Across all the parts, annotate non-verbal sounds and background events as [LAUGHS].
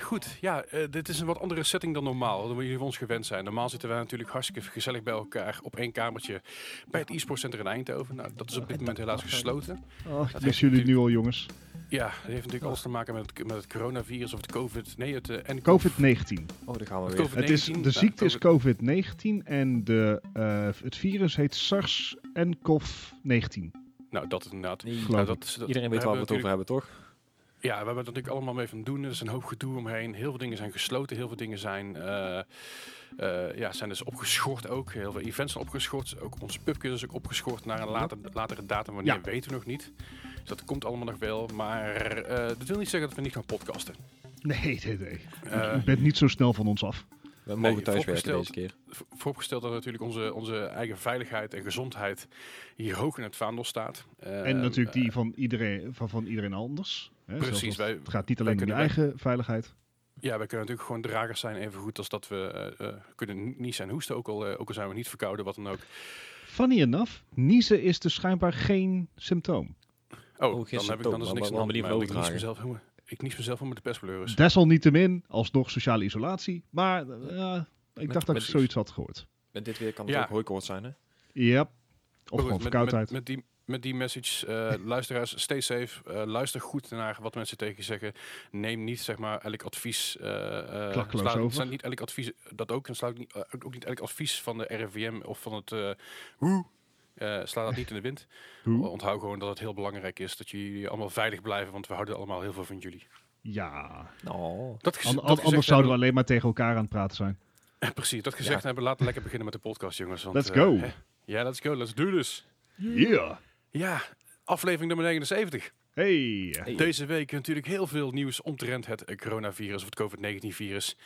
goed. Ja, eh, dit is een wat andere setting dan normaal. Dan jullie van ons gewend zijn. Normaal zitten wij natuurlijk hartstikke gezellig bij elkaar op één kamertje bij het e-sport center in Eindhoven. Nou, dat is op dit moment helaas gesloten. Oh, Dat dat heeft missen jullie nu al, jongens. Ja, dat heeft natuurlijk alles te maken met het, met het coronavirus of het COVID. Nee, het eh, en COVID-19. Oh, daar gaan we Het weer. COVID-19. Het is, de Nou, ziekte is COVID-19 en de, eh, het virus heet SARS-CoV-19. Nou, dat inderdaad. Nee, Geloof Nou, ik. dat, is- dat, Iedereen weet daar waar we het over hebben hebben, toch? natuurlijk- Ja, we hebben er natuurlijk allemaal mee van doen. Er is een hoop gedoe omheen. Heel veel dingen zijn gesloten. Heel veel dingen zijn, eh, eh, ja, zijn dus opgeschort ook. Heel veel events zijn opgeschort. Ook ons pubquiz is ook opgeschort naar een later, latere datum. Wanneer Ja. weten we nog niet. Dus dat komt allemaal nog wel. Maar eh, dat wil niet zeggen dat we niet gaan podcasten. Nee, nee, nee. Eh, Je bent niet zo snel van ons af. We mogen thuis werken vooropgesteld. deze keer. v- vooropgesteld dat natuurlijk onze, onze eigen veiligheid en gezondheid hier hoog in het vaandel staat. Eh, en natuurlijk eh, die van iedereen, van, van iedereen anders. Hè, zelfs Precies, als- wij, Het gaat niet alleen om je kunnen wij- eigen veiligheid. Ja, wij kunnen natuurlijk gewoon dragers zijn, even goed als dat we eh, eh, kunnen ni- niezen en hoesten, ook al, eh, ook al zijn we niet verkouden, wat dan ook. Oh, Funny enough, niezen is dus schijnbaar geen symptoom. Oh, geen dan heb ik symptoom, dan dus maar niks aan wel- de hand, wel maar ik manier van nies overdragen. mezelf helemaal, ik nies mezelf helemaal de pestpleuris. Mm. Desalniettemin, alsnog sociale isolatie. Maar eh, ik Met- dacht dat met- ik zoiets had gehoord. Met dit weer kan het Ja. ook hooikoorts zijn, hè? Ja. Maar Of gewoon goed, Oh, met, met, verkoudheid. met die... Met die message, [LAUGHS] eh, luisteraars, stay safe. eh, luister goed naar wat mensen tegen je zeggen. Neem niet, zeg maar, elk advies... eh, eh, Klakkeloos sla- over. sla niet elk advies, dat ook. En sla ook niet, eh, ook niet elk advies van de RIVM of van het... eh, hoe? eh, sla dat niet in de wind. Hoe? Onthoud gewoon dat het heel belangrijk is dat jullie allemaal veilig blijven, want we houden allemaal heel veel van jullie. Ja. Nou, Dat gez- An- dat an- gezegd anders zouden we hebben- alleen maar tegen elkaar aan het praten zijn. Precies, dat gezegd Ja. hebben, [LAUGHS] laten we lekker beginnen met de podcast, jongens. want, Let's eh, go. hè? Ja, let's go, let's do this. Yeah. Ja, aflevering nummer 79. Hey. Hey. Deze week natuurlijk heel veel nieuws omtrent het eh, coronavirus of het COVID-19-virus.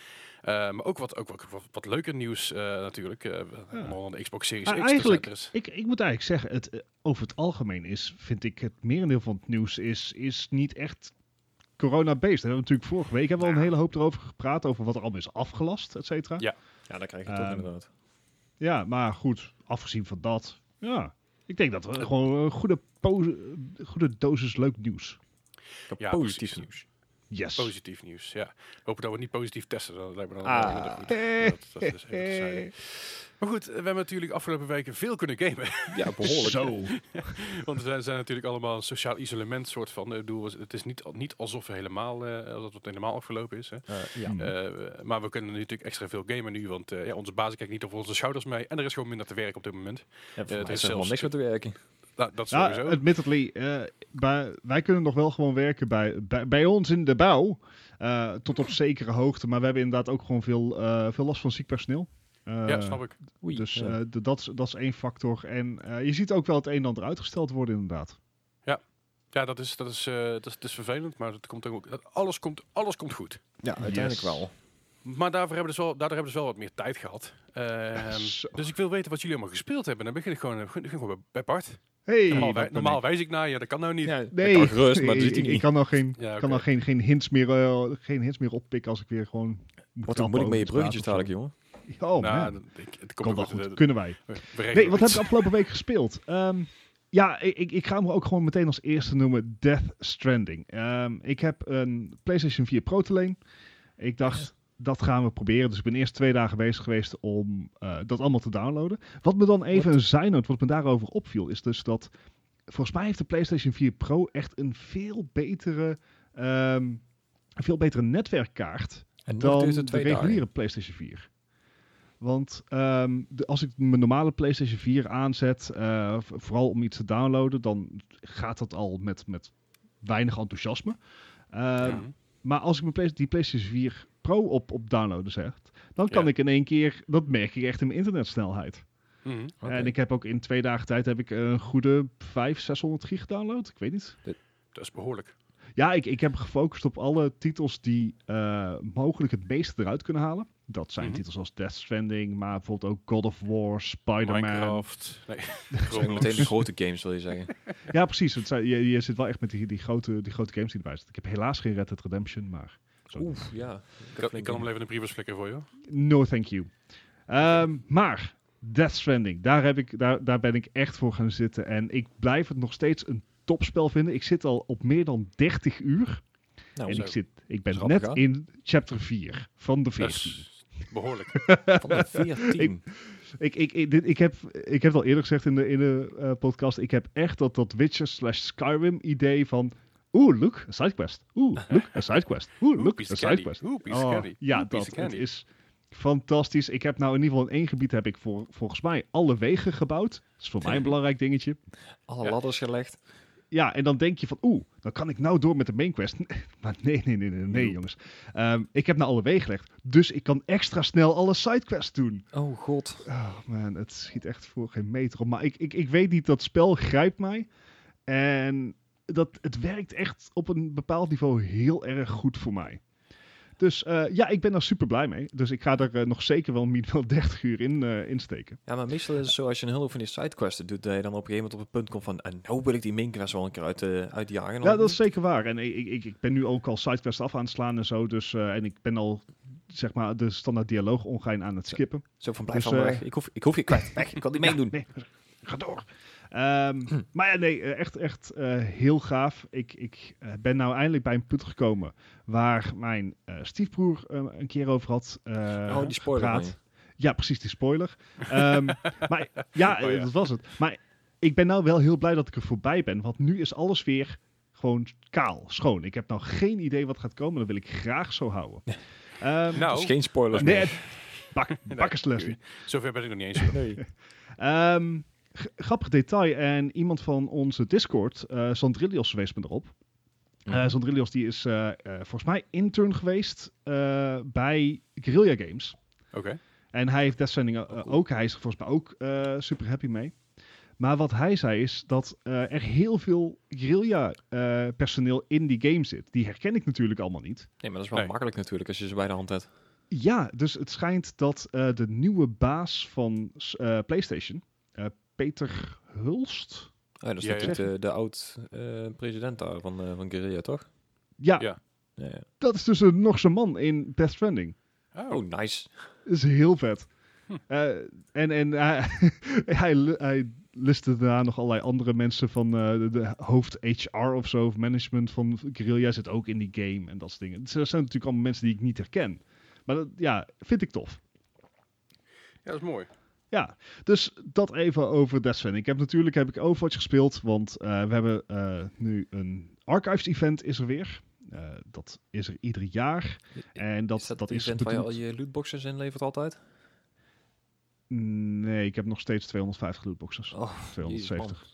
Eh, maar ook wat, ook wat, wat, wat leuker nieuws eh, natuurlijk. Eh, allemaal aan de Xbox Series Maar X. dus eigenlijk- dat er is- Ik, ik moet eigenlijk zeggen, het, eh, over het algemeen is, vind ik, het merendeel van het nieuws is, is niet echt corona-based. We hebben natuurlijk vorige week hebben we al een hele hoop erover gepraat, over wat er allemaal is afgelast, et cetera. Ja. ja, dan krijg je het toch Ehm, inderdaad. Ja, maar goed, afgezien van dat, ja. Ik denk dat Eh. we gewoon een goede, po- goede dosis leuk nieuws. Dat ja, positief precies. nieuws. Yes. Positief nieuws, ja. Hopen dat we het niet positief testen, dat lijkt me dan Ah. wel minder goed. Dat, dat is even [LAUGHS] Eh, terzijde. Maar goed, we hebben natuurlijk afgelopen weken veel kunnen gamen. [LAUGHS] Ja, behoorlijk. Zo. Want we zijn natuurlijk allemaal een sociaal isolement soort van. Ik bedoel, het is niet, niet alsof we helemaal, eh, alsof het helemaal afgelopen is. Hè. Eh, ja. Mm. Hmm. Eh, maar we kunnen natuurlijk extra veel gamen nu, want eh, ja, onze baas kijkt niet over onze schouders mee. En er is gewoon minder te werken op dit moment. Ja, voor het mij is is helemaal zelfs- niks meer te werken. Nou, dat Ja, sowieso. admittedly, eh, bij- wij kunnen nog wel gewoon werken bij, bij, bij ons in de bouw. eh, tot op zekere hoogte. Maar we hebben inderdaad ook gewoon veel, eh, veel last van ziek personeel. Eh, ja, snap ik. Oei. Dus ja. eh, de- dat, is- dat is één factor. En eh, je ziet ook wel het een en ander uitgesteld worden, inderdaad. Ja, dat is, dat is, eh, dat is, dat is vervelend, maar dat komt ook, dat- alles, komt, alles komt goed. ja, uiteindelijk Yes. wel. Maar daarvoor hebben we dus wel, daardoor hebben we dus wel wat meer tijd gehad. Ehm, [LAUGHS] Zo. dus ik wil weten wat jullie allemaal gespeeld hebben. Dan begin ik gewoon, eh, begin ik gewoon bij Bart. Hey, Normaal, dat wij- ben normaal ik. wijs ik naar je, dat kan nou niet. Ja, ik Nee, kan [LAUGHS] gerust, maar ik- dat ziet hij ik, ik niet. kan nog geen, Ja, kan oké. nog geen, geen, hints meer, eh, geen hints meer oppikken als ik weer gewoon... Wat dan moet ik met je bruggetjes dadelijk, jongen? Oh, nou, man. dat- ik- het Komt ook wel goed. goed. We- Kunnen wij. we regelen Nee, wat heb iets. ik afgelopen week gespeeld? Ehm, ja, ik, ik- ik ga hem ook gewoon meteen als eerste noemen. Death Stranding. Ehm, ik heb een PlayStation 4 Pro te leen. Ik dacht, dat gaan we proberen. Dus ik ben eerst twee dagen bezig geweest om eh, dat allemaal te downloaden. Wat me dan even een zijnoot, wat me daarover opviel, is dus dat... Volgens mij heeft de PlayStation 4 Pro echt een veel betere, ehm, een veel betere netwerkkaart En nog dan duurt de het twee reguliere dagen. PlayStation 4. Want ehm, de- als ik mijn normale PlayStation 4 aanzet, eh, v- vooral om iets te downloaden, dan gaat dat al met, met weinig enthousiasme. Ehm, Ja. Maar als ik mijn Play- die PlayStation 4 Pro op, op downloaden zet, dan kan Ja. ik in één keer, dat merk ik echt in mijn internetsnelheid. Mhm. Oké. En ik heb ook in twee dagen tijd heb ik een goede 500, 600 gig gedownload. Ik weet niet. Dat is behoorlijk. Ja, ik, ik heb gefocust op alle titels die eh, mogelijk het meeste eruit kunnen halen. Dat zijn Mhm. titels als Death Stranding, maar bijvoorbeeld ook God of War, Spider-Man. Minecraft. [LAUGHS] Nee, Zijn Roblox. meteen de grote games, wil je zeggen. Ja, precies. Het zijn, je, je zit wel echt met die, die, grote, die grote games die erbij zitten. Ik heb helaas geen Red Dead Redemption, maar Oef, ja. Nou, Ik kan- ik kan hem wel even in de briefers flikken voor je. hoor. no thank you. Ehm, maar Death Stranding, daar, heb ik, daar, daar ben ik echt voor gaan zitten. En ik blijf het nog steeds een topspel vinden. Ik zit al op meer dan 30 uur. Nou, en Oh, zo. ik, zit, ik ben Dat is net grappig, in chapter 4 van de Dat 14. is behoorlijk. van de 14. [LAUGHS] Ik, ik, ik, dit, ik, heb, ik heb het al eerder gezegd in de, in de eh, podcast. Ik heb echt dat, dat Witcher slash Skyrim idee van... Oeh, look, een sidequest. [LAUGHS] Oeh, look, een sidequest. Oeh, look, Piece een of candy. sidequest. Oeh, piece of Oh, candy. ja, Oeh, piece dat of het candy. is fantastisch. Ik heb nou in ieder geval in één gebied heb ik voor, volgens mij alle wegen gebouwd. Dat is voor mij een belangrijk dingetje. Alle Ja. ladders gelegd. Ja, en dan denk je van, oeh, dan kan ik nou door met de main quest. [LAUGHS] maar nee, nee, nee, nee, nee, jongens. Ehm, ik heb nou alle wegen gelegd, dus ik kan extra snel alle sidequests doen. Oh god. Oh man, het schiet echt voor geen meter op. Maar ik, ik, ik weet niet, dat spel grijpt mij. En dat, het werkt echt op een bepaald niveau heel erg goed voor mij. Dus eh, ja, ik ben daar super blij mee. Dus ik ga er eh, nog zeker wel minimaal [LAUGHS] 30 uur in eh, insteken. Ja, maar meestal is het zo als je een heel hoop van die sidequests doet, dat je dan op een gegeven moment op het punt komt van, en nou wil ik die mainquest wel een keer uit, eh, uitjagen. Ja, dat is zeker waar. En ik, ik, ik ben nu ook al sidequests af aan het slaan en zo. Dus, eh, en ik ben al zeg maar, de standaard dialoog ongein aan het skippen. Zo van, blijf Dus, van me eh, weg. Ik hoef, ik hoef je kwijt. Weg, ik kan niet [LAUGHS] meedoen. Nee, ga door. Ehm, Hm. Maar ja, nee, eh, echt, echt eh, heel gaaf. Ik, ik eh, ben nou eindelijk bij een punt gekomen waar mijn eh, stiefbroer eh, een keer over had eh, oh, die spoiler van gepraat. je. Ja, precies, die spoiler. [LAUGHS] Ehm, maar ja, Oh, ja. eh, dat was het. Maar ik ben nou wel heel blij dat ik er voorbij ben. Want nu is alles weer gewoon kaal, schoon. Ik heb nou geen idee wat gaat komen. Dat wil ik graag zo houden. Ehm, Nou, Dat is Dus geen spoilers nee, meer. het- [LAUGHS] bak, bakkers Leslie. zover ben ik nog niet [LAUGHS] eens. Nee. Ehm, g- grappig detail. En iemand van onze Discord, eh Sandrilios, wees me erop. Eh, Sandrilios die is eh, eh, volgens mij intern geweest eh, bij Guerrilla Games. Oké. En hij heeft Death Stranding eh, cool. ook. Hij is er volgens mij ook eh, super happy mee. Maar wat hij zei is dat eh, er heel veel guerrilla-personeel in die game zit. Die herken ik natuurlijk allemaal niet. nee, maar dat is wel Nee. makkelijk natuurlijk als je ze bij de hand hebt. Ja, dus het schijnt dat eh, de nieuwe baas van s- eh, PlayStation, eh, Peter Hulst. Oh, dat is Ja, ja. natuurlijk De, de oud-president daar van, eh van Guerrilla, toch? Ja, Ja. Ja, ja. dat is dus een, nog zo'n man in Death Stranding. Oh, Oh, nice. Dat is heel vet. Hm. Eh, en en hij, [LAUGHS] hij, li- hij listte daarna nog allerlei andere mensen van eh, de, de hoofd HR of zo, of management van Guerrilla zit ook in die game en dat soort dingen. Dus dat zijn natuurlijk allemaal mensen die ik niet herken. Maar dat, ja, vind ik tof. ja, dat is mooi. Ja, dus dat even over Death Stranding. Ik heb natuurlijk heb ik Overwatch gespeeld, want eh, we hebben eh, nu een Archives-event is er weer. Eh, dat is er ieder jaar. En dat, is dat, dat, het is event waar je al bedoeld- je lootboxes inlevert altijd? Nee, ik heb nog steeds 250 lootboxes. Oh, 270.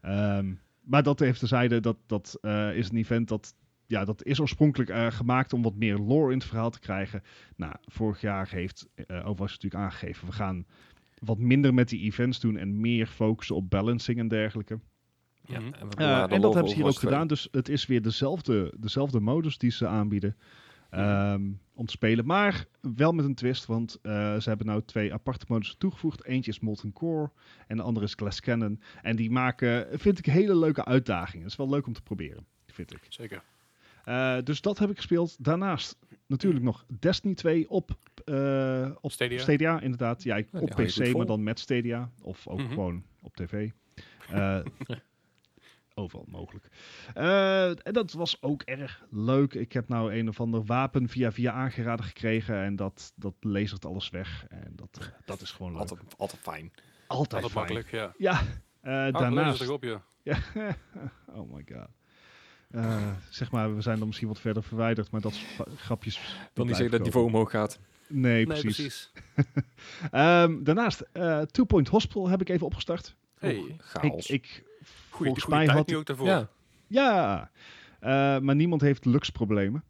Ehm, maar dat heeft de zijde, dat, dat eh, is een event dat, ja, dat is oorspronkelijk eh, gemaakt om wat meer lore in het verhaal te krijgen. Nou, vorig jaar heeft eh Overwatch natuurlijk aangegeven, we gaan wat minder met die events doen en meer focussen op balancing en dergelijke. Ja, Mhm. en, we Eh, bewaren de en lol dat hebben ze voor hier ook Overwatch gedaan, dus het is weer dezelfde, dezelfde modus die ze aanbieden ehm, om te spelen. Maar wel met een twist, want eh, ze hebben nou twee aparte modussen toegevoegd. Eentje is Molten Core en de andere is Glass Cannon. En die maken, vind ik, hele leuke uitdagingen. Het is wel leuk om te proberen, vind ik. Zeker. Eh, dus dat heb ik gespeeld. Daarnaast natuurlijk nog Destiny 2 op, eh, op Stadia. Stadia, inderdaad. Ja, ik- Ja, die op hou je goed PC, vol. maar dan met Stadia. Of ook Mhm. gewoon [LAUGHS] op tv. Eh, overal mogelijk. Eh, en dat was ook erg leuk. Ik heb nou een of ander wapen via via aangeraden gekregen. En dat, dat lasert alles weg. En dat, eh, dat is gewoon twee. leuk. Altijd, altijd fijn. Altijd Altijd fijn. makkelijk, ja. Oh, Ja, eh, Ah, lees daarnaast... het erop, joh. [LAUGHS] Ja. oh my god. Eh, zeg maar, we zijn dan misschien wat verder verwijderd, maar dat is fa- grapjes. die Wil niet blijven zeggen dat het niveau omhoog gaat. komen. Nee, precies. Ehm, daarnaast, eh Two Point Hospital heb ik even opgestart. Hey, Ik, Chaos. ik, goede volgens mij tijd had nu ook daarvoor. ja, Ja, Eh, maar niemand heeft luxproblemen.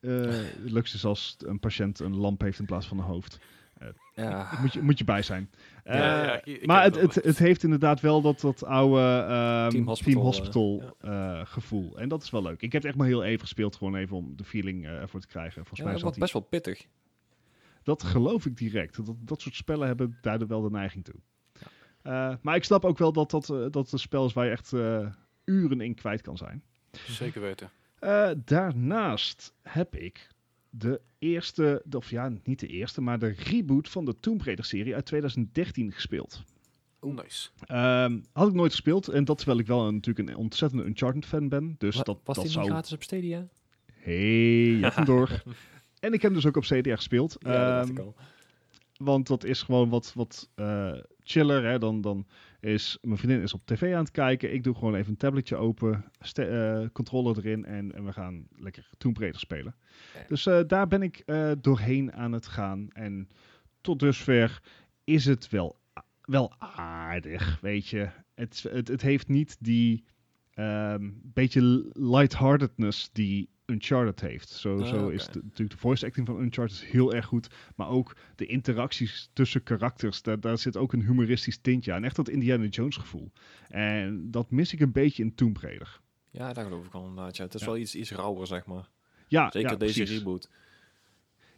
Eh lux is als een patiënt een lamp heeft in plaats van een hoofd. ja. Moet je, moet je bij zijn. Eh, Ja, ja, ik- ik maar heb het, dat wel. het, het heeft inderdaad wel dat, dat oude ehm, Team Team Hospital, Hospital, eh, gevoel. En dat is wel leuk. Ik heb het echt maar heel even gespeeld, gewoon even om de feeling eh, ervoor te krijgen. [LAUGHS] Volgens Ja, mij dat zat wordt die, best wel pittig. dat geloof ik direct. Dat, dat soort spellen hebben daar wel de neiging toe. Eh, maar ik snap ook wel dat dat, eh, dat een spel is waar je echt eh, uren in kwijt kan zijn. Zeker weten. Eh, daarnaast heb ik de eerste, of ja, niet de eerste, maar de reboot van de Tomb Raider serie uit 2013 gespeeld. Nice. Ehm, had ik nooit gespeeld. En dat terwijl ik wel een, natuurlijk een ontzettende Uncharted fan ben. Dus Wa- dat, was dat die zou... niet gratis op Stadia? hey, je hebt hem [LAUGHS] door. En ik heb hem dus ook op CDR gespeeld. Ja, dat dacht Ehm, ik al. want dat is gewoon wat, wat eh, chiller. Hè? Dan, dan is mijn vriendin is op tv aan het kijken. Ik doe gewoon even een tabletje open, ste- eh, controller erin en, en we gaan lekker Tomb Raider spelen. Ja. Dus eh, daar ben ik eh, doorheen aan het gaan. En tot dusver is het wel, a- wel aardig, weet je. Het, het, het heeft niet die ehm, beetje lightheartedness die Uncharted heeft. Zo, Ah, zo oké. is de, natuurlijk de voice acting van Uncharted is heel erg goed. Maar ook de interacties tussen karakters, daar, daar zit ook een humoristisch tintje aan. Echt dat Indiana Jones gevoel. En dat mis ik een beetje in Tomb Raider. Ja, daar geloof ik al inderdaad. Ja. Het is Ja. wel iets, iets rauwer, zeg maar. Ja, Zeker ja, deze precies. reboot. Oh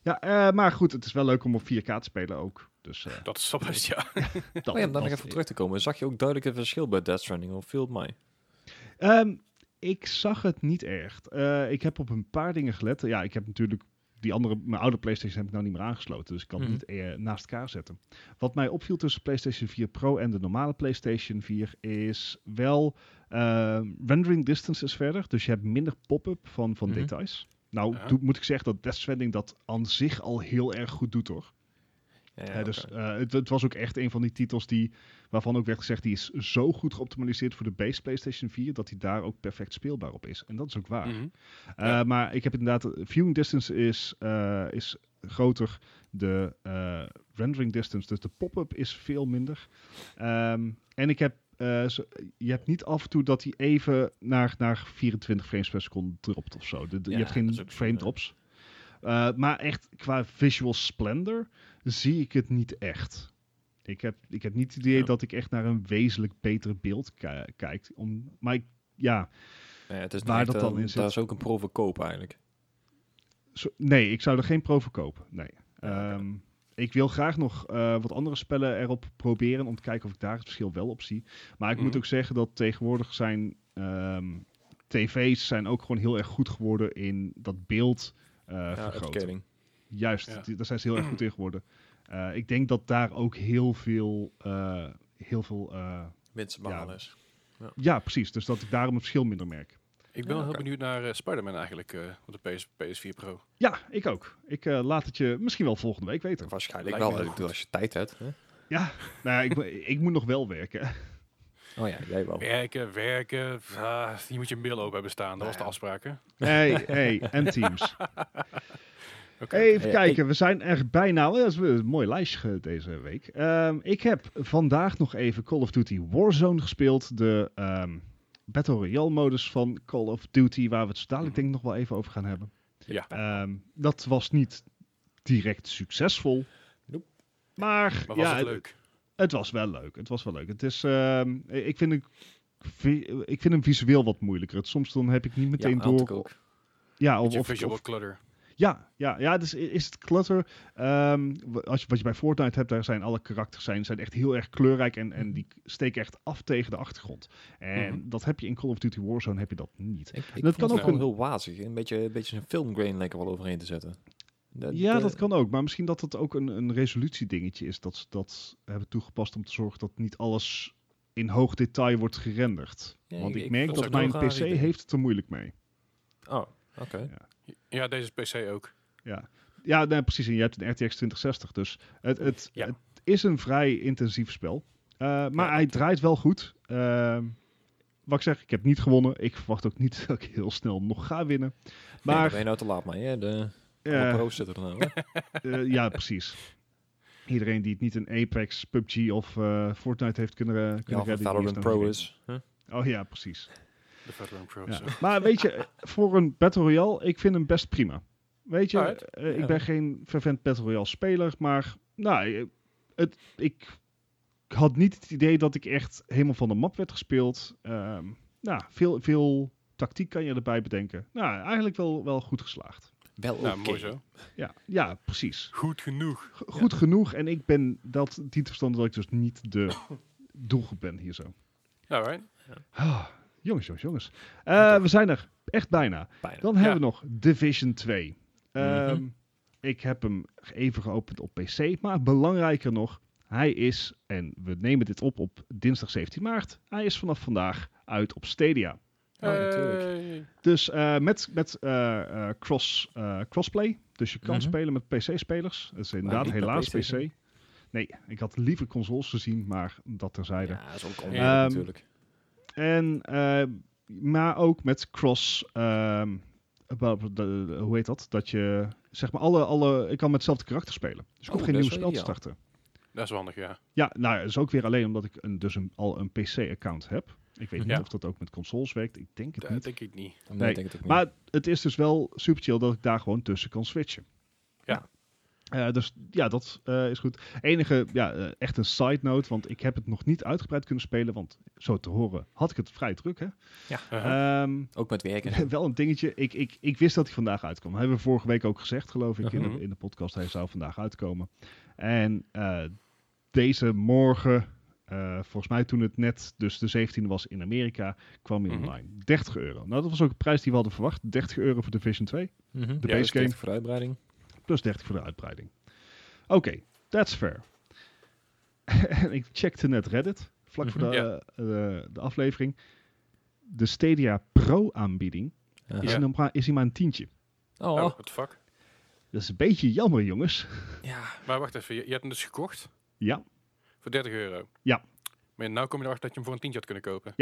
Ja, eh, maar goed, het is wel leuk om op 4K te spelen ook. Dus [LAUGHS] eh, Dat is wel best, ja. dat, Maar Oh ja, om daar nog dat- even op terug te komen. Zag je ook duidelijk het verschil bij Death Stranding of Field My? Ehm, ik zag het niet echt. Eh, ik heb op een paar dingen gelet. Ja, ik heb natuurlijk die andere, mijn oude PlayStation heb ik nou niet meer aangesloten, dus ik kan het Mhm. niet eh, naast elkaar zetten. Wat mij opviel tussen PlayStation 4 Pro en de normale PlayStation 4 is wel ehm, rendering distance is verder, dus je hebt minder pop-up van, van Mhm. details. Nou, Ja. doe- moet ik zeggen dat Death Stranding dat aan zich al heel erg goed doet, hoor. Ja, ja, Hè, dus oké. eh, het, het was ook echt een van die titels die, waarvan ook werd gezegd, die is zo goed geoptimaliseerd voor de base PlayStation 4, dat die daar ook perfect speelbaar op is. En dat is ook waar. Mhm. Eh, ja. Maar ik heb inderdaad, viewing distance is, eh, is groter, de eh, rendering distance, dus de pop-up is veel minder. Ehm, en ik heb, eh, zo- je hebt niet af en toe dat hij even naar, naar 24 frames per seconde dropt of zo. De- de- Ja, je hebt dat is geen ook zo, frame ja. drops. Eh, maar echt, qua visual splendor zie ik het niet echt. Ik heb, ik heb niet het idee Ja. dat ik echt naar een wezenlijk beter beeld ki- kijk. Om, maar ik, ja, Ja, het is waar niet dat echt, dan eh, in zit. Daar is ook een pro voor koop eigenlijk. Zo- nee, ik zou er geen pro voor kopen. Nee. Ja, oké. Ehm, ik wil graag nog eh, wat andere spellen erop proberen om te kijken of ik daar het verschil wel op zie. Maar ik moet Mhm. ook zeggen dat tegenwoordig zijn ehm, tv's zijn ook gewoon heel erg goed geworden in dat beeld eh Ja, vergroten. upscaling. Juist, Ja. die- daar zijn ze heel erg goed in geworden. Eh, ik denk dat daar ook heel veel, eh, heel veel eh, Mits Ja. behalen is. ja precies, dus dat ik daarom het verschil minder merk. Ik ben wel Ja, heel oké. benieuwd naar eh, Spider-Man eigenlijk eh, op de PS, PS4 Pro. Ja, ik ook. Ik eh, laat het je misschien wel volgende week weten. Waarschijnlijk Lijkt wel, me heel ik bedoel, goed. als je tijd hebt. Hè? Nou ja, ik, mo- [LAUGHS] ik moet nog wel werken. Oh ja, jij wel. Werken, werken. ah, je moet je mail open hebben staan. Dat was de Nou afspraak, hè? Hey, hey, en [LAUGHS] teams. Oké. Even Ja, ja, kijken, we zijn er bijna. Dat is een mooi lijstje ge- deze week. Ehm, ik heb vandaag nog even Call of Duty Warzone gespeeld. De ehm, Battle Royale modus van Call of Duty, waar we het zo dadelijk denk ik nog wel even over gaan hebben. Ja. Ehm, dat was niet direct succesvol. Nope. Maar, Maar was ja, het het, leuk? het was wel leuk. Het was wel leuk. Het is, ehm, ik, vind het, vi- ik vind hem visueel wat moeilijker. Het- Soms dan heb ik niet meteen ja, had ik door. ook. Ja, Of, of, je of, visual of- clutter. ja, ja, ja dus i- is het clutter. Ehm, wa- als je, wat je bij Fortnite hebt, daar zijn alle karakters zijn, zijn echt heel erg kleurrijk en, en die steken echt af tegen de achtergrond. En dat heb je in Call of Duty Warzone heb je dat niet. Ik, dat ik dat kan kan ook ook wel een- heel wazig. Een beetje, een beetje een filmgrain lekker wel overheen te zetten. Dat, Ja, eh, dat kan ook. Maar misschien dat het ook een, een resolutiedingetje is dat ze dat hebben toegepast om te zorgen dat niet alles in hoog detail wordt gerenderd. Ja, Want ik- ik ik merk vond dat het ook mijn wel een PC raar idee. heeft het er moeilijk mee. Oh, oké. Ja, deze PC ook. Ja, nee, precies. En je hebt een RTX 2060. Dus het, het, Ja. het is een vrij intensief spel. Eh, maar Ja. hij draait wel goed. Ehm, wat ik zeg, ik heb niet gewonnen. Ik verwacht ook niet [LAUGHS] dat ik heel snel nog ga winnen. Maar... Maar ben je nou te laat, maar ja, de eh, alle pro's zitten er [LAUGHS] nou. hè? eh, [LAUGHS] ja, precies. Iedereen die het niet in Apex, PUBG of eh, Fortnite heeft kunnen, eh, kunnen Ja, of redden, een die Valorant is dan Pro geen- is. Huh? Oh ja, precies. De Veteran Pro. Ja. zo. [LAUGHS] Maar weet je, eh, voor een Battle Royale, ik vind hem best prima. Weet je, Alright. eh, ik Ja. ben geen vervent Battle Royale speler, maar nou, eh, het, ik had niet het idee dat ik echt helemaal van de map werd gespeeld. Ehm, nou, veel, veel tactiek kan je erbij bedenken. Nou, eigenlijk wel, wel goed geslaagd. Wel Nou, oké. mooi zo. Ja, ja precies. Goed genoeg. G- goed genoeg en ik ben dat, die te verstanden dat ik dus niet de [COUGHS] doelgroep ben hier zo. Alright. Ah, jongens, jongens, jongens. Eh, Ja, toch. we zijn er echt bijna. Bijna. Dan hebben we nog Division 2. Ehm, Mhm. Ik heb hem even geopend op PC, maar belangrijker nog, hij is, en we nemen dit op op dinsdag 17 maart, hij is vanaf vandaag uit op Stadia. Eh, ja, natuurlijk. Hey. Dus eh, met, met eh, eh, cross, eh, crossplay. Dus je kan Mhm. spelen met PC-spelers. Dat is inderdaad niet met helaas PC. PlayStation. Nee, ik had liever consoles gezien, maar dat terzijde. Ja, dat is ook onnodig Ehm, natuurlijk. En, eh, maar ook met cross. ehm, wel, de- de- hoe heet dat? Dat je zeg maar alle. alle ik kan met hetzelfde karakter spelen. Dus ik hoef geen Oh, dat nieuw is spel wel te ideaal. starten. Dat is wel handig, ja. Ja, nou, dat is ook weer alleen omdat ik een, dus een, al een PC-account heb. Ik Mhm. weet Ja. niet of dat ook met consoles werkt. Ik denk het Dat niet. denk ik niet. Nee, nee. ik denk het ook niet. Maar het is dus wel super chill dat ik daar gewoon tussen kan switchen. Ja. Eh, dus ja, dat eh, is goed. Enige, ja, eh, echt een side note, want ik heb het nog niet uitgebreid kunnen spelen, want zo te horen had ik het vrij druk, hè? Uh-huh. Ehm, ook [LAUGHS] met werken. wel een dingetje. Ik, ik, ik wist dat hij vandaag uitkwam. Dat hebben we vorige week ook gezegd, geloof ik, in, Mhm. de, in de podcast. Hij zou vandaag uitkomen. En eh, deze morgen, eh, volgens mij toen het net, dus de 17e was in Amerika, kwam hij Mhm. online. 30 euro. Nou, dat was ook de prijs die we hadden verwacht. 30 euro voor Division 2, Mhm. de Ja, base dus game. echt voor de uitbreiding. plus 30 voor de uitbreiding. Oké, that's fair. [LAUGHS] en ik checkte net Reddit, vlak voor de, Mhm. Ja. eh, de, de aflevering. De Stadia Pro-aanbieding Aha. is, Ja. hij nog maar- is hij maar een tientje. Oh, Oh, what the fuck. Dat is een beetje jammer, jongens. ja. Maar wacht even, je, je hebt hem dus gekocht Ja, voor 30 euro. Ja. Maar nu kom je erachter dat je hem voor een tientje had kunnen kopen.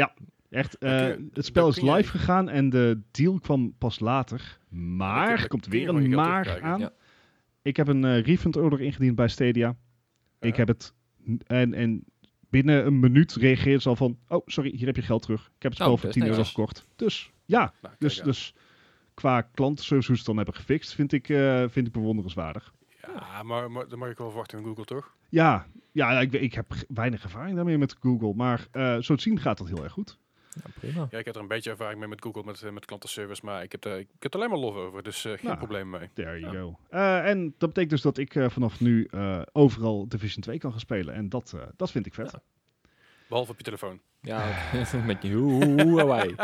echt. Dan kun je- eh, dan het spel is kun je- live gegaan en de deal kwam pas later. Dan kun Maar, je- er komt dan kun je weer gewoon een je geld maar terugkrijgen. aan. Ja. Ik heb een eh, refund order ingediend bij Stadia. Ik Ja. heb het. En, en binnen een minuut reageerden ze al van: Oh, sorry, hier heb je geld terug. Ik heb het Oh, spel voor dat 10 is euro netjes. gekocht. Dus ja, Nou, kijk dus, aan. dus qua klantenservice hoe ze het dan hebben gefixt, vind ik, eh, vind ik bewonderenswaardig. Ja, maar, maar dan mag ik wel verwachten van Google, toch? Ja, ja ik, ik heb ge- weinig ervaring daarmee met Google. Maar eh, zo te zien gaat dat heel erg goed. Ja, nou, prima. Ja, ik heb er een beetje ervaring mee met Google, met, eh, met klantenservice, maar ik heb, er, ik heb er alleen maar lof over, dus eh, geen Nou. probleem mee. There you Ja. go. Eh, en dat betekent dus dat ik eh, vanaf nu eh, overal Division 2 kan gaan spelen. En dat, eh, dat vind ik vet. Behalve op je telefoon. [LAUGHS] [LAUGHS] Ja, [LAUGHS] met je Huawei.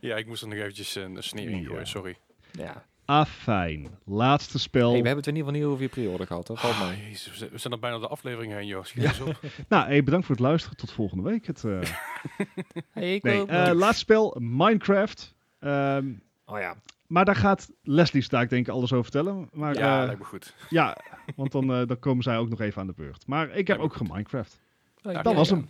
ja, ik moest er nog eventjes een sneer in Ja. gooien, sorry. Ja. Afijn. Ah, Laatste spel. Hey, we hebben het in ieder geval niet over je pre-order gehad, dat Ah, valt mij. Oh, Jezus, we zijn- we zijn al bijna de aflevering heen, joh. Schiet eens op. Nou, hey, bedankt voor het luisteren. Tot volgende week. [LAUGHS] Het, eh, Hey, ik nee, wil- eh, laatste spel, Minecraft. Ehm, oh ja, maar daar gaat Leslie Staak denk ik alles over vertellen. Maar ja, ja, lijkt me goed. [LAUGHS] ja want dan, eh, dan komen zij ook nog even aan de beurt. Maar ik heb Lijkt me ook geminecraft. Nou, Dat Ja, was ja. hem.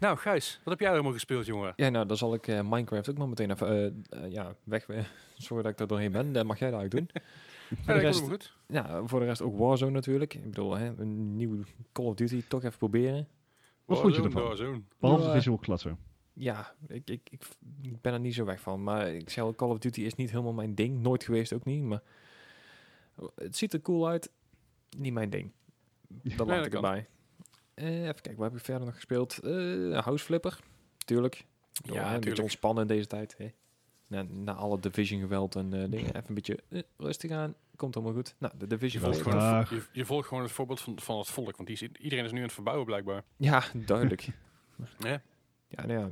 Nou, Gijs, wat heb jij allemaal gespeeld, jongen? Ja, nou, dan zal ik eh, Minecraft ook maar meteen even eh, eh, ja, weg. [LAUGHS] eh, Sorry dat ik daar doorheen ben, dat mag jij dat ook doen. Ja, voor, de dat is rest, goed. ja, voor de rest ook Warzone natuurlijk. Ik bedoel, hè, een nieuwe Call of Duty, toch even proberen. Wat vond je Warzone, ervan? Warzone. Behalve Ja, de eh. visual klatsen. Ja, ik, ik, ik, ik ben er niet zo weg van. Maar ik zei al, Call of Duty is niet helemaal mijn ding. Nooit geweest ook niet, maar het ziet er cool uit. Niet mijn ding. Dat laat dat ik kan. erbij. Eh, even kijken, wat heb ik verder nog gespeeld? Eh House Flipper, tuurlijk. Ja, Ja, een beetje natuurlijk. ontspannen in deze tijd. Hè. Na, na alle Division geweld en eh, dingen. Even een beetje eh, rustig aan. Komt allemaal goed. Nou, de Je Division volgt, Ja. volgt. gewoon het, Dag. vo- je, je volgt gewoon het voorbeeld van, van het volk, want die is, iedereen is nu aan het verbouwen, blijkbaar. Ja, duidelijk. Ja. [LAUGHS] Ja, nou ja,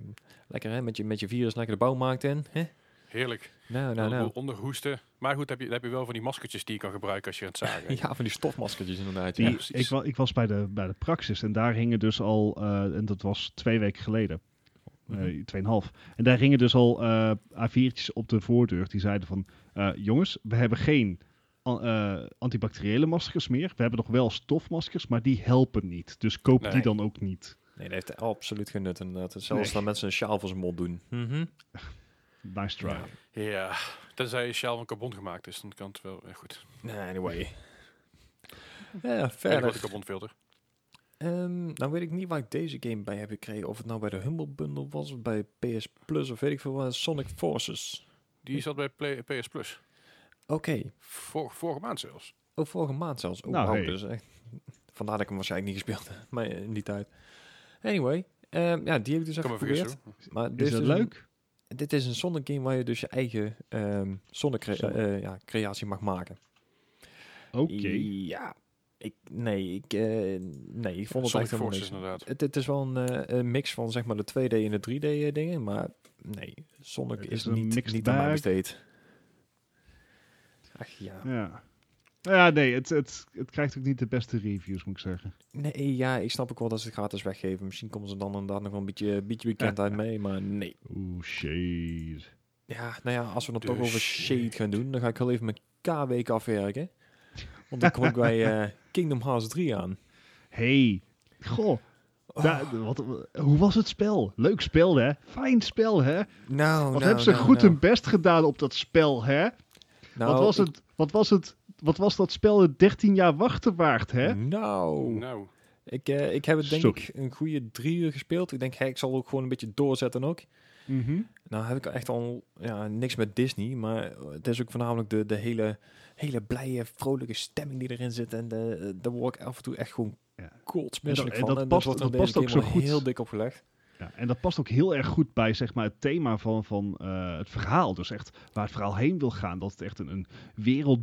lekker hè, met je, met je virus lekker de bouwmarkt in. Hè? Heerlijk. Nou, nou, Dan nou. Onderhoesten. Maar goed, heb je, heb je wel van die maskertjes die je kan gebruiken als je aan het zagen [LAUGHS] bent. Ja, van die stofmaskertjes inderdaad. Die, Ja. precies. ik, wa- ik was bij de, bij de praxis en daar hingen dus al, eh, en dat was twee weken geleden, eh, Mhm. tweeënhalf, en daar hingen dus al eh A4'tjes op de voordeur die zeiden van, eh, jongens, we hebben geen an- eh, antibacteriële maskers meer, we hebben nog wel stofmaskers, maar die helpen niet, dus koop Nee. die dan ook niet. Nee, dat heeft absoluut geen nut inderdaad. Zelfs Nee. dat mensen een sjaal voor zijn mond doen. Mhm. Nice try. Ja. Ja, tenzij je sjaal van carbon gemaakt is, dan kan het wel eh, goed. Nou, Anyway. Ja, Verder. Wat verder. een carbonfilter. Ehm nou weet ik niet waar ik deze game bij heb gekregen. Of het nou bij de Humble Bundle was, of bij PS Plus, of weet ik veel wat. Sonic Forces. Die zat bij Play- PS Plus. Oké. Vor- vorige maand zelfs. Ook vorige maand zelfs. Oh, Nou, wauw, hey. dus echt, vandaar dat ik hem waarschijnlijk niet gespeeld heb. [LAUGHS] Maar in die tijd. Anyway. ehm, ja, die heb ik dus Ik kan even me geprobeerd. vergissen. hoor. Maar dit Is dat dus een- leuk? dit is een Sonic game waar je dus je eigen ehm Sonic crea- Sonic. eh, ja, creatie mag maken. Oké. Ja. Ik, nee, ik, eh, nee, ik vond het Sonic echt helemaal Forces niks. inderdaad. Het, het is wel een, eh, een mix van zeg maar de 2D en de 3D eh, dingen, maar nee, Sonic Het is, is een niet, mixed niet aan mij bag. besteed. Ach ja. Ja. Nou Ja, nee, het, het, het krijgt ook niet de beste reviews, moet ik zeggen. Nee, ja, ik snap ook wel dat ze het gratis weggeven. Misschien komen ze dan inderdaad nog wel een beetje, beetje bekendheid mee, maar nee. Oeh, shade. Ja, nou ja, als we het De toch Dus over shade shade. gaan doen, dan ga ik heel even mijn K-week afwerken. Want dan kom [LAUGHS] ik bij eh, Kingdom Hearts 3 aan. Hey, goh. Oh. da- wat, hoe was het spel? Leuk spel, hè? Fijn spel, hè? Wat Nou, nou, hebben ze nou, goed nou. hun best gedaan op dat spel, hè? Nou, wat, was ik- het, wat, was het, wat was dat spel het 13 jaar wachten waard, hè? Nou, Nou, ik, eh, ik heb het denk Sorry. ik een goede drie uur gespeeld. Ik denk, hey, ik zal ook gewoon een beetje doorzetten ook. Mhm. Nou heb ik echt al ja, niks met Disney, maar het is ook voornamelijk de, de hele, hele blije, vrolijke stemming die erin zit. En de, daar word ik af en toe echt gewoon Ja. kotsmisselijk En dat- en van. dat en past- wordt dat in deze past ook game zo wel goed. heel dik opgelegd. Ja, en dat past ook heel erg goed bij zeg maar, het thema van, van eh, het verhaal. Dus echt waar het verhaal heen wil gaan. Dat het echt een, een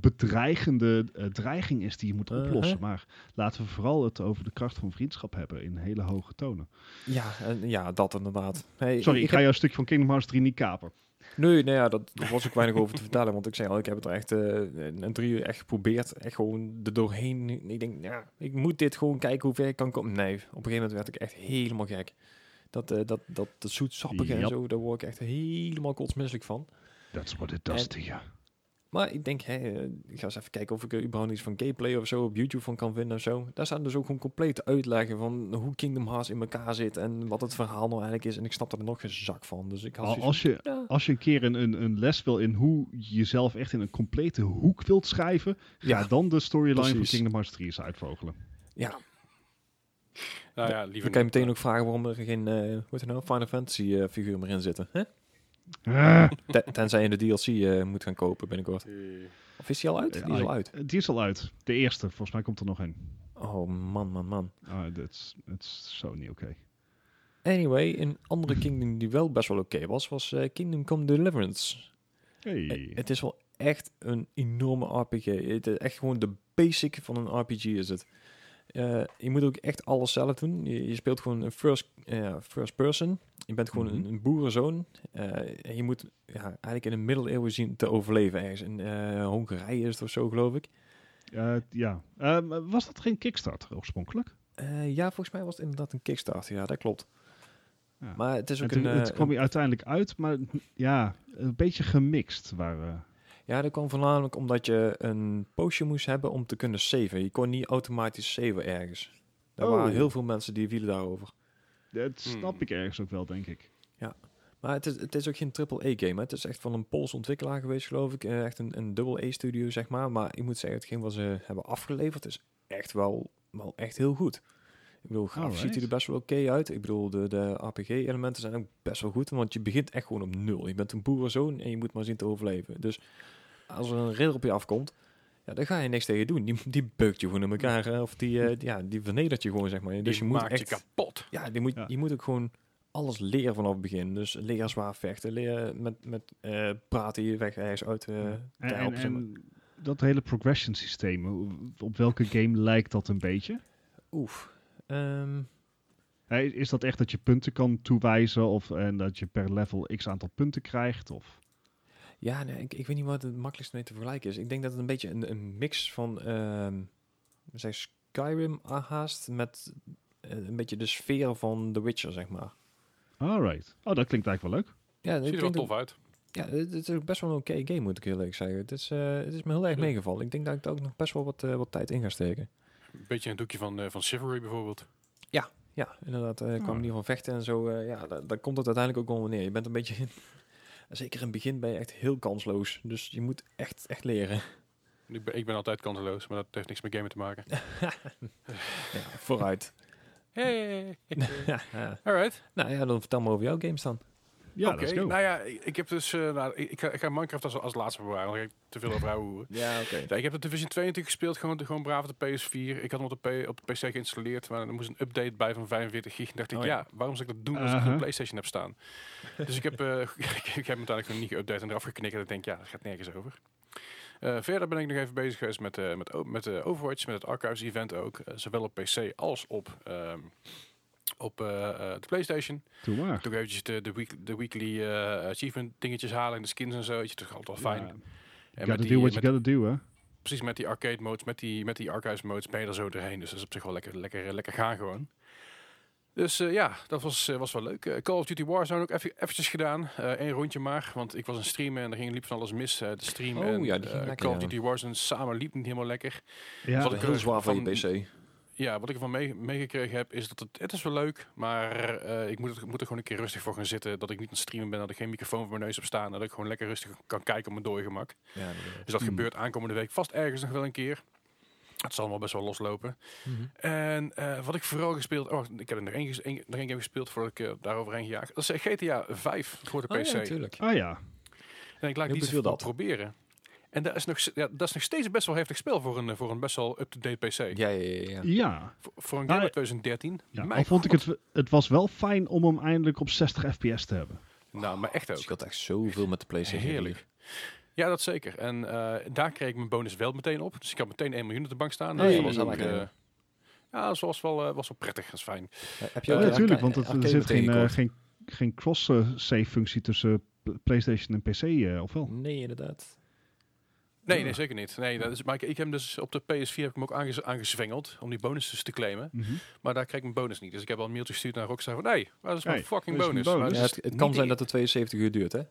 wereldbedreigende eh, dreiging is die je moet Uh-huh. oplossen. Maar laten we vooral het over de kracht van vriendschap hebben in hele hoge tonen. Ja, en, ja, dat inderdaad. Hey, Sorry, ik, ik ga jouw stukje van Kingdom Hearts 3 niet kapen. Nee, nou ja, dat er was ook weinig over te vertellen. Want ik zei al, ik heb het er echt eh, een een drie uur echt geprobeerd. Echt gewoon er doorheen. Ik denk, ja, ik moet dit gewoon kijken hoe ver ik kan komen. Nee, op een gegeven moment werd ik echt helemaal gek. Dat, eh dat, dat, dat zoetsappige en Jap. zo, daar word ik echt helemaal kotsmisselijk van. That's what it does En- to you. Maar ik denk, hè, eh, ik ga eens even kijken of ik er überhaupt iets van gameplay of zo op YouTube van kan vinden of zo. Daar staan dus ook gewoon complete uitleggen van hoe Kingdom Hearts in elkaar zit en wat het verhaal nou eigenlijk is. En ik snap er nog geen zak van. Dus ik had Al- zoiets Als je, van, ja. als je een keer een, een, een les wil in hoe je jezelf echt in een complete hoek wilt schrijven, ga Ja, dan de storyline van precies. Kingdom Hearts 3 eens uitvogelen. ja, nou ja, liever Dan kan je niet. meteen ook vragen waarom er geen eh, hoe heet het nou, Final Fantasy eh, figuur meer in zitten. Hè? Ah, Ten- tenzij je de DLC eh, moet gaan kopen binnenkort. Eh, Of is die al uit? Die is al uit. die is al uit. De eerste, volgens mij komt er nog een. Oh man, man, man. Ah, Dat is- dat is zo niet oké. Anyway, een andere Kingdom die wel best wel oké was, was eh, Kingdom Come Deliverance. Hey. Eh, Het is wel echt een enorme RPG. Het is echt gewoon de basic van een RPG is het. Eh, je moet ook echt alles zelf doen. Je, je speelt gewoon een first, eh, first person. Je bent gewoon Mhm. een, een boerenzoon. Eh, en je moet ja, eigenlijk in de middeleeuwen zien te overleven ergens. In eh, Hongarije is het of zo, geloof ik. Eh, ja. Ehm, was dat geen Kickstarter oorspronkelijk? Eh, ja, volgens mij was het inderdaad een Kickstarter. Ja, dat klopt. Ja. Maar het is ook En toen- een... het eh, kwam hier uiteindelijk uit, maar ja, een beetje gemixt. Waren. Ja, dat kwam voornamelijk omdat je een potion moest hebben om te kunnen saven. Je kon niet automatisch saven ergens. Er Oh. waren heel veel mensen die wielen daarover. Dat snap Hmm. ik ergens ook wel, denk ik. Maar het is, het is ook geen triple-A-game. Het is echt van een Pools ontwikkelaar geweest, geloof ik. Eh, Echt een, een double-A-studio, zeg maar. Maar ik moet zeggen, hetgeen wat ze hebben afgeleverd is echt wel, wel echt heel goed. Ik bedoel, grafisch ziet hij Alright. er best wel oké uit. Ik bedoel, de, de RPG-elementen zijn ook best wel goed. Want je begint echt gewoon op nul. Je bent een boerenzoon en je moet maar zien te overleven. Dus als er een ridder op je afkomt, ja, daar ga je niks tegen doen. Die, die beukt je gewoon in elkaar. eh, Of die, eh, ja, die vernedert je gewoon, zeg maar. Dus die je moet maakt echt... je kapot. Ja, die moet, Ja. je moet ook gewoon alles leren vanaf het begin. Dus leren zwaar vechten, leren met, met eh, praten je weg ergens uit eh, te En, en, helpen. zeg maar. en dat hele progression systeem, hoe- op welke game lijkt dat een beetje? Oef. Ehm, Hè, Is dat echt dat je punten kan toewijzen of en dat je per level x aantal punten krijgt? Of? ja, nee, ik, ik weet niet wat het makkelijkst mee te vergelijken is. Ik denk dat het een beetje een, een mix van ehm, zeg Skyrim haast met eh, een beetje de sfeer van The Witcher, zeg maar. Alright. Oh, dat klinkt eigenlijk wel leuk. Ja, Ziet ik er wel denk dat- tof uit. ja het, het is ook best wel een oké game, moet ik heel eerlijk zeggen. Het is, eh, het is me heel erg Tuurlijk. meegevallen. Ik denk dat ik daar ook nog best wel wat, eh, wat tijd in ga steken. Een beetje een doekje van, eh, van Chivalry bijvoorbeeld. Ja, inderdaad. eh Oh. kwam in ieder geval vechten en zo. eh, ja, daar, daar komt het uiteindelijk ook wel neer. Je bent een beetje... [LAUGHS] Zeker in het begin ben je echt heel kansloos. Dus je moet echt, echt leren. Ik ben, ik ben altijd kanseloos, maar dat heeft niks met gamen te [LAUGHS] maken. Ja, vooruit. Hey! [LAUGHS] Ja. Alright. nou ja, dan vertel me over jouw games dan. Ja, Oké, let's go. nou ja, ik ik heb dus... eh, nou, ik, ik ga, ik ga Minecraft als, als laatste bewaren, want ik heb te veel over ouwe hoeren. Ja, oké. Ja, ik heb de Division 2 natuurlijk gespeeld, gewoon, gewoon braaf op de PS4. Ik had hem op de, P- op de PC geïnstalleerd, maar er moest een update bij van 45 gig. En dacht ik, Oh ja. ja. waarom zou ik dat doen als ik Aha. een PlayStation heb staan? [LAUGHS] dus ik heb, eh, [LAUGHS] ik, ik heb hem uiteindelijk nog niet geüpdate en eraf geknikt. En ik denk, ja, dat gaat nergens over. Eh, verder ben ik nog even bezig geweest met, eh, met, o- met eh, Overwatch, met het Archives-event ook. eh, zowel op PC als op, ehm, op eh, eh, de PlayStation. Doe maar. Toch eventjes de, de, week- de weekly eh, achievement dingetjes halen en de skins en zo. weet je, Dat is altijd wel fijn. Ja, en gotta met do die, what met- you gotta do, hè? precies met die arcade modes, met die, met die archive modes ben je er zo doorheen. Dus dat is op zich wel lekker, lekker, lekker gaan gewoon. Dus eh, ja, dat was, eh, was wel leuk. Eh, Call of Duty Warzone ook even eventjes gedaan. Eén rondje maar, want ik was een streamen en er ging liep van alles mis. Eh, de stream Oh en ja, die ging eh, lekker, Call of ja. Duty Warzone samen liep niet helemaal lekker. Ja, Wat Dat ik is heel er zwaar van je van- PC. Ja, wat ik ervan mee- meegekregen heb is dat het, het is wel leuk, maar eh, ik moet, het- moet er gewoon een keer rustig voor gaan zitten. Dat ik niet aan het streamen ben, dat ik geen microfoon voor mijn neus heb staan. en Dat ik gewoon lekker rustig kan kijken op mijn dode gemak. Ja, Dus dat Hmm. gebeurt aankomende week vast ergens nog wel een keer. Het zal wel best wel loslopen. Mhm. En eh, wat ik vooral gespeeld... Oh, ik heb er nog één, ges- één- nog één game gespeeld voordat ik eh, daaroverheen gejaagd. Dat is eh, GTA 5 voor de PC. Oh, ja, natuurlijk. ah ja. en ik laat Heel die eens beveel even dat. proberen. En dat is, nog, s- ja, dat is nog steeds best wel heftig spel voor een, eh, voor een best wel up-to-date PC. Ja, ja, ja. ja. Ja, Voor, voor een Nou, game uit 2013. ja. Mijn al vond ik god. het, het was wel fijn om hem eindelijk op 60 fps te hebben. Nou, maar echt Het ook. scheelt echt zoveel met de PlayStation. Heerlijk. hier. Ja, dat zeker. En eh, daar kreeg ik mijn bonus wel meteen op. Dus ik had meteen 1 miljoen op de bank staan. Hey. Dus dat was Dat ook, is wel eh, lekker. ja, dat was wel, eh, was wel prettig. Dat is fijn. Eh, Heb Ja, Ja, ook een natuurlijk, arca- want het, er arcade zit geen, eh, meteen geen, geen cross-save functie tussen P- PlayStation en PC, eh, of wel? Mm. gekocht? Oh, Nee, inderdaad. Nee, Ja. nee, zeker niet. Nee, dat is, maar ik, ik heb hem dus op de PS4 heb ik hem ook aange, aangezwengeld om die bonussen te claimen. Mhm. Maar daar kreeg ik mijn bonus niet. Dus ik heb al een mailtje gestuurd naar Rockstar van, nee, waar is mijn Hey, fucking waar is bonus? mijn Maar bonus? dat Ja, is het, het niet kan de zijn dat het 72 uur duurt, hè?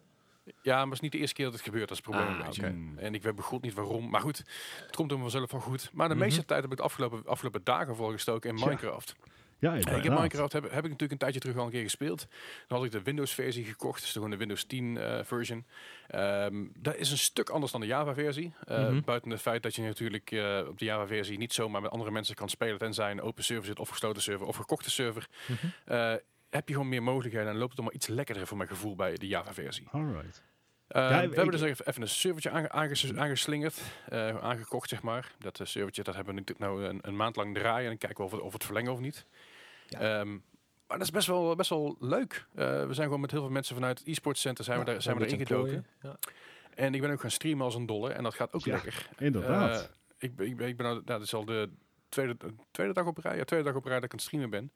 Ja, maar het is niet de eerste keer dat het gebeurt. Dat is het probleem. Ah, een beetje. oké. Mm. En ik weet begot niet waarom. Maar goed, het komt er vanzelf wel goed. Maar de Mhm. meeste tijd heb ik de afgelopen, afgelopen dagen voorgestoken in Tja. Minecraft. Ja, En ik heb inderdaad. Minecraft heb, heb ik natuurlijk een tijdje terug al een keer gespeeld. Dan had ik de Windows versie gekocht. Dus gewoon de Windows 10 eh, version. Ehm, dat is een stuk anders dan de Java versie. Eh, Mhm. Buiten het feit dat je natuurlijk eh, op de Java versie niet zomaar met andere mensen kan spelen. Tenzij een open server zit of gesloten server of gekochte server. Mhm. eh, heb je gewoon meer mogelijkheden en loopt het allemaal iets lekkerder voor mijn gevoel bij de Java-versie. Alright. Eh, Ja, we ik- hebben dus even even een servertje aange- aanges- aangeslingerd, eh, aangekocht zeg maar. Dat eh, servertje dat hebben we natuurlijk nou een, een maand lang draaien en kijken we of we of we het verlengen of niet. Ja. Ehm, maar dat is best wel, best wel leuk. Eh, we zijn gewoon met heel veel mensen vanuit het e-sports center zijn we daar, zijn we erin gedoken. Ja. En ik ben ook gaan streamen als een dolle en dat gaat ook Ja, lekker. Inderdaad. Eh, ik, ben- ik ben, ik ben al, nou, dit is al de tweede, tweede dag op rij, ja, tweede dag op rij dat ik aan het streamen ben.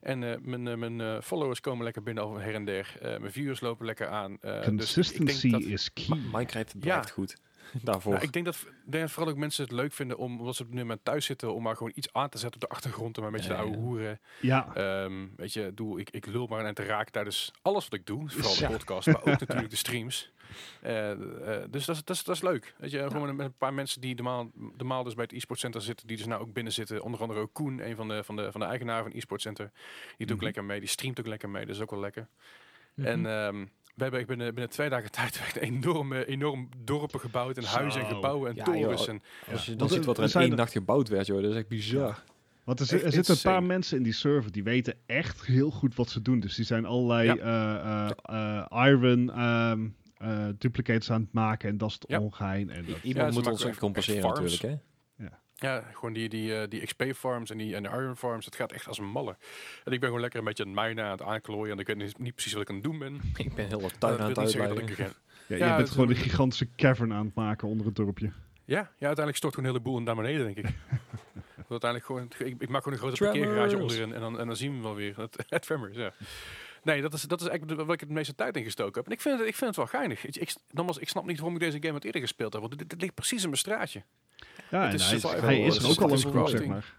En eh, mijn, eh, mijn eh, followers komen lekker binnen over her en der. Eh, mijn viewers lopen lekker aan. Eh, dus ik denk Consistency dat- is key. Maar Minecraft blijft Ja. goed. [LAUGHS] Daarvoor. Nou, ik denk dat, ik denk dat vooral ook mensen het leuk vinden om, omdat ze op dit moment thuis zitten, om maar gewoon iets aan te zetten op de achtergrond. En maar een beetje Ja, de oude ja. hoeren. ja, Ehm, weet je, doe, ik, ik lul maar en te raak tijdens alles wat ik doe. Dus Vooral de Ja. podcast, maar ook natuurlijk de streams. Eh, eh, dus dat is, dat, is, dat is leuk. Weet je, gewoon met een paar mensen die normaal, normaal dus bij het e-sport center zitten, die dus nou ook binnen zitten. Onder andere ook Koen, een van de, van de, van de eigenaren van het e-sport center. Die doet ook Mhm. lekker mee, die streamt ook lekker mee. Dat is ook wel lekker. Mhm. En ehm, we hebben binnen, binnen twee dagen [LAUGHS] tijd echt enorme, enorm dorpen gebouwd. En huizen en Zo. gebouwen en Ja, torens. joh. En, Als je dan Want ziet er- wat er er in zijn één er- nacht gebouwd werd, joh, dat is echt bizar. want er, zi- er echt zitten een paar insane. mensen in die server die weten echt heel goed wat ze doen. Dus die zijn allerlei Ja. eh, eh, eh, iron ehm, eh, duplicates aan het maken en dat is het Ja. ongein. En dat, Ja, Iemand ze moet maken ons ook echt- compenseren echt farms. natuurlijk, hè? ja, gewoon die, die, eh, die XP farms en, die, en de iron farms. Het gaat echt als een malle. En ik ben gewoon lekker een beetje aan het mijnen, aan het aanklooien. En ik weet niet, niet precies wat ik aan het doen ben. En Ik ben heel wat dat tuin aan wil het niet zeggen dat uitleggen. ik er- Ja, ja, je dat bent is gewoon wel- een gigantische cavern aan het maken onder het dorpje. Ja, ja, uiteindelijk stort gewoon een heleboel naar beneden, [LAUGHS] denk ik. Want uiteindelijk gewoon, ik, ik maak gewoon een grote Tremors. parkeergarage onderin en dan, en dan zien we wel weer. Het, [LAUGHS] het tremors, ja. Nee, dat is, dat is eigenlijk waar ik het meeste tijd in gestoken heb. En ik vind het, ik vind het wel geinig. Ik, ik, nogmaals, ik snap niet waarom ik deze game had eerder gespeeld heb, want dit, dit ligt precies in mijn straatje. Ja, Het en is hij, is, survival, hij is eh, er ook al een survival kroeg, zeg crafting. maar.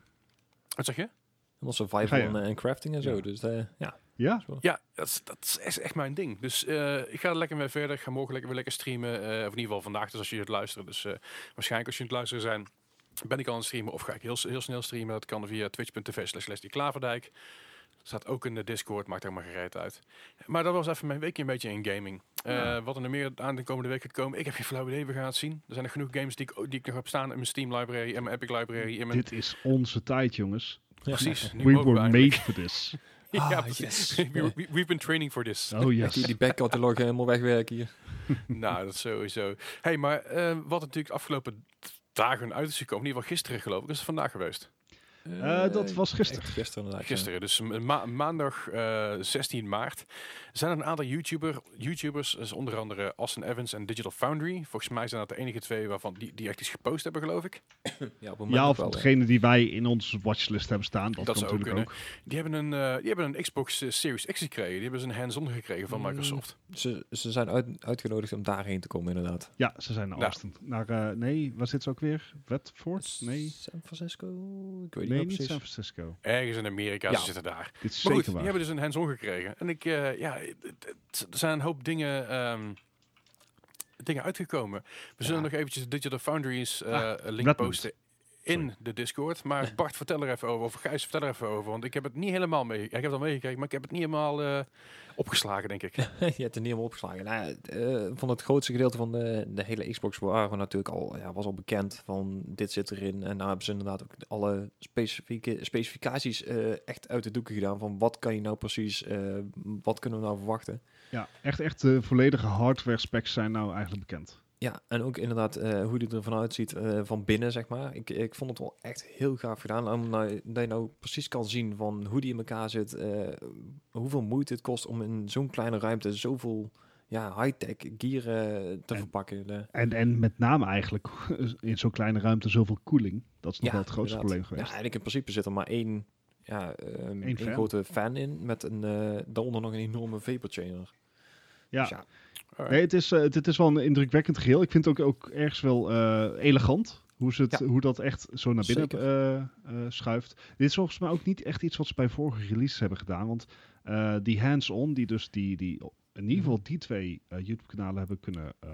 Wat zeg je? [LAUGHS] Allemaal Ga survival je- en, eh, en crafting en zo. Ja. Dus eh, ja, Ja, Ja, dat is, dat is echt- echt mijn ding. Dus eh, ik ga er lekker mee verder. Ik ga morgen lekker, weer lekker streamen. eh, of in ieder geval vandaag, dus als je het luisteren. Dus eh, waarschijnlijk als je het luisteren zijn, ben ik al aan het streamen. Of ga ik heel, s- heel snel streamen. Dat kan via twitch.tv slash Leslie Klaverdijk. Staat ook in de Discord, maakt helemaal gereed uit. Maar dat was even mijn weekje een beetje in gaming. Eh, Ja. Wat er nog meer aan de komende week gaat komen, ik heb geen flauw idee. We gaan het zien. Er zijn nog genoeg games die ik, o- die ik nog heb staan in mijn Steam library, in mijn Epic library. In mijn, dit is onze tijd, jongens. precies. nu We mogen we were eigenlijk. made for [LAUGHS] this. Ah, ja, precies. [LAUGHS] yes. We- we- we've been training for this. Oh Echt die, yes. die backcatalog helemaal wegwerken hier. Nou, dat sowieso. hey, maar eh, wat natuurlijk de afgelopen dagen uit is gekomen, in ieder geval gisteren geloof ik, is het vandaag geweest. Eh, dat was gisteren. Echt gisteren inderdaad. ja. Gisteren, dus ma- maandag eh, 16 maart, zijn een aantal YouTuber, YouTubers, dus onder andere Austin Evans en Digital Foundry. Volgens mij zijn dat de enige twee waarvan die, die echt iets gepost hebben, geloof ik. Ja, op het moment Ja, nog of wel, ja. degene die wij in onze watchlist hebben staan. Dat Dat, kan zou ook natuurlijk ook. Die hebben een, eh, die hebben een Xbox eh, Series X gekregen. Die hebben ze een hands-on gekregen van Mm. Microsoft. Ze, ze zijn uit, uitgenodigd om daarheen te komen, inderdaad. Ja, ze zijn naar Ja. Austin. Naar, eh, nee, waar zit ze ook weer? Watford? Nee, San Francisco? Ik nee weet niet niet meer San precies. Francisco. Ergens in Amerika, Ja. ze zitten daar. Maar Dit is goed, zeker die waar. hebben dus een hands-on gekregen. En ik, eh, ja, het- het- het- er zijn een hoop dingen, ehm, dingen uitgekomen. We zullen Ja. nog eventjes de Digital Foundries eh, Ah, link Redmond. posten in Sorry. de Discord. Maar Bart, vertel er even over. Of Gijs, vertel er even over. Want ik heb het niet helemaal mee. ja, Ik heb het al meegekregen, maar ik heb het niet helemaal eh, opgeslagen, denk ik. [LAUGHS] Je hebt er niet helemaal opgeslagen. Nou, ja, het, eh, van het grootste gedeelte van de, de hele Xbox waren we natuurlijk al, ja, was al bekend van dit zit erin. En daar hebben ze inderdaad ook alle specifieke specificaties eh, echt uit de doeken gedaan. Van wat kan je nou precies, eh, wat kunnen we nou verwachten? Ja, echt, echt de volledige hardware specs zijn nou eigenlijk bekend. Ja, en ook inderdaad eh, hoe die er vanuit ziet eh, van binnen, zeg maar. Ik, ik vond het wel echt heel gaaf gedaan. Om nou, dat je nou precies kan zien van hoe die in elkaar zit. eh, hoeveel moeite het kost om in zo'n kleine ruimte zoveel ja, high-tech gear eh, te En- verpakken. De- En, en met name eigenlijk [LAUGHS] in zo'n kleine ruimte zoveel koeling. Dat is nog Ja, wel het grootste inderdaad. probleem Ja, geweest. eigenlijk in principe zit er maar één, ja, ehm, één fan. grote fan in. Met een, eh, daaronder nog een enorme vapor chainer. Ja. Dus ja, Alright. Nee, het is, eh, het, het is wel een indrukwekkend geheel. Ik vind het ook, ook ergens wel eh, elegant. Hoe, ze het, Ja. hoe dat echt zo naar binnen eh, eh, schuift. Dit is volgens mij ook niet echt iets wat ze bij vorige releases hebben gedaan. Want eh, die hands-on, die dus die, die, in ieder geval die twee eh, YouTube-kanalen hebben kunnen eh,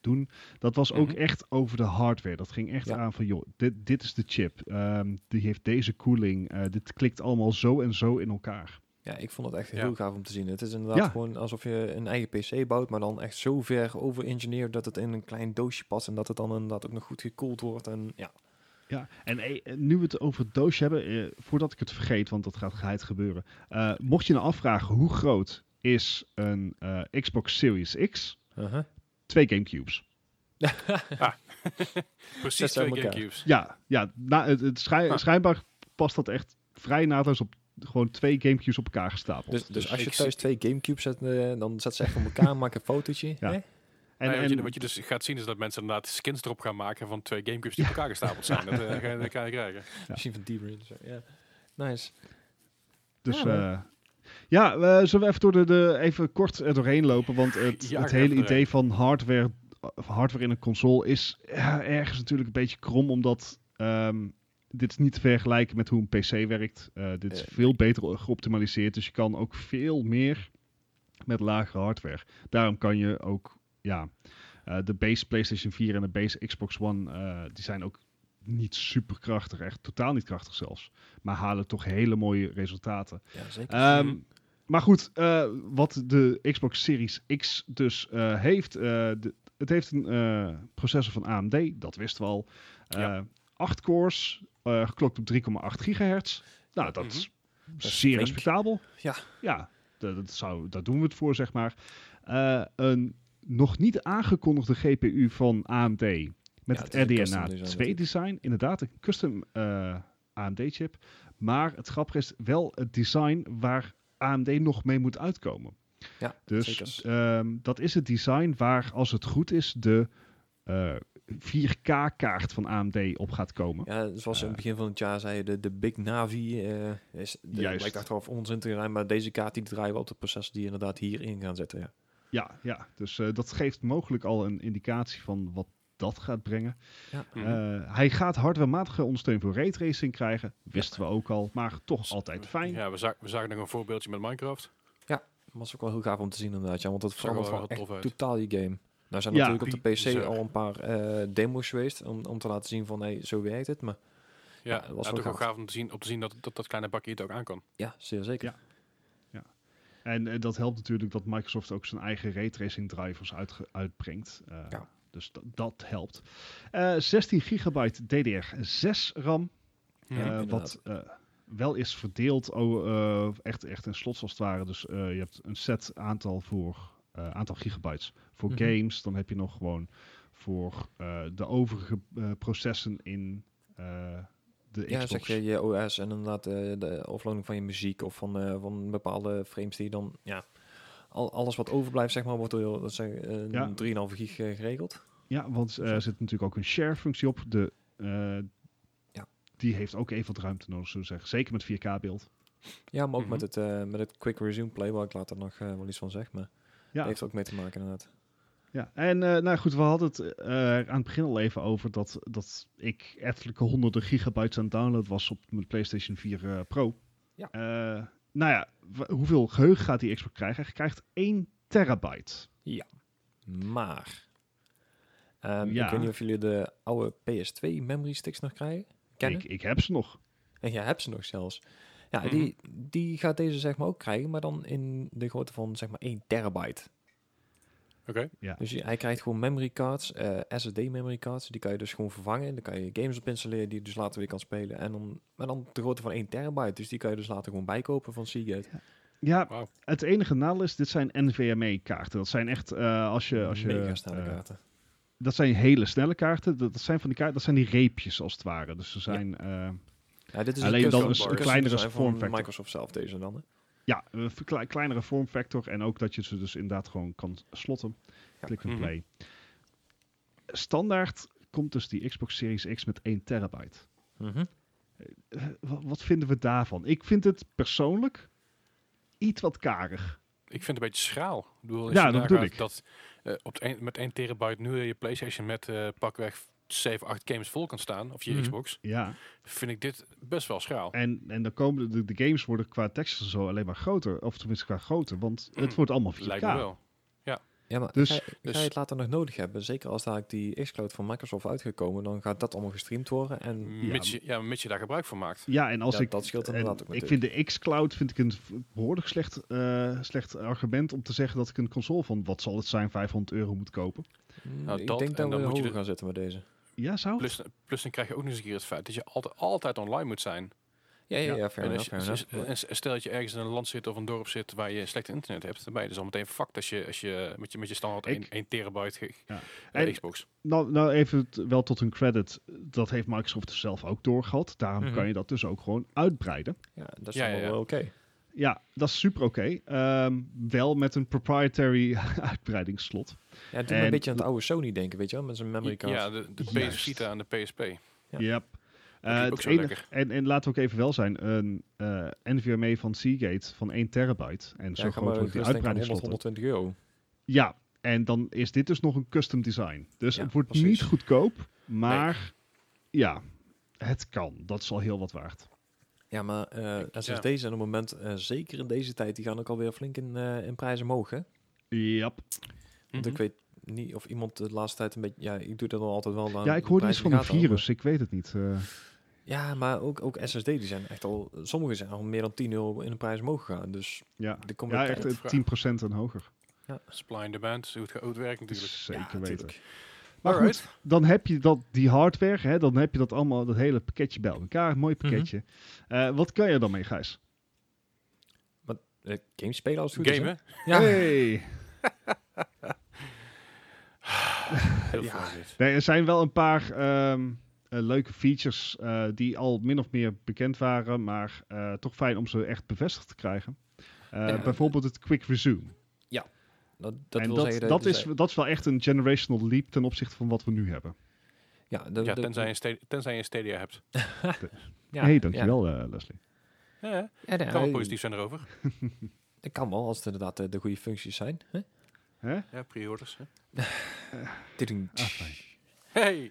doen. Dat was ook Mhm. echt over de hardware. Dat ging echt Ja. aan van, joh, dit, dit is de chip. Ehm, die heeft deze koeling. Eh, dit klikt allemaal zo en zo in elkaar. ja, ik vond het echt Ja. heel gaaf om te zien. Het is inderdaad Ja. gewoon alsof je een eigen PC bouwt, maar dan echt zo ver over-engineerd dat het in een klein doosje past en dat het dan inderdaad ook nog goed gekoeld wordt. En ja, Ja, en eh, nu we het over het doosje hebben, eh, voordat ik het vergeet, want dat gaat geheid gebeuren. Eh, mocht je nou afvragen hoe groot is een eh, Xbox Series X? [LAUGHS] Twee Gamecubes. [LAUGHS] Precies Dat zijn twee elkaar. Gamecubes. Ja, ja na, het, het schij- Ah. schijnbaar past dat echt vrij naadloos op gewoon twee Gamecubes op elkaar gestapeld. dus, dus als je ik thuis twee Gamecubes zet, eh, dan zet ze echt op elkaar, maak een fotootje. Ja. hè? en, Nou ja, wat, en- je, wat je dus gaat zien is dat mensen inderdaad skins erop gaan maken van twee Gamecubes die op elkaar gestapeld zijn. Dat, eh, ga, je- dat ga je [LAUGHS] krijgen. Misschien van Deeper in. zo, Ja. Nice. Dus Ja, ja, maar- ja eh, zullen we even, door de, de, even kort er doorheen lopen? Want het, Ja, het ga hele even idee van hardware, of hardware in een console is ja, ergens natuurlijk een beetje krom, omdat ehm, dit is niet te vergelijken met hoe een PC werkt. Eh, dit is Eh. veel beter geoptimaliseerd, dus je kan ook veel meer met lagere hardware. Daarom kan je ook, ja, eh, de base PlayStation 4 en de base Xbox One, eh, die zijn ook niet super krachtig, echt totaal niet krachtig zelfs. Maar halen toch hele mooie resultaten. Ja, zeker. Hm. Ehm, Mhm. Maar goed, eh, wat de Xbox Series X dus eh, heeft. eh, de- het heeft een eh, processor van AMD, dat wisten we al. Eh, Ja. Acht cores, eh, geklokt op 3,8 gigahertz. Nou, dat is is zeer Mhm. flink. respectabel. Ja. Ja, dat, dat zou, daar doen we het voor, zeg maar. Eh, een nog niet aangekondigde GPU van AMD met Ja, het het is een RDNA custom design 2 natuurlijk. design. Inderdaad, een custom eh, AMD-chip. Maar het grappige is wel het design waar AMD nog mee moet uitkomen. Ja, Dus zeker. ehm, dat is het design waar, als het goed is, de eh, 4K-kaart van AMD op gaat komen. Ja, zoals ze in het begin van het jaar zeiden, de, de Big Navi eh is de, Juist. lijkt achteraf onzin te zijn, maar deze kaart die draaien we op de processen die inderdaad hierin gaan zetten. Ja. Ja, ja. dus eh, dat geeft mogelijk al een indicatie van wat dat gaat brengen. Mhm. Eh, hij gaat hardwarematige ondersteuning voor raytracing krijgen. Wisten we ook al, maar toch altijd fijn. Ja, we, za- we zagen nog een voorbeeldje met Minecraft. was ook wel heel gaaf om te zien inderdaad, ja, want dat Zag er wel verandert heel wel echt tof uit. totaal je game. Nou zijn Ja, natuurlijk op de PC bizar. al een paar eh, demos geweest om, om te laten zien van, hey, zo werkt het. Maar Ja, Eh, Ja, dat was ja, wel toch wel gaaf. gaaf om te zien, om te zien dat, dat dat kleine bakje het ook aan kan. ja, zeer zeker. Ja. En eh, dat helpt natuurlijk dat Microsoft ook zijn eigen raytracing drivers uitge- uitbrengt. Eh, Ja. Dus da- dat helpt. Eh, 16 gigabyte DDR6 RAM. Mhm. Eh, wat inderdaad. eh, wel is verdeeld, oh, eh, echt, echt in slots als het ware. Dus eh, je hebt een set aantal, voor, eh, aantal gigabytes voor Mhm. games. Dan heb je nog gewoon voor eh, de overige eh, processen in eh, de Ja, Xbox. zeg je je OS en inderdaad eh, de offloading van je muziek of van, eh, van bepaalde frames die je dan, ja, al, alles wat overblijft, zeg maar, wordt door dat zijn eh, Ja. 3,5 gig eh, geregeld. Ja, want eh, er zit natuurlijk ook een share functie op. De, eh, Ja. Die heeft ook even wat ruimte nodig, zullen we zeggen. Zeker met 4K beeld. Ja, maar ook Mhm. met, het, eh, met het quick resume play, waar ik later nog eh, wel iets van zeg, maar Ja, dat heeft er ook mee te maken inderdaad. ja. en eh, nou goed, we hadden het eh, aan het begin al even over dat, dat ik ettelijke honderden gigabytes aan het download was op mijn PlayStation 4 eh, Pro. Ja. Eh, nou ja, w- hoeveel geheugen gaat die Xbox krijgen? Hij krijgt 1 terabyte. Maar, ehm, Ja. ik weet niet of jullie de oude PS2 memory sticks nog krijgen, kennen. Ik, ik heb ze nog. En jij hebt ze nog zelfs. Ja, Mhm. die, die gaat deze zeg maar ook krijgen, maar dan in de grootte van zeg maar 1 terabyte. Oké. Dus je- hij krijgt gewoon memory cards, eh, SSD memory cards. Die kan je dus gewoon vervangen. Dan kan je games op installeren die je dus later weer kan spelen. En dan, maar dan de grootte van 1 terabyte. Dus die kan je dus later gewoon bijkopen van Seagate. Ja, Wauw. het enige nadeel is, dit zijn NVMe-kaarten. E Dat zijn echt, eh, als je... Als je Mega snelle eh, kaarten. dat zijn hele snelle kaarten. Dat, dat zijn van die kaarten, dat zijn die reepjes als het ware. Dus ze zijn, ja, Ja, dit is alleen custom- dan een s- custom kleinere design van form factor. Microsoft zelf deze dan. hè. ja een verkle- kleinere form factor. En ook dat je ze dus inderdaad gewoon kan slotten. Ja. Klik en Mhm. play. Standaard komt dus die Xbox Series X met 1 terabyte. Mhm. Eh, wa- wat vinden we daarvan? Ik vind het persoonlijk iets wat karig. Ik vind het een beetje schraal. Ik bedoel, als Ja, je dat nagaat bedoel ik. Dat, eh, op de een- met 1 terabyte nu je PlayStation met eh, pakweg 7, 8 games vol kan staan, of je Mhm. Xbox, Ja. vind ik dit best wel schraal. En, en dan komen de, de games worden qua teksten zo alleen maar groter. Of tenminste qua groter. Want het wordt allemaal 4K. Lijkt me wel. Ja, maar Dus- ga, je- ga dus- je het later nog nodig hebben? Zeker als daar die xCloud van Microsoft uitgekomen, dan gaat dat allemaal gestreamd worden. En Mits, je, ja, mits je daar gebruik van maakt. Ja, en Mm, als ja, ik. dat scheelt en inderdaad ook ik natuurlijk. vind de xCloud vind ik een v- behoorlijk slecht, eh, slecht argument om te zeggen dat ik een console van wat zal het zijn, 500 euro moet kopen. Mm, Nou, ik dat en denk dat we dan moet je hoger de- gaan zitten met deze. Ja, zou het? Plus, plus dan krijg je ook nog eens een keer het feit dat je altijd, altijd online moet zijn. Ja, ja, Ja. ja, fair en, enough, als je- fair s- enough. s- en stel dat je ergens in een land zit of een dorp zit waar je slecht internet hebt, dan ben je dus al meteen fucked als je, als je, met, je met je standaard Ik- 1, 1 terabyte ge- Ja. eh, En- Xbox. Nou, nou even t- wel tot hun credit. Dat heeft Microsoft dus zelf ook doorgehad. Daarom Mhm. kan je dat dus ook gewoon uitbreiden. Ja, dat is Ja, allemaal ja, ja. wel oké. Ja, dat is super oké. Ehm, wel met een proprietary [LAUGHS] uitbreidingsslot. Ja, het doet me En- een beetje aan het oude Sony denken, weet je wel, met zijn memory card. Ja, de, de Juist. PS Vita en de PSP. Ja. Yep. Eh, ook het zo enige- lekker. en, en laten we ook even wel zijn, een eh, NVMe van Seagate van 1 terabyte. En zo Ja, ga maar groot wordt die gerust denken aan 100, uitbreidingsslot. 120 euro. Ja, en dan is dit dus nog een custom design. Dus Ja, het wordt precies. niet goedkoop, maar ja, het kan. Dat is al heel wat waard. Ja, maar eh Ik- SSD's ja. en op het moment, eh, zeker in deze tijd, die gaan ook alweer flink in, eh, in prijzen omhoog, hè? Want Yep. ik Mhm. weet niet of iemand de laatste tijd een beetje... Ja, ik doe dat al altijd wel. aan Ja, ik hoorde iets prijzen van in een de gaten virus. Ik weet het niet. eh. houden. Ja, maar ook, ook SSD, die zijn echt al... Sommige zijn al meer dan 10 euro in de prijs omhoog gegaan. Dus ja, er komt ja ook echt tijd. eh, 10% en hoger. Supply and demand, hoe het, hoe het werkt natuurlijk. Zeker Ja, weten. tuurlijk. Maar goed, Alright. dan heb je dat, die hardware, hè, dan heb je dat allemaal, dat hele pakketje bij elkaar. Een mooi pakketje. Eh, wat kan je dan mee, Gijs? Eh, games spelen als het goed is, hè? Gamen, Ja, Hey. heel Ja. veel dit. Nee, er zijn wel een paar ehm, eh, leuke features eh, die al min of meer bekend waren, maar eh, toch fijn om ze echt bevestigd te krijgen. Eh, Ja. bijvoorbeeld het quick resume. dat, dat en wil dat, zeggen... dat, dus, is, eh, dat is wel echt een generational leap ten opzichte van wat we nu hebben. Ja, dat- Ja, dat- tenzij je, Stadia, tenzij je Stadia hebt. ja, Hé, hey, ja. dankjewel eh, Leslie. Ja, ja. Ja, nee, kan wel eh, positief zijn erover. Dat kan wel, als het inderdaad eh, de goede functies zijn. Hè? Hè? Ja, pre-orders. hè. Tiding. Ah, fijn. Hey! Nee,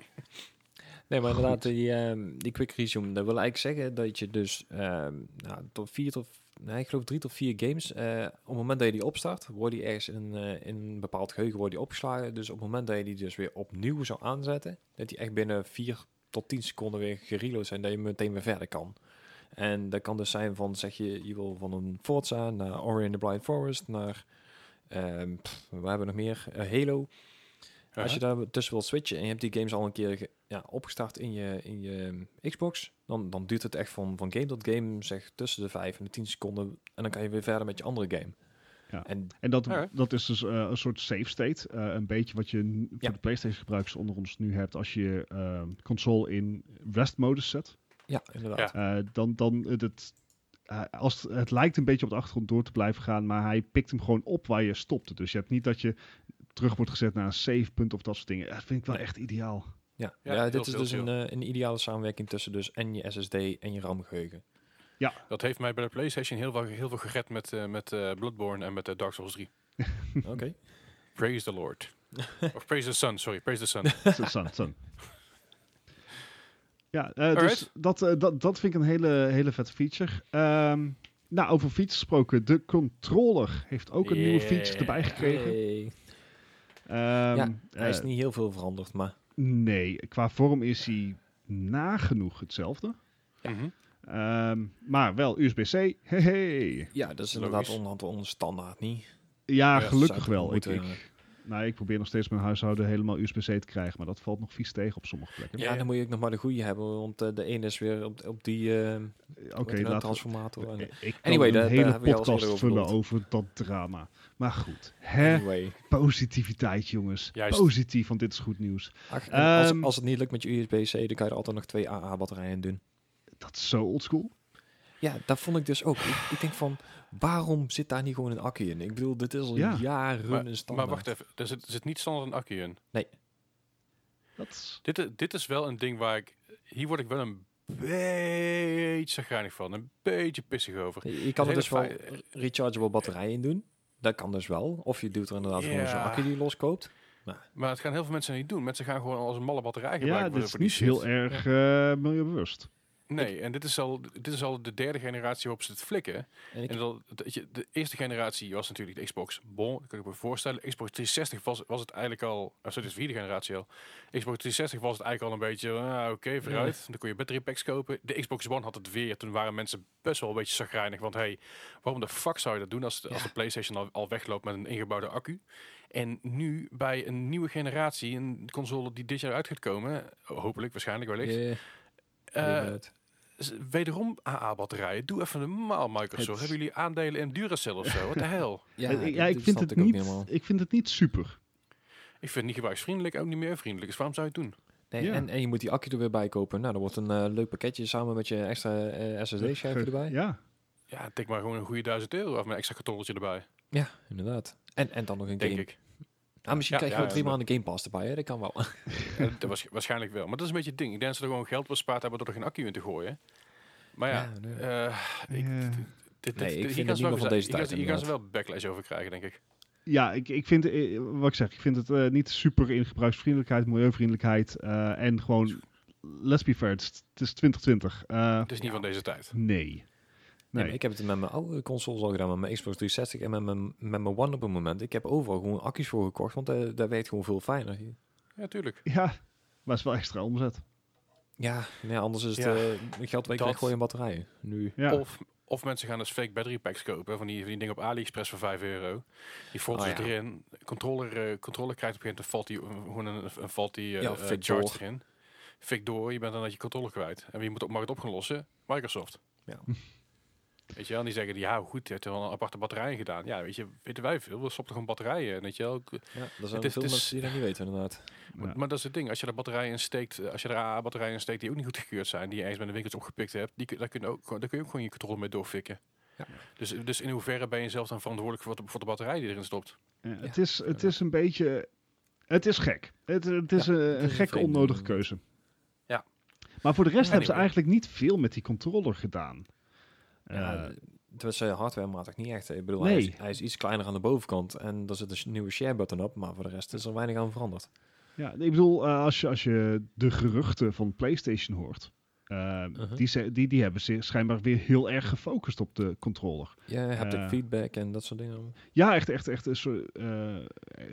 maar Goed. inderdaad, die, ehm, die quick resume, dat wil eigenlijk zeggen dat je dus ehm, nou, tot vier tot, nee, ik geloof drie tot vier games, eh, op het moment dat je die opstart, wordt die ergens in, eh, in een bepaald geheugen wordt die opgeslagen. Dus op het moment dat je die dus weer opnieuw zou aanzetten, dat die echt binnen vier tot tien seconden weer gereload zijn, dat je meteen weer verder kan. En dat kan dus zijn van, zeg je, je wil van een Forza naar Ori and the Blind Forest, naar, ehm pff, we hebben we nog meer, Eh, Halo. Als Uh-huh. je daar tussen wilt switchen en je hebt die games al een keer ge- ja, opgestart in je, in je um, Xbox, dan, dan duurt het echt van, van game tot game, zeg tussen de 5 en de 10 seconden. En dan kan je weer verder met je andere game. Ja. En En dat, Alright. dat is dus eh, een soort safe state. Eh, een beetje wat je n- voor Ja. de PlayStation gebruikers onder ons nu hebt als je je eh, console in ehm, rest modus zet. Ja, inderdaad. Ja. Eh, dan, dan het, het, eh, als het, het lijkt een beetje op de achtergrond door te blijven gaan, maar hij pikt hem gewoon op waar je stopte. Dus je hebt niet dat je terug wordt gezet naar een savepunt of dat soort dingen. Dat vind ik wel echt [LAUGHS] ideaal. Ja, Ja, ja, heel dit is veel dus chill. een, eh, een ideale samenwerking tussen dus en je SSD en je RAM-geheugen. Dat heeft mij bij de PlayStation heel, veel- heel veel gered met, eh, met eh, Bloodborne en met eh, Dark Souls 3. [LAUGHS] Oké. Praise the [LAUGHS] Lord. of praise the sun, sorry. Praise the sun. Zo, zo, zo. Ja, eh, dus Alright. dat, eh, dat, dat vind ik een hele, hele vette feature. Ehm, nou, over features gesproken. De controller heeft ook een nieuwe feature Yeah. erbij gekregen. Hey. Ehm, Hij is eh, niet heel veel veranderd, maar Nee, qua vorm is hij nagenoeg hetzelfde. Mhm. Ehm, maar wel USB-C. Hey, hey. ja, dat is Logisch. inderdaad onder, onder standaard niet. Ja, Ja, gelukkig zou wel. Ik, moeten, ik, nou, ik probeer nog steeds mijn huishouden helemaal USB-C te krijgen, maar dat valt nog vies tegen op sommige plekken. Ja, Ja, ja. dan moet je ook nog maar de goede hebben, want eh, de ene is weer op, op die Oké, eh, hoe heet dat, laten we... Eh, transformator. En, Ik kan Anyway, een daar- daar hele hebben we alles podcast eerder over vullen gehad. over dat drama. Maar goed, hè? anyway. Positiviteit, jongens. Juist. Positief, want dit is goed nieuws. Ach, en als, Ehm. als het niet lukt met je USB-C, dan kan je er altijd nog twee AA-batterijen in doen. Dat is zo oldschool. Ja, dat vond ik dus ook. Ik, ik denk van, waarom zit daar niet gewoon een accu in? Ik bedoel, dit is al Ja. jaren Maar, een maar standaard. wacht even, er zit, er zit niet standaard een accu in. Dat is... Dit, i- dit is wel een ding waar ik... Hier word ik wel een beetje zagrijnig van. Een beetje pissig over. Je je kan er hele dus wel fei- rechargeable batterijen in doen. Dat kan dus wel. Of je doet er inderdaad gewoon zo'n Ja. accu die je loskoopt. Maar het gaan heel veel mensen niet doen. Mensen gaan gewoon als een malle batterij gebruiken. Ja, voor dit de- is voor die niet shit. heel erg eh milieubewust. Nee, en dit is, al, dit is al de derde generatie waarop ze het flikken. En ik- En dat, dat je- de eerste generatie was natuurlijk de Xbox. Bon, dat kan ik me voorstellen. Xbox 360 was, was het eigenlijk al... Oh, sorry, dit is de vierde generatie al. Xbox 360 was het eigenlijk al een beetje... ah, Oké, vooruit. Dan kon je battery packs kopen. De Xbox One had het weer. Toen waren mensen best wel een beetje zagrijnig. Want hey, waarom de fuck zou je dat doen als de, als de PlayStation al, al wegloopt met een ingebouwde accu? En nu bij een nieuwe generatie, een console die dit jaar uit gaat komen, hopelijk, waarschijnlijk wellicht, Eh, eh, eh, het- Z- Wederom AA-batterijen. Doe even normaal, Microsoft. Het- Hebben jullie aandelen in Duracell of zo? Wat [LAUGHS] de hel? ja, Eh, ik- dit- ja, ik, dit vind snap het ook niet, helemaal. ik vind het niet super. Ik vind het niet gebruiksvriendelijk, ook niet meer vriendelijk. Dus waarom zou je het doen? Nee, ja. en, en je moet die accu er weer bij kopen. Nou, dan wordt een eh, leuk pakketje samen met je extra eh, SSD-schijf Ge- erbij. Ja, Ja, Ja, tik maar gewoon een goede duizend euro af met een extra kartonnetje erbij. inderdaad. En, en dan nog een Denk game. [LAUGHS] ik. Ah, Ja, misschien krijg je ja, wel drie ja. maanden Game Pass erbij. Hè? Dat kan wel. Ja, dat was, waarschijnlijk wel. Maar dat is een beetje het ding. Ik denk dat ze er gewoon geld bespaard hebben door er geen accu in te gooien. Maar ja, Oh Ja, eh, nee. ik- Ja. dit- dit- Nee, dit- ik hier vind gaan het ze wel niet meer van eens- hier deze gaan tijd, ze- Hier gaan ze wel backlash over krijgen, denk ik. ja ik, ik vind, eh, wat ik zeg, ik vind het eh, niet super in gebruiksvriendelijkheid, milieuvriendelijkheid eh, en gewoon, let's be fair, het is, het is 2020. Eh, Het is niet van deze tijd. nee. Nee. Nee. maar ik heb het met mijn oude consoles al gedaan, met mijn Xbox 360 en met mijn, met mijn One op een moment. Ik heb overal gewoon accu's voor gekocht, want eh, dat werkt gewoon veel fijner. Ja, tuurlijk. Ja, maar het is wel extra omzet. Ja, nee, anders is het Ja, eh, geld weg dat- weggooien in batterijen. Nu. Ja. Of, of mensen gaan dus fake battery packs kopen. Van die, van die dingen op AliExpress voor 5 euro. Die valt Oh, ze ja. erin. Controller, eh, controller krijgt op een gegeven moment een faulty, eh, gewoon een, een faulty eh, Ja, eh, fik charge door. erin. Fik door, je bent dan dat je controller kwijt. En wie moet op markt op gaan lossen? Microsoft. Ja. [LAUGHS] Weet je wel, en die zeggen, ja goed, je hebt er wel een aparte batterij in gedaan. Ja, weet je, weten wij veel. We stoppen gewoon batterijen in, weet je wel. Ik- Ja, er zijn Het is- veel het is- mensen die dat niet weten, inderdaad. maar, maar dat is het ding. Als je er batterijen in steekt, eh, als je er AA-batterijen in steekt die ook niet goed gekeurd zijn, die je ergens bij de winkels opgepikt hebt, die, kun- daar, kun je ook, gewoon- daar kun je ook gewoon je controle mee doorfikken. Ja. Dus, dus in hoeverre ben je zelf dan verantwoordelijk voor de, voor de batterij die erin stopt? Ja, het, is, het is een beetje. Het is gek. Het, het is Ja, een, het is een een gekke, vreemde- onnodige keuze. Ja. Maar voor de rest hebben ze Anyway. eigenlijk niet veel met die controller gedaan. Eh, Ja, het was eh, hardwarematig niet echt. Ik bedoel, Nee. hij, is, hij is iets kleiner aan de bovenkant en er zit een sh- nieuwe share button op, maar voor de rest is er weinig aan veranderd. ja, ik bedoel, eh, als, je, als je de geruchten van PlayStation hoort. eh, Uh-huh. die, ze- die, die hebben zich schijnbaar weer heel erg gefocust op de controller. Je hebt Eh. ook feedback en dat soort dingen. Ja, echt, echt, echt. Een soort, eh,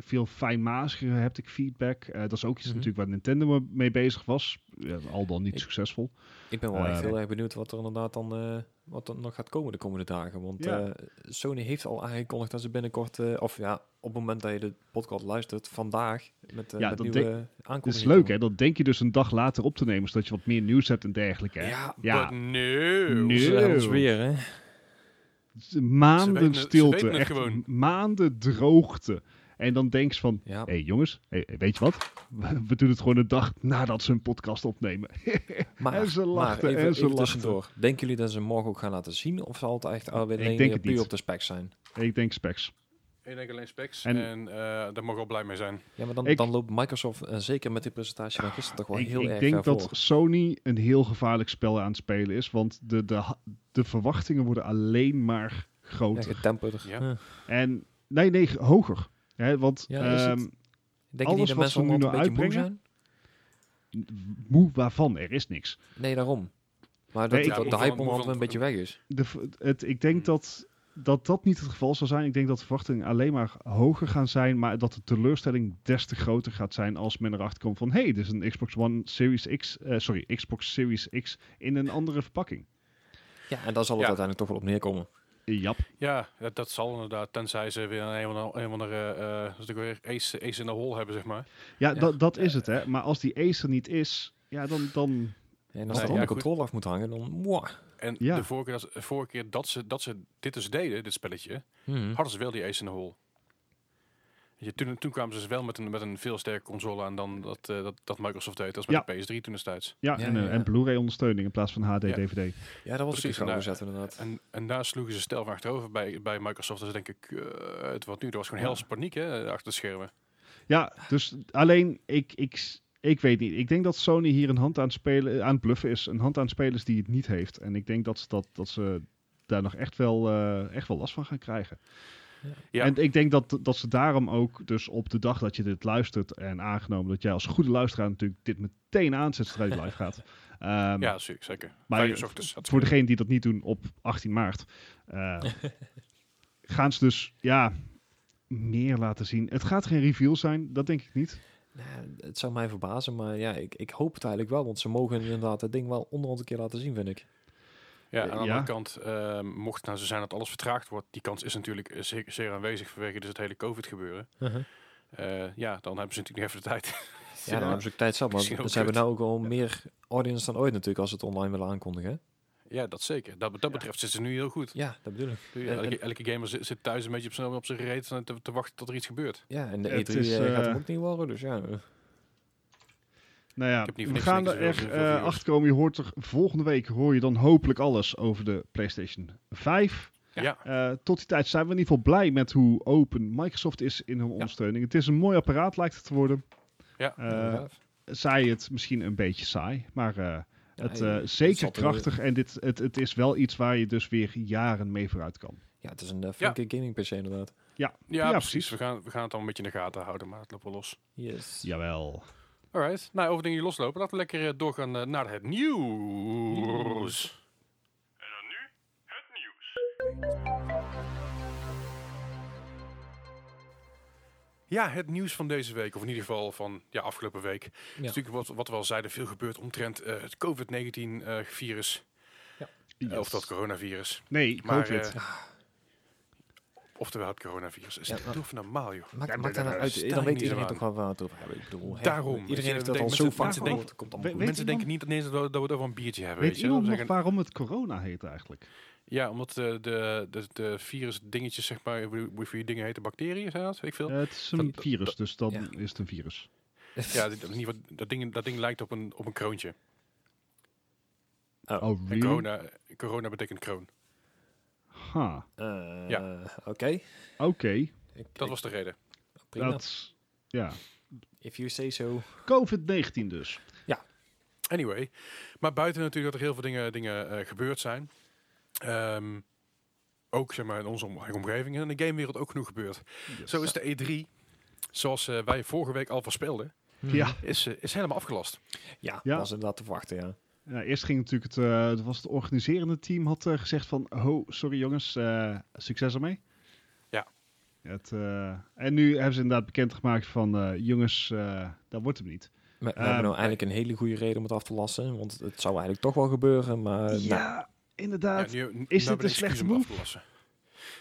veel fijnmaziger heb ik feedback. Eh, dat is ook iets Mhm. natuurlijk waar Nintendo mee bezig was. Ja, al dan niet Ik- succesvol. Ik ben wel echt Eh. heel erg benieuwd wat er inderdaad dan, eh, wat er nog gaat komen de komende dagen. Want Ja. eh, Sony heeft al aangekondigd dat ze binnenkort, eh, of ja, op het moment dat je de podcast luistert, vandaag met, eh Ja, met dat nieuwe denk- aankondigingen. Dat is leuk, hè? komen. Dat denk je dus een dag later op te nemen, zodat je wat meer nieuws hebt en dergelijke. Hè? Ja, Ja, But no. Nee. ze Eeuw. hebben ons weer, hè? maanden Ze weten het- ze stilte. weten het echt gewoon. maanden droogte. En dan denk je van, Ja. hé hey, jongens, hey, weet je wat? [LAUGHS] We doen het gewoon een dag nadat ze een podcast opnemen. Maar, En ze lachten, maar even, en ze even lachten. tussendoor. Denken jullie dat ze morgen ook gaan laten zien? Of zal het echt alweer Ik alleen denk weer het puur niet. op de specs zijn? ik denk specs. Ik denk alleen specs. En, En- eh, daar mag ik wel blij mee zijn. Ja, maar dan, Ik- dan loopt Microsoft, eh, zeker met die presentatie van gisteren, toch wel ik heel ik erg denk ver dat voor. Sony een heel gevaarlijk spel aan het spelen is. Want de, de, ha- de verwachtingen worden alleen maar Ja, groter. getemperd. Ja. Ja. En nee, nee, hoger. Hè, want Ja, is het- ehm, Denk je Alles niet dat wat ze mensen nu allemaal een nou beetje moe uitbrengen? zijn? ehm, moe waarvan, er is niks. Nee, daarom. Maar dat Nee, dat ik- de hype Hoeveel- onderhand een beetje weg is. De, v- het, ik denk Hmm. dat, dat dat niet het geval zal zijn. Ik denk dat de verwachtingen alleen maar hoger gaan zijn. Maar dat de teleurstelling des te groter gaat zijn als men erachter komt van... hé, hey, dit is een Xbox One Series X... eh, sorry, Xbox Series X in een andere verpakking. Ja, en daar zal het Ja. uiteindelijk toch wel op neerkomen. Eh, Jap. Ja, dat, dat zal inderdaad. Tenzij ze weer een of andere, een of andere, eh, dat is natuurlijk weer ace, ace in de hol hebben, zeg maar. Ja, Ja. dat- dat is het, hè. Maar als die Ace er niet is... Ja, dan... dan En Nee, als er dan ja, de goed. controle af moet hangen, dan... Mwah. En Ja. de vorige, keer dat, de vorige keer dat ze, dat ze dit dus deden, dit spelletje, Mhm. Hm. hadden ze wel die ace in de hole. Weet Je, toen, toen kwamen ze dus wel met een, met een veel sterker console aan dan dat, eh, dat, dat Microsoft deed. Dat is met de PS3 toen destijds. ja, Ja, en, eh, ja, ja. en Blu-ray ondersteuning in plaats van HD, Ja. DVD. Ja, dat was Precies, precies een nou, gezet inderdaad. En, en daar sloegen ze stel van achterover bij, bij Microsoft. Dus denk ik, eh, het wat nu, er was gewoon Ja. hels paniek hè, achter de schermen. Ja, dus alleen ik, ik, ik weet niet. Ik denk dat Sony hier een hand aan het, spelen, eh, aan het bluffen is. Een hand aan het spelen is die het niet heeft. En ik denk dat, ze dat, dat ze daar nog echt wel, eh, echt wel last van gaan krijgen. Ja. En ik denk dat, dat ze daarom ook dus op de dag dat je dit luistert... en aangenomen dat jij als goede luisteraar natuurlijk dit meteen aanzet zodra je live [LAUGHS] gaat... ehm, Ja, zeker. zeker. Maar Vijf je- uur 's ochtends. Dat is voor degenen die dat niet doen op 18 maart. [LAUGHS] eh, gaan ze dus, ja, meer laten zien. Het gaat geen reveal zijn, dat denk ik niet. Nou, het zou mij verbazen, maar ja, ik, ik hoop het eigenlijk wel. Want ze mogen inderdaad het ding wel onderhand een keer laten zien, vind ik. Ja, aan Eh, de ja. andere kant, eh, mocht het nou zo zijn dat alles vertraagd wordt, die kans is natuurlijk eh, zeer, zeer aanwezig vanwege dus het hele COVID-gebeuren. Uh-huh. Eh, ja, dan hebben ze natuurlijk niet even de tijd. [LAUGHS] Ja, dan hebben ze ook tijd zat. Maar Misschien ook ze hebben kut. nou ook al meer audience dan ooit natuurlijk, als ze het online willen aankondigen. hè? ja, dat zeker. Dat, wat dat betreft zitten ze nu heel goed. Ja, dat bedoel ik. En- Elke, elke gamer zit, zit thuis een beetje op zijn, op zijn reet en te, te wachten tot er iets gebeurt. Ja, en de Het E3 is, eh, gaat eh, hem ook niet worden, dus ja. eh. Nou ja, Ik heb niet voor we niks gaan niks er gezegd, echt eh, zoveel views. achter komen. Je hoort er volgende week hoor je dan hopelijk alles over de PlayStation 5. Ja. Eh, tot die tijd zijn we in ieder geval blij met hoe open Microsoft is in hun ondersteuning. Het is een mooi apparaat lijkt het te worden. Ja. Eh, zij het misschien een beetje saai, maar eh, het Ja, eh, het zeker zat er- krachtig. En dit, het, het is wel iets waar je dus weer jaren mee vooruit kan. Ja, het is een eh, flinke gaming PC inderdaad. Ja, Ja, precies. precies. We, gaan, we gaan het dan een beetje in de gaten houden, maar het loopt wel los. Yes. Jawel. Alright, nou over dingen die loslopen, laten we lekker eh, doorgaan eh, naar het nieuws. Ja, het nieuws van deze week, of in ieder geval van ja, afgelopen week. Het is natuurlijk wat, wat we al zeiden, veel gebeurt omtrent eh, het COVID-19-virus. Of dat coronavirus. Nee, ik Maar, hoop het. eh, oftewel het coronavirus. Is Ja, ja, maar- doe even normaal, joh. Maakt Nee, maakt nee, daar nou nee, uit. daar eh, sta Dan ik weet niet iedereen zo toch wel waar het over gaat. Ik bedoel, hè, Daarom. Weet je, Iedereen heeft dat mensen- al mensen- zo vaak daarom- gehoord. Het komt allemaal Weet- weet- goed. Mensen denken iemand- niet ineens dat we, dat we er van een biertje hebben. Weet je? wel. iemand nog Zeggen- waarom het corona heet eigenlijk? Ja, omdat eh, de, de, de virusdingetjes, zeg maar, hoe- hoeveel dingen heten, bacteriën zijn dat, weet ik veel. Eh, het is een Dat- virus, dus dan ja. is het een virus. [LAUGHS] Ja, dit- in ieder geval, dat ding, dat ding lijkt op een, op een kroontje. Oh, En Hmm. really? corona, corona betekent kroon. Ha, Eh, Ja. Oké. oké. Ik- Dat ik- was de reden. prima. Dat, ja. If you say so. COVID-19 dus. Anyway, maar buiten natuurlijk dat er heel veel dingen, dingen eh, gebeurd zijn. Ehm, ook, zeg maar, in onze om- omgeving en in de gamewereld ook genoeg gebeurd. Zo is de E3, zoals eh, wij vorige week al voorspelden, Ja. is, eh, is helemaal afgelast. Ja, Ja. was inderdaad te verwachten, ja. Ja, eerst ging natuurlijk het, eh, het was het organiserende team had eh, gezegd van, oh, sorry jongens, eh, succes ermee. Ja. Het, eh, en nu hebben ze inderdaad bekendgemaakt van, eh, jongens, eh, dat wordt hem niet. We, we Ehm, hebben nou eh, eigenlijk een hele goede reden om het af te lassen. Want het zou eigenlijk toch wel gebeuren. Maar nou, ja, inderdaad. Eh, Ja, nu- nu Ah, dit hebben we een excuus slechte om af move? te lossen.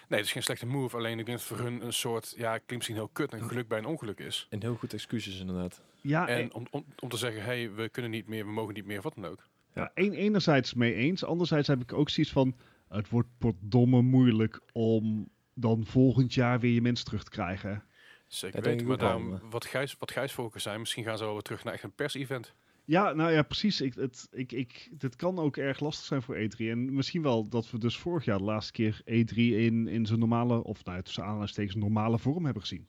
Nee, het is geen slechte move. Alleen ik denk dat het voor hun een soort, ja, klinkt misschien heel kut, een geluk bij een ongeluk is. een heel goed excuus is inderdaad. ja, eh, En om, om, om te zeggen, hé, hey, we kunnen niet meer, we mogen niet meer, wat dan ook. ja, een- enerzijds mee eens, anderzijds heb ik ook zoiets van, het wordt potdomme moeilijk om dan volgend jaar weer je mensen terug te krijgen. Zeker Dat denk weten. ik Dus Maar ook wel, daarom, wat Gijs, wat Gijs voorkeur zijn, misschien gaan ze wel weer terug naar echt een pers-event. Ja, nou ja, precies. Ik, het, ik, ik, dit kan ook erg lastig zijn voor E3. En misschien wel dat we dus vorig jaar de laatste keer E3 in, in zijn normale, of nou, tussen aanhalingstekens normale vorm hebben gezien.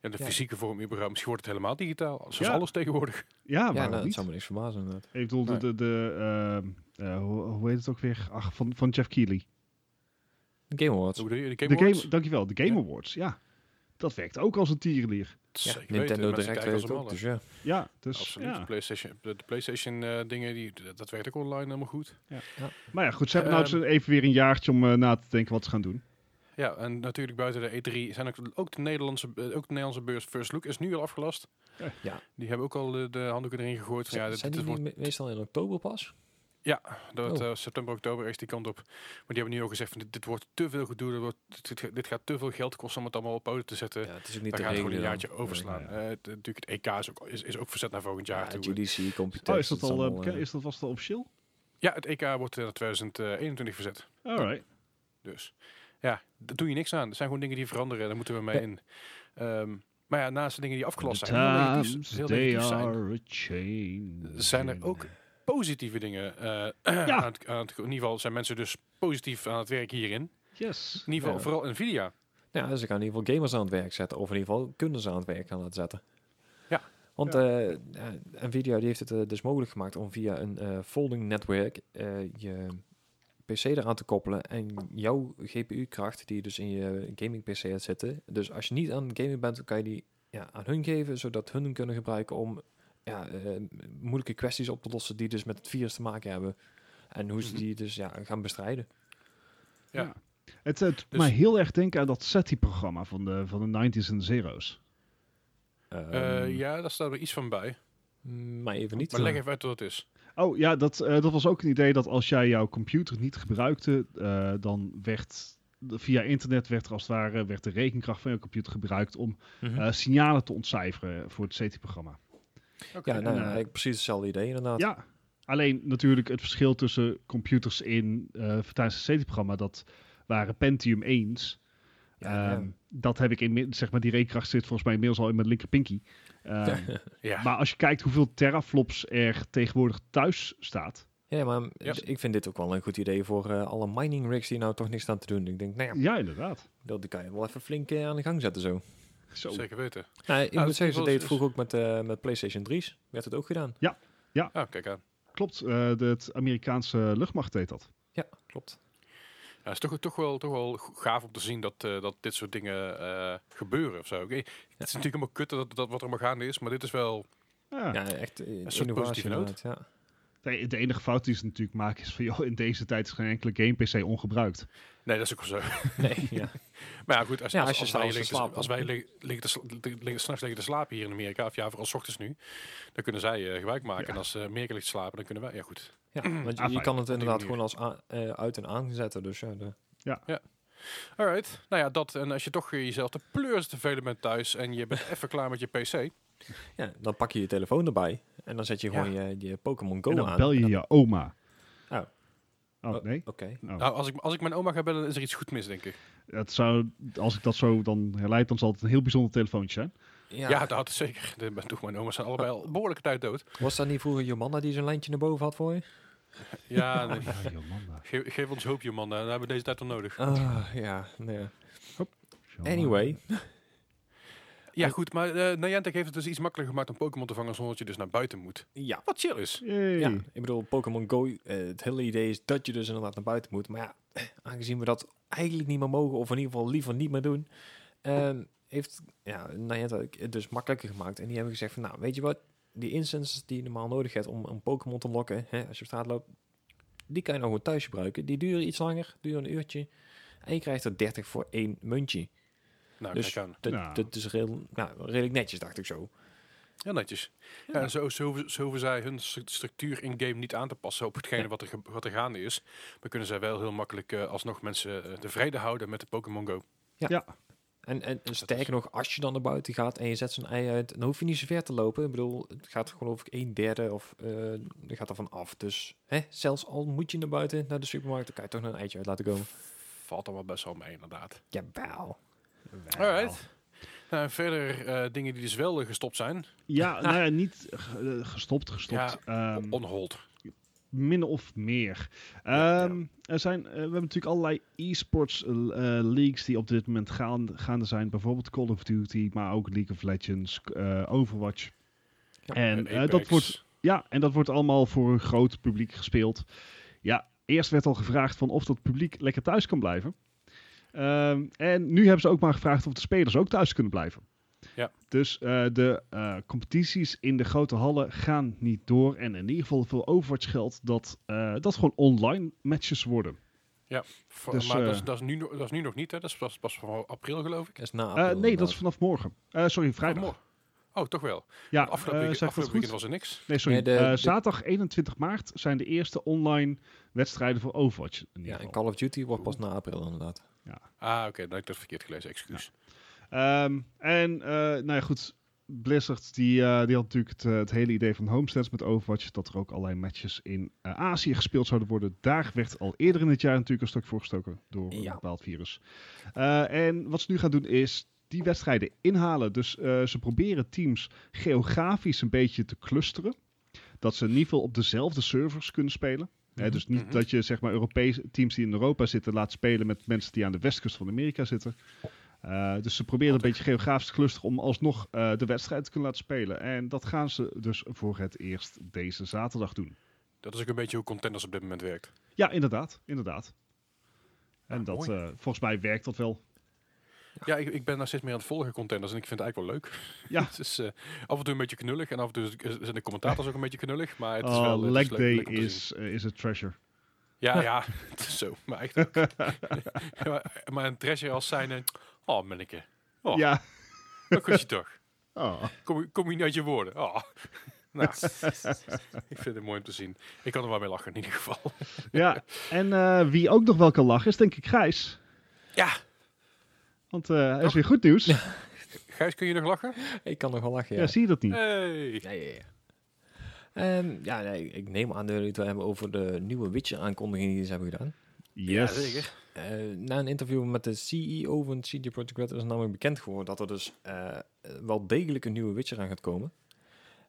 Ja, de Ja. fysieke vorm überhaupt. Misschien wordt het helemaal digitaal. Zoals Ja. alles tegenwoordig. Ja, Ja, waarom nou, dat niet? zou me nou niks verbazen inderdaad. Ik bedoel, de, Nee. de, de, eh, eh, hoe, hoe heet het ook weer? Ach, van, van Jeff Keighley. Game Awards. Hoe bedoel je? De De Game Awards? game, dankjewel, de Game Awards, ja. Dat werkt ook als een tierenlier. Ja, Zeker weten. Nintendo Mensen Direct kijken weet als het een ook, malle. dus ja. Ja, dus Absoluut. ja. De PlayStation, de, de PlayStation eh, dingen, die, dat- dat werkt ook online helemaal goed. Maar ja, goed, ze hebben nou Ehm, dus even weer een jaartje om eh, na te denken wat ze gaan doen. Ja, en natuurlijk buiten de E3 zijn ook, ook, de, Nederlandse, eh, ook de Nederlandse beurs First Look is nu al afgelast. Ja. Ja. Die hebben ook al de, de handdoeken erin gegooid. Van, ja, dit, zijn dit die wordt niet me- meestal in oktober pas? Ja, dat, Oh. eh, september, oktober is die kant op. Maar die hebben nu al gezegd, van, dit, dit wordt te veel gedoe, dit, wordt, dit, dit- dit gaat te veel geld kosten om het allemaal op poten te zetten. Ja, het is ook niet We te gaan het regelen gewoon een dan. jaartje overslaan. Ja, Eh, het- natuurlijk, het EK is ook, is, is ook verzet naar volgend jaar Ja, toe. GDC, Computex. Oh, is dat het al eh, allemaal, bekend? eh, Is dat vast al officieel? Ja, het EK wordt eh, naar 2021 verzet. Alright. Dus ja, daar doe je niks aan. Dat zijn gewoon dingen die veranderen, daar moeten we mee Ja. in. Ehm, maar ja, naast de dingen die afgelast The zijn, heel negatief, times, dus heel they negatief zijn, are a change. zijn er ook positieve dingen. eh, [CLEARS THROAT] Ja. aan het, aan het- in ieder geval zijn mensen dus positief aan het werk hierin. Yes. In ieder geval Ja. vooral Nvidia. Nou, ja, ze gaan in ieder geval gamers aan het werk zetten. Of in ieder geval kunnen ze aan het werk gaan laten zetten. Ja. Want eh, eh, Nvidia die heeft het eh, dus mogelijk gemaakt om via een eh, folding netwerk eh, je PC eraan te koppelen. En jouw GPU-kracht die dus in je gaming-PC hebt zitten. Dus als je niet aan het gamen bent, dan kan je die ja, aan hun geven. Zodat hun hem kunnen gebruiken om ja, eh, moeilijke kwesties op te lossen die dus met het virus te maken hebben. En hoe ze Mhm. die dus ja, gaan bestrijden. Ja. Ja. Het eh, doet Dus- mij heel erg denken aan dat SETI-programma van de, van de 90s en zeros. Eh, Ehm, ja, daar staat er iets van bij. Maar even niet. eh, Maar leg even uit wat het is. Oh ja, dat, eh, dat was ook een idee dat als jij jouw computer niet gebruikte, eh, dan werd via internet werd er als het ware werd de rekenkracht van je computer gebruikt om Hm. Mhm. eh, signalen te ontcijferen voor het CT-programma. Ja, nou, En, ja, eh, eigenlijk precies hetzelfde idee inderdaad. Ja, alleen natuurlijk het verschil tussen computers in eh tijdens het CT-programma, dat waren Pentium 1's. Ja, Ehm, Dat heb ik in, zeg maar, die rekenkracht zit volgens mij inmiddels al in mijn linker pinky. Ehm, Ja. [LAUGHS] Maar als je kijkt hoeveel teraflops er tegenwoordig thuis staat. [LAUGHS] ja. ja, maar Ja. ik vind dit ook wel een goed idee voor eh, alle mining rigs die nou toch niks aan te doen. Ik denk, nou ja, Ja, inderdaad. dat die kan je wel even flink eh, aan de gang zetten zo. Zo. Zeker weten. Nou, ik dat moet is zeggen, ze wel- deed het vroeger ook met, eh, met PlayStation 3's. Werd het ook gedaan. Ah, kijk aan. Klopt, eh, de, het Amerikaanse luchtmacht deed dat. Ja, klopt. Ja, het is toch, toch, wel, toch wel g- gaaf om te zien dat, eh, dat dit soort dingen eh, gebeuren of zo. Oké, Het is natuurlijk allemaal kut dat, dat wat er maar gaande is, maar dit is wel... Ja. Ja, echt eh, soort innovatie positieve noot. inderdaad. Ja. [LAUGHS] De, de enige fout die ze natuurlijk maken is van... Joh, in deze tijd is geen enkele game-pc ongebruikt. Nee, dat is ook wel zo. Nee, ja. Maar ja, goed, als, Ja, als, als je als wij, s'avonds liggen, te te- slapen. als wij liggen, liggen te sla- te- liggen- s'nachts liggen te slapen hier in Amerika, of ja, vooral s ochtends nu, dan kunnen zij eh, gebruik maken. Ja. En als eh, Amerika ligt te slapen, dan kunnen wij... Ja, goed. ja want Ah, je, je kan het manier. inderdaad gewoon als aan- eh, uit en aan zetten. Dus ja, de- Alright. Nou ja, dat. En als je toch eh, jezelf de pleurs te velen bent thuis en je bent even klaar met je PC... ja, dan pak je je telefoon erbij. En dan zet je gewoon je, je Pokémon Go en dan aan. bel je En je oma. Oh. dan- Oh, nee? Oké. Oh. Nou, als ik, als ik mijn oma ga bellen, is er iets goed mis, denk ik. Dat zou, als ik dat zo dan herleid, dan zal het een heel bijzonder telefoontje zijn. Ja, dat houdt het zeker. [LAUGHS] De, mijn- toch, mijn oma's zijn allebei al behoorlijke tijd dood. Was dat niet vroeger Jomanda die zijn lijntje naar boven had voor je? Ja, nee. Ja, Jomanda. Ge- geef ons hoop, man. Daar hebben we deze tijd al nodig. Ah, ja, nee. [LAUGHS] Jomanda. Anyway, Ja, goed. Maar eh Niantic heeft het dus iets makkelijker gemaakt om Pokémon te vangen zonder dat je dus naar buiten moet. ja. Wat chill is. Yay. ja. Ik bedoel, Pokémon Go, eh, het hele idee is dat je dus inderdaad naar buiten moet. Maar ja, eh, aangezien we dat eigenlijk niet meer mogen, of in ieder geval liever niet meer doen, ehm, heeft ja, Niantic het dus makkelijker gemaakt. En die hebben gezegd van, nou, weet je wat? Die instances die je normaal nodig hebt om een Pokémon te lokken, hè, als je op straat loopt, die kan je nou gewoon thuis gebruiken. Die duren iets langer, duren een uurtje. En je krijgt er 30 voor één muntje. Nou, Dus- kijk aan. Dat, Nou. dat is redel, nou, redelijk netjes, dacht ik zo. Ja, netjes. Ja. en zo, zo, hoeven- zo hoeven zij hun stru- structuur in game niet aan te passen op hetgene Ja. wat, er, ge- wat er gaande is. Maar kunnen zij wel heel makkelijk eh, alsnog mensen eh, tevreden houden met de Pokémon Go. En, en sterker nog, als je dan naar buiten gaat en je zet zo'n ei uit, dan hoef je niet zo ver te lopen. Ik bedoel, het gaat geloof ik een derde of eh gaat ervan af. Dus hè, zelfs al moet je naar buiten, naar de supermarkt, dan kan je toch nog een eitje uit laten komen. Valt allemaal best wel mee, inderdaad. Jawel. Alright. naar verder eh, dingen die dus wel eh, gestopt zijn. Ja, nou ja, niet ge- eh, gestopt, gestopt. Ehm, On hold. min of meer. Ehm, Er zijn, eh, we hebben natuurlijk allerlei e-sports eh, eh, leagues die op dit moment gaande, gaande zijn. Bijvoorbeeld Call of Duty, maar ook League of Legends, eh, Overwatch. Ja, en, Eh, eh, dat Apex. wordt, ja, en dat wordt allemaal voor een groot publiek gespeeld. Ja, eerst werd al gevraagd van of dat publiek lekker thuis kan blijven. Ehm, en nu hebben ze ook maar gevraagd of de spelers ook thuis kunnen blijven. Ja. Dus eh, de eh, competities in de grote hallen gaan niet door. En in ieder geval voor Overwatch geldt dat eh, dat gewoon online matches worden. Voor- dus, maar dat, is, eh, dat, is nu, nog- dat is nu nog niet, hè? Dat is pas, pas voor april, geloof ik. is na Eh, april nee, dat is Ah, inderdaad. vanaf morgen. Eh, sorry, vrijdag. Oh, oh, toch wel. Ja, afgelopen weekend, eh, zeg ik dat afgelopen goed? weekend was er niks. Nee, sorry. Nee, de- Eh, de- zaterdag 21 maart zijn de eerste online wedstrijden voor Overwatch. in ieder Ja, geval. en Call of Duty wordt pas na april inderdaad. [LAUGHS] Ah, oké, dan heb ik dat verkeerd gelezen, excuus. Ehm, en, eh, nou ja, goed. Blizzard, die, eh, die had natuurlijk het, eh, het hele idee van Homesteads met Overwatch. Dat er ook allerlei matches in eh, Azië gespeeld zouden worden. Daar werd al eerder in het jaar natuurlijk een stuk voor gestoken door een Ja. bepaald virus. Eh, en wat ze nu gaan doen is die wedstrijden inhalen. Dus eh, ze proberen teams geografisch een beetje te clusteren. Dat ze in ieder geval op dezelfde servers kunnen spelen. Hè, dus niet Mhm. dat je zeg maar, Europese teams die in Europa zitten laat spelen met mensen die aan de westkust van Amerika zitten. Eh, dus ze proberen een beetje geografisch te clusteren om alsnog eh, de wedstrijd te kunnen laten spelen. En dat gaan ze dus voor het eerst deze zaterdag doen. Dat is ook een beetje hoe Contenders op dit moment werkt. Ja, inderdaad. inderdaad. En Ah, dat, mooi. eh, volgens mij werkt dat wel. Ja, ik, ik ben daar steeds meer aan het volgen, Contenders, en ik vind het eigenlijk wel leuk. Ja. [LAUGHS] het is eh, af en toe een beetje knullig, en af en toe is- is- zijn de commentators ook een beetje knullig, maar het is Oh, wel... het is leg leuk- day leuk om te zien. is, eh, is a treasure. [LAUGHS] Ja, ja, het is zo. Maar echt ook. [LAUGHS] maar, maar een treasure als zijn. eh, Oh, manneke. Oh. Ja. Dat kost je toch. Oh. Kom, je- kom je niet uit je woorden. Oh. Nou, ik vind het mooi om te zien. Ik kan er wel mee lachen in ieder geval. [LAUGHS] ja, en eh, wie ook nog wel kan lachen is denk ik Gijs. Ja. Want eh er is weer goed nieuws. Ja, Gijs, kun je nog lachen? Ik kan nog wel lachen, ja. zie je dat niet? Hey. Ja, ja, ja. Ehm, ja, nee, ik neem aan dat jullie het wel hebben over de nieuwe Witcher-aankondiging die ze hebben gedaan. Yes. zeker. Eh, na een interview met de CEO van CD Projekt Red is namelijk bekend geworden dat er dus eh, wel degelijk een nieuwe Witcher aan gaat komen.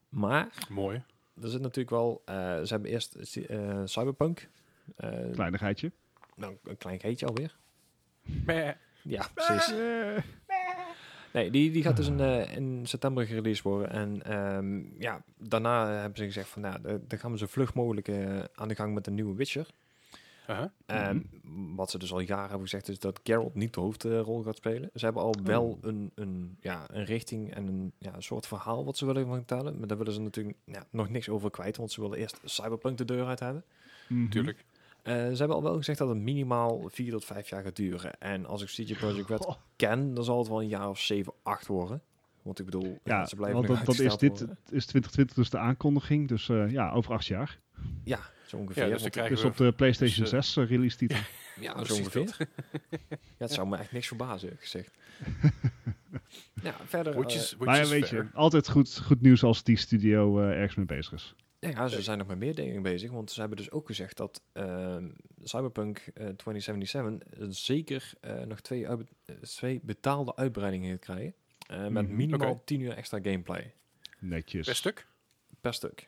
Maar Mooi. er zit natuurlijk wel, eh, ze hebben eerst eh, Cyberpunk. Eh, Kleinigheidje. nou, een klein geitje alweer. Meh. Ja, precies. Eh, Nee, die, die gaat dus in, eh, in september gereleased worden. En ehm, ja, daarna hebben ze gezegd van, nou, eh, dan gaan we zo vlug mogelijk eh, aan de gang met de nieuwe Witcher. Aha. Mhm. Ehm, Wat ze dus al jaren hebben gezegd is dat Geralt niet de hoofdrol gaat spelen. Ze hebben al Oh. wel een, een, ja, een richting en een ja, een soort verhaal wat ze willen gaan vertellen. Maar daar willen ze natuurlijk ja, nog niks over kwijt, want ze willen eerst Cyberpunk de deur uit hebben. mhm. Tuurlijk. Eh, ze hebben al wel gezegd dat het minimaal vier tot vijf jaar gaat duren. En als ik CG Projekt Red Goh. ken, dan zal het wel een jaar of zeven, acht worden. Want ik bedoel, ja, Ja, ze blijven want nog dat, dat is uitgesteld dit, worden. het is 2020 dus de aankondiging. Dus eh, ja, over acht jaar. Ja, zo ongeveer. Ja, dus dan want- krijgen Dus we... op de PlayStation dus, eh, 6 eh, release titel. Ja, zo precies ongeveer. ja, het zou me echt niks verbazen, eerlijk [LAUGHS] gezegd. ja, verder... Which eh, is, which Maar ja, is weet fair. je, altijd goed, goed nieuws als die studio eh, ergens mee bezig is. ja, ja, Eh, ze zijn nog met meer dingen bezig. Want ze hebben dus ook gezegd dat ehm, Cyberpunk eh, 2077 zeker eh, nog twee, uit- eh, twee betaalde uitbreidingen gaat krijgen. eh, met Mhm. minimaal Oké. 10 uur extra gameplay Netjes. Per stuk? per stuk.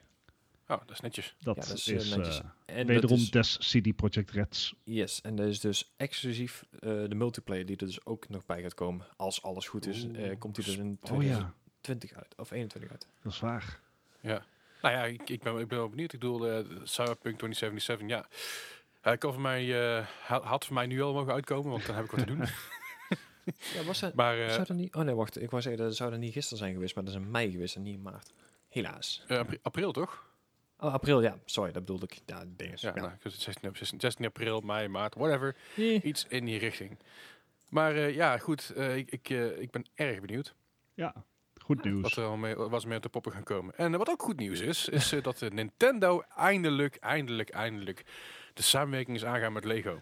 Oh, dat is netjes. Dat Ja, dat is, is, eh, netjes. eh, En wederom dat des is, CD Projekt Reds. yes, en dat is dus exclusief eh, de multiplayer die er dus ook nog bij gaat komen. Als alles goed is, eh, Oeh. komt die dus in Oh ja, 2020 uit. Of 21 uit. dat is waar. Nou ja, ik, ik, ben, ik ben wel benieuwd. Ik bedoel, eh, Cyberpunk 2077, ja. Hij kan voor mij, eh, ha- had voor mij nu al mogen uitkomen, want dan heb ik wat te doen. Ja, was dat... Maar eh, zou dat niet... Oh nee, wacht. Ik wou zeggen, dat zou dat niet gisteren zijn geweest, maar dat is in mei geweest en niet in maart. Helaas. eh, apri- april toch? Oh, april, ja. Sorry, dat bedoelde ik. Ja, ding is. Ja, Ja, nou, ik was het 16, ap- 16, 16 april, mei, maart, whatever. Eh, Iets in die richting. Maar eh, ja, goed, eh, ik, ik, eh, ik ben erg benieuwd Ja, goed wat nieuws. er al mee, wat er mee op de poppen gaan komen. En eh, wat ook goed nieuws is, is eh, dat eh, Nintendo eindelijk, eindelijk, eindelijk de samenwerking is aangaan met Lego.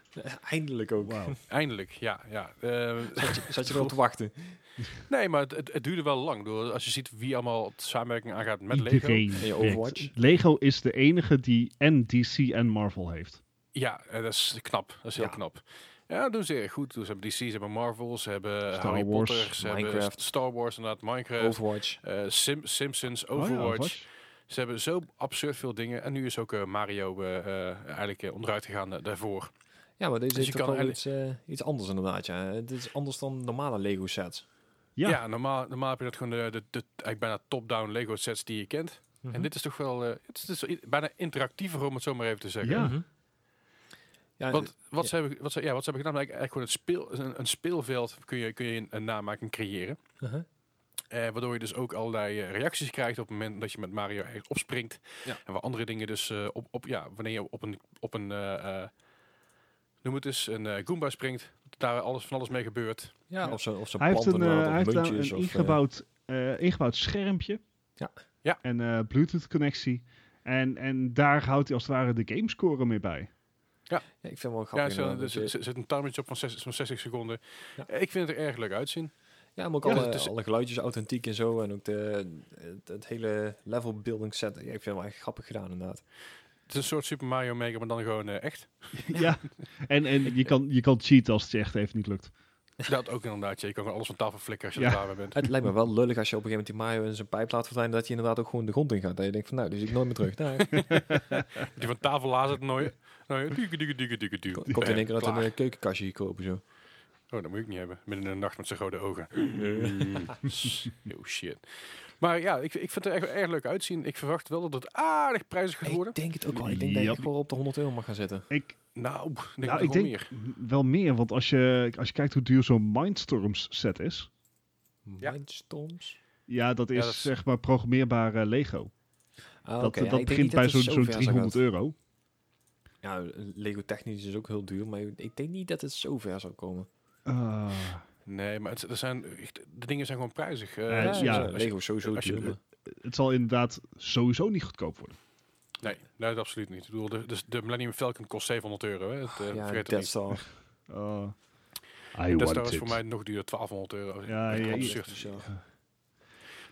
Eindelijk ook. Wauw. Eindelijk, ja, ja. Eh, Zat je, zat je erop te wachten? nee, maar het, het, het duurde wel lang. Ik bedoel, Als je ziet wie allemaal de samenwerking aangaat met Lego. Iedereen En je werkt. Overwatch? Lego is de enige die en DC en Marvel heeft. Oh, Ja, eh, dat is knap. Dat is heel Ja. knap. Ja, dat doen ze erg goed. Dus ze hebben DC, ze hebben Marvel, ze hebben Star Harry Wars, Potter, ze hebben Minecraft. S- Star Wars, inderdaad, Minecraft, Overwatch. eh, Sim- Simpsons, Oh ja, Overwatch. Ze hebben zo absurd veel dingen. En nu is ook eh, Mario eh, eh, eigenlijk eh, onderuit gegaan eh, daarvoor. Ja, maar deze Dus is je toch kan wel iets, eh, iets anders inderdaad. Ja. Dit is anders dan normale Lego sets. Ja. Ja, normaal, normaal heb je dat gewoon de, de, de eigenlijk bijna top-down Lego sets die je kent. Mhm. Mhm. En dit is toch wel, eh, het is, het is wel i- bijna interactiever om het zo maar even te zeggen. Ja. Mhm. Ja, Want wat, Eh, ja. Ze hebben, wat, ze, ja, wat ze hebben gedaan, eigenlijk, eigenlijk gewoon het speel, een, een speelveld kun je, kun je een, een namaking creëren. mhm. Eh, waardoor je dus ook allerlei eh, reacties krijgt op het moment dat je met Mario ergens opspringt. Ja. En waar andere dingen dus eh, op, op, ja, wanneer je op een, op een eh, eh, noem het eens, een eh, Goomba springt. dat Daar alles, van alles mee gebeurt. ja, of zo, of zo Hij heeft een, planten eh, inderdaad, hij heeft of daar muntjes. een of, eh, ingebouwd, eh, ingebouwd schermpje. Ja. Ja. En eh, Bluetooth-connectie. En, en daar houdt hij als het ware de gamescore mee bij. ja, ik vind het wel Ja, grappig. zo- dus inderdaad, er dat je- zit, zit- zit een timertje op van 60, zo'n 60 seconden. Ja. Eh, Ik vind het er erg leuk uitzien. Ja, maar ook Ja, alle, het dus- is- alle geluidjes authentiek en zo. En ook de, het, het hele level building set. Ja, ik vind het wel echt grappig gedaan inderdaad. Het is een soort Super Mario Maker, maar dan gewoon eh, [LAUGHS] echt. ja. [LAUGHS] En, en je, kan, je kan cheaten als het je echt even niet lukt. Dat ook inderdaad. ja. Je kan gewoon alles van tafel flikkeren als je Ja. er klaar mee bent. Het lijkt me wel lullig als je op een gegeven moment die Mario in zijn pijp laat verdwijnen. Dat je inderdaad ook gewoon de grond in gaat. Dat je denkt van nou, die zie ik nooit meer terug. [LAUGHS] Daar Die van tafel lazert nooit. Nou, duke, duke, duke, duke, duke. komt in één keer uit een Klaar. eh, keukenkastje kopen zo. Oh, dat moet ik niet hebben. Midden in de nacht met zijn grote ogen. Mm. [LAUGHS] oh shit. Maar ja, ik, ik vind het er echt erg leuk uitzien. Ik verwacht wel dat het aardig prijzig gaat worden. Ik denk het ook wel. Ik denk dat je Yep. echt wel op de 100 euro mag gaan zitten. Ik, Nou, pff, denk nou, ik ik wel denk meer. m- wel meer, want als je, als je kijkt hoe duur zo'n Mindstorms set is. Ja. Mindstorms? Ja, dat is Ja, dat is- zeg maar programmeerbare Lego. Ah, dat oké. Ja, dat ik denk begint niet bij dat het zo'n zo zo'n ver zou gaan. 300 euro. Ja, Lego technisch is ook heel duur. Maar ik denk niet dat het zo ver zou komen. Ah, Nee, maar het, er zijn, echt- de dingen zijn gewoon prijzig. Eh, Ja, als je- ja. als je- Lego is sowieso als je- duur. maar- het zal inderdaad sowieso niet goedkoop worden. nee, nee, dat absoluut niet. Ik bedoel, de, dus de Millennium Falcon kost 700 euro. Hè. Het, eh, Ja, vergeet het Death niet. Star. Ah, I Dat is want trouwens it. voor mij nog duurder, 1200 euro. Ja, Echt ja, ja. absurd.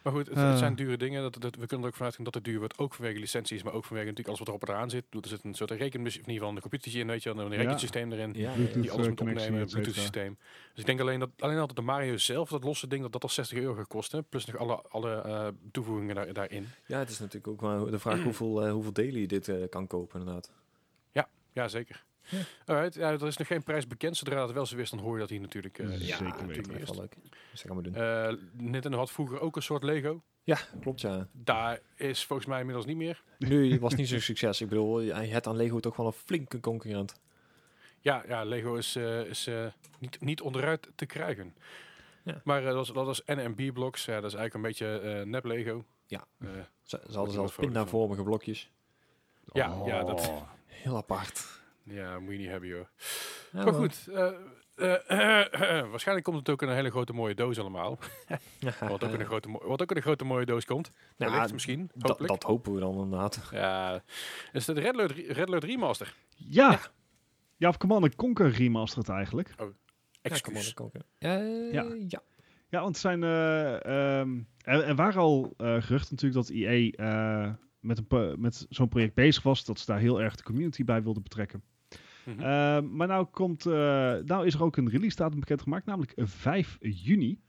Maar goed, het, het Ah. zijn dure dingen. Dat, dat, we kunnen er ook vanuit gaan dat het duur wordt. Ook vanwege licenties, maar ook vanwege natuurlijk alles wat erop en eraan zit. Ik bedoel, Er zit een soort rekenmachine, in ieder geval een computertje in, weet je, wel, een Ja. rekensysteem erin. Ja, Bluetooth, Die alles eh, moet opnemen, een connectie, et Bluetooth cetera. systeem. Dus ik denk alleen dat alleen altijd de Mario zelf, dat losse ding, dat dat al 60 euro gaat kosten. Plus nog alle, alle eh, toevoegingen daar, daarin. Ja, het is natuurlijk ook wel de vraag hoeveel, eh, hoeveel delen je dit eh, kan kopen, inderdaad. Ja, zeker. Ja. Alright, ja, er is nog geen prijs bekend. Zodra dat wel zo is, dan hoor je dat hier natuurlijk. eh, Ja, natuurlijk zeker weten. eerst. Dat leuk. Dus dat gaan we doen. Eh, Nintendo had vroeger ook een soort Lego. ja, klopt ja. Daar is volgens mij inmiddels niet meer. [LAUGHS] Nu was het niet zo'n succes. Ik bedoel, je hebt aan Lego toch wel een flinke concurrent. Ja, ja Lego is, eh, is eh, niet, niet onderuit te krijgen. Ja. Maar eh, dat, was, dat was NMB blocks. Ja, dat is eigenlijk een beetje eh, nep Lego. Ja. Eh, Ze, ze Wordt er hadden zelfs wel vrolijk van. pindavormige blokjes. Ja, ja, dat- Oh. Heel apart. ja, moet je niet hebben, joh. Ja, maar goed, eh, eh, [CLEARS THROAT] waarschijnlijk komt het ook in een hele grote mooie doos [LAUGHS] allemaal. wat, ook in een grote, mo- wat ook in een grote mooie doos komt. eh. Nou, Wellicht, misschien, da- hopelijk. dat hopen we dan inderdaad. Ja, is het Red Alert, Red Alert Remaster? Ja. ja! of Command and Conquer remastered eigenlijk. Excuus. Ja, kom maar, dan kan ik, eh, Ja. ja. Ja, want het zijn, eh, ehm, er, er waren al eh, geruchten natuurlijk dat EA eh, met, een pro- met zo'n project bezig was. Dat ze daar heel erg de community bij wilden betrekken. Mhm. Eh, Ehm, maar nou, komt, eh, nou is er ook een release datum bekendgemaakt, namelijk 5 juni.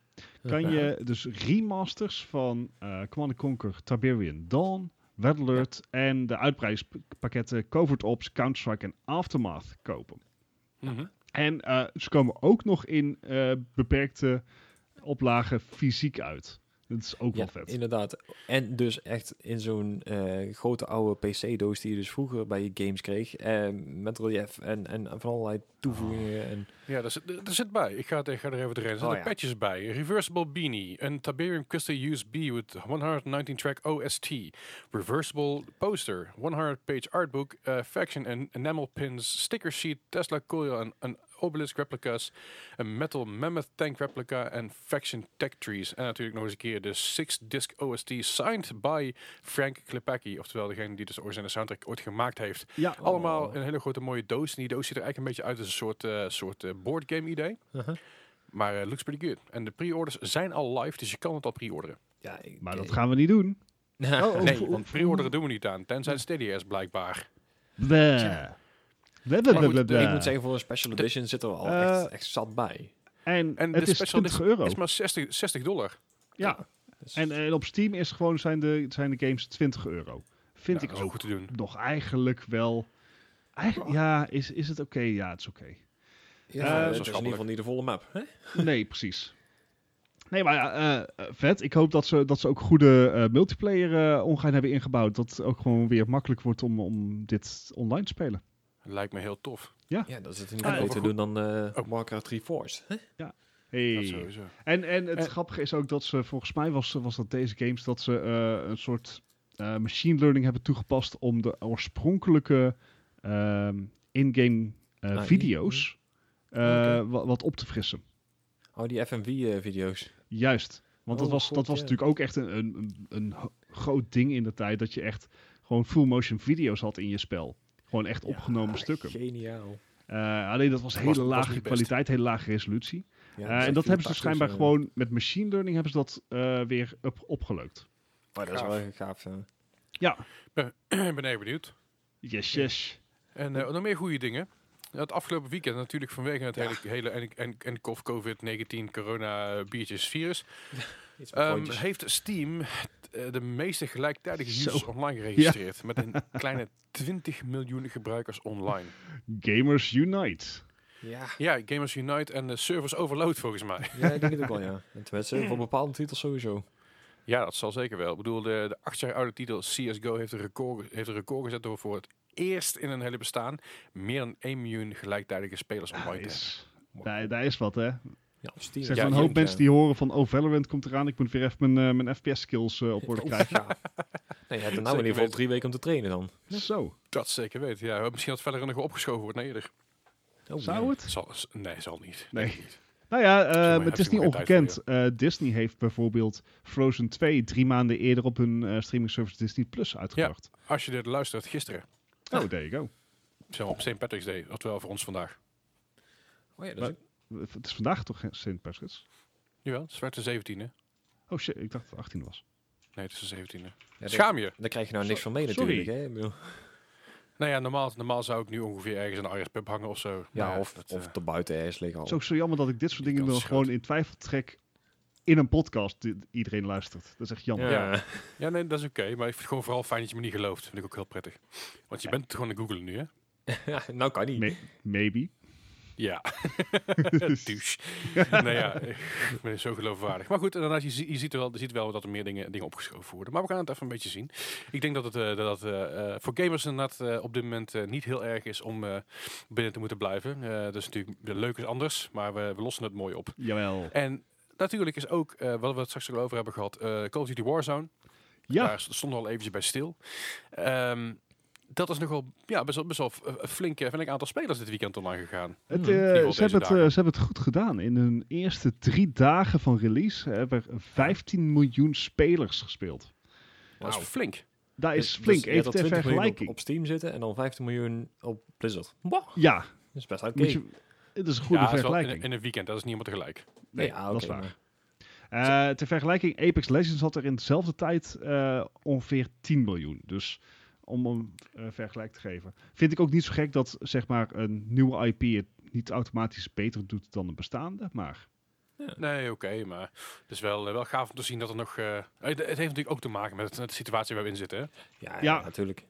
Kan je dus remasters van eh Command and Conquer, Tiberian Dawn, Red Alert en de uitprijspakketten Covert Ops, Counter-Strike en Aftermath kopen. Mhm. En eh, ze komen ook nog in eh, beperkte oplagen fysiek uit. Dat is ook Ja, wel vet. inderdaad. En dus echt in zo'n eh, grote oude PC-doos die je dus vroeger bij je games kreeg. eh, met relief en, en van allerlei Ah. toevoegingen. En, Ja, daar zit, daar zit bij. Ik ga, het- ik ga er even doorheen. Er zitten Oh, ja. patches bij. Reversible Beanie. Een Tiberium Custom USB with 119-track OST. Reversible Poster. 100-page artbook. eh, faction and enamel pins. Sticker sheet. Tesla coil en een obelisk replicas. Een metal mammoth tank replica. En faction tech trees. En natuurlijk nog eens een keer de 6-disc OST signed by Frank Klepacki. Oftewel degene die dus de originele soundtrack ooit gemaakt heeft. Ja, Allemaal Oh. in een hele grote mooie doos. En die doos ziet er eigenlijk een beetje uit als een soort, eh, soort eh, boardgame idee. Uh-huh. Maar eh, looks pretty good. En de pre-orders zijn al live, dus je kan het al pre-orderen. ja, ik- maar dat [LAUGHS] eh, gaan we niet doen. nee, oh, want oh, Hmm. pre-orderen doen we niet aan. Tenzij Stadia is blijkbaar. Bleh. Tja. Maar goed, ik moet zeggen, voor een special edition zit er al Eh, echt, echt zat bij. En, En het de is special 20 Oh. euro. is maar 60, 60 dollar. Ja. Dus- En, eh, op Steam is gewoon, zijn, de, zijn de games 20 euro. Vind Ja, ik dat is ook goed te doen. nog eigenlijk wel... Eigenlijk, ja, is, is het oké? Ja, het is oké. ja, eh, het zo is in ieder schappelijk. geval niet de volle map. Hè? Nee, [LAUGHS] precies. Nee, maar ja, eh, eh, vet. Ik hoop dat ze, dat ze ook goede eh, multiplayer eh omgaan hebben ingebouwd. Dat het ook gewoon weer makkelijk wordt om, om dit online te spelen. Lijkt me heel tof. Ja, dat is het niet Ah, beter goed. doen dan eh Ook- Warcraft 3 Force. Hè? Dat Hey. sowieso. En, en het Eh. grappige is ook dat ze, volgens mij was, was dat deze games, dat ze eh, een soort eh, machine learning hebben toegepast om de oorspronkelijke ehm, in-game eh, AI, video's eh, Oké. wa- wat op te frissen. Oh, die FMV-video's. Juist. Want dat Oh, was, goed, dat was ja. natuurlijk ook echt een, een, een- een ho- groot ding in de tijd. Dat je echt gewoon full motion video's had in je spel. Gewoon echt opgenomen ah, stukken. Geniaal. Eh, alleen dat was Dat hele was- dat was lage niet best. kwaliteit, hele lage resolutie. Ja, Eh, er en zit dat vier hebben ze paar schijnbaar tussen. gewoon met machine learning hebben ze dat eh, weer op, opgeleukt. Maar Oh, dat is wel gaaf. ja. Ja, [LAUGHS] Ik ben heel benieuwd. yes, yes. En eh, nog meer goede dingen. Ja, Het afgelopen weekend natuurlijk vanwege het hele, hele en, en, en kof COVID-19 corona eh, biertjes virus. Iets met ehm, rondjes. heeft Steam eh, de meeste gelijktijdige Zo. users online geregistreerd. Met [LAUGHS] een kleine 20 miljoen gebruikers online. Gamers Unite. Ja, Ja, Gamers Unite en de servers overload volgens mij. ja, ik denk het ook wel, ja. En [LAUGHS] tenminste, voor bepaalde titels sowieso. Ja, dat zal zeker wel. Ik bedoel, de, de acht jaar oude titel CSGO heeft een record, heeft een record gezet door voor het eerst in een hele bestaan meer dan 1 miljoen gelijktijdige spelers online Daar te hebben. is, daar, daar is wat, hè. Er Ja, op Steam. zijn Ah, Ja, een ja, hoop ja. mensen die horen van... Oh, Valorant komt eraan. Ik moet weer even mijn, eh, mijn FPS-skills op Oh. orde krijgen. [LAUGHS] Ja. Nee, je hebt er nou in ieder geval weten. drie weken om te trainen dan. Zo, Dat zeker weet. Ja, misschien dat verder nog wel opgeschoven wordt naar eerder. Oh, zou ja. het? Zal, s- nee, zal niet. Nee. Denk ik niet. Nou ja, eh, maar, het heb is je niet nog geen tijd ongekend. Eh, Disney heeft bijvoorbeeld Frozen 2 drie maanden eerder op hun eh, streaming service Disney Plus uitgebracht. Als je dit luistert, gisteren. Oh, there you go. Zo op St. Patrick's Day. Oftewel voor ons vandaag. Oh ja, dat Maar- is ook- Het is vandaag toch geen St. Patrick's? Jawel, zwarte 17e. Nee, Oh shit, ik dacht dat het 18 was. het is de 17e. ja, dat- Schaam je. Daar krijg je nou niks van mee Sorry. natuurlijk. Hè? Ik bedoel- Nou ja, normaal, normaal zou ik nu ongeveer ergens een Irish pub hangen of zo. Ja, Maar of, dat, eh, of te buiten ergens liggen al. Oh. Het is ook zo jammer dat ik dit soort Die dingen dan kans is gewoon in twijfel trek in een podcast die iedereen luistert. Dat is echt jammer. Ja. [LAUGHS] ja, nee, dat is oké. maar ik vind het gewoon vooral fijn dat je me niet gelooft. Vind ik ook heel prettig. Want je bent gewoon aan het googlen nu, hè? nou kan niet. May- maybe. [LAUGHS] Ja. [LAUGHS] Douche. [LAUGHS] nou ja, ik ben zo geloofwaardig. Maar goed, inderdaad, je, zie- je ziet wel, je ziet wel dat er meer dingen, dingen opgeschoven worden. Maar we gaan het even een beetje zien. Ik denk dat het eh, dat, het, eh, eh, voor gamers inderdaad eh, op dit moment eh, niet heel erg is om eh, binnen te moeten blijven. Eh, dat is natuurlijk leuk is anders, maar we, we lossen het mooi op. Jawel. En natuurlijk is ook, eh, wat we het straks ook over hebben gehad, eh, Call of Duty Warzone. Ja, Daar stond al eventjes bij stil. Ehm, dat is nogal ja, best wel, best wel een flink eh, flink aantal spelers dit weekend online gegaan. het, Hmm. eh, Die wel ze, hebben deze het, eh, ze hebben het goed gedaan. In hun eerste drie dagen van release hebben er 15 miljoen spelers gespeeld. Nou, Dat is flink. Daar Dus- is dus flink, je hebt even al ter 20 miljoen Op, vergelijking. op Steam zitten en dan 15 miljoen op Blizzard. Wow, Ja, dat is best oké. Moet je, het is een goede ja, dat is wel vergelijking. In, in een weekend, dat is niet helemaal tegelijk. nee, Ja, dat is oké, waar. maar- Eh, ter vergelijking, Apex Legends had er in dezelfde tijd eh, ongeveer 10 miljoen. Dus om een eh, vergelijk te geven. Vind ik ook niet zo gek dat zeg maar, een nieuwe IP het niet automatisch beter doet dan een bestaande. Maar Nee, oké, maar het is wel, eh, wel gaaf om te zien dat er nog... eh, het, het heeft natuurlijk ook te maken met de situatie waar we in zitten. hè. Ja, Ja. ja, natuurlijk.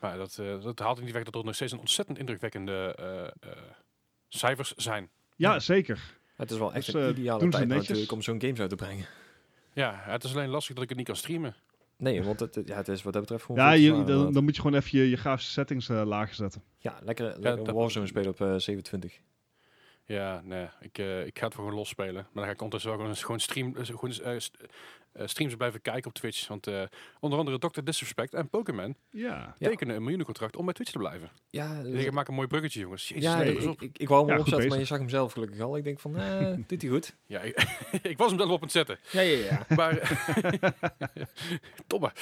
Maar dat, eh, dat haalt niet weg dat er nog steeds een ontzettend indrukwekkende eh, eh, cijfers zijn. ja, Ja. zeker. Het is wel echt Dus, een eh, ideale doen ze tijd netjes. natuurlijk om zo'n games uit te brengen. Ja, het is alleen lastig dat ik het niet kan streamen. Nee, want het, ja, het is wat dat betreft gewoon... Ja, veel te je, zwaar, dan, inderdaad. dan moet je gewoon even je, je grafische settings eh, lager zetten. ja, lekker, lekker dat- Warzone spelen op eh, 27. Ja, nee, ik, eh, ik ga het gewoon los spelen. Maar dan ga ik ondertussen wel gewoon, gewoon, stream, eh, gewoon eh, st- eh, streams blijven kijken op Twitch. Want eh, onder andere Dr. Disrespect en Pokémon Ja. Ja. tekenen een miljoenencontract om bij Twitch te blijven. Ja, Dus ik maak een mooi bruggetje, jongens. Jezus, ja let ik, eens op. ik, ik wou hem Ja, al goed opzetten, maar je bezig. zag hem zelf gelukkig al. Ik denk van, [LAUGHS] eh, doet hij goed? Ja, ik, [LAUGHS] ik was hem zelf op aan het zetten. Ja, ja, ja. Maar, [LAUGHS] Tomme.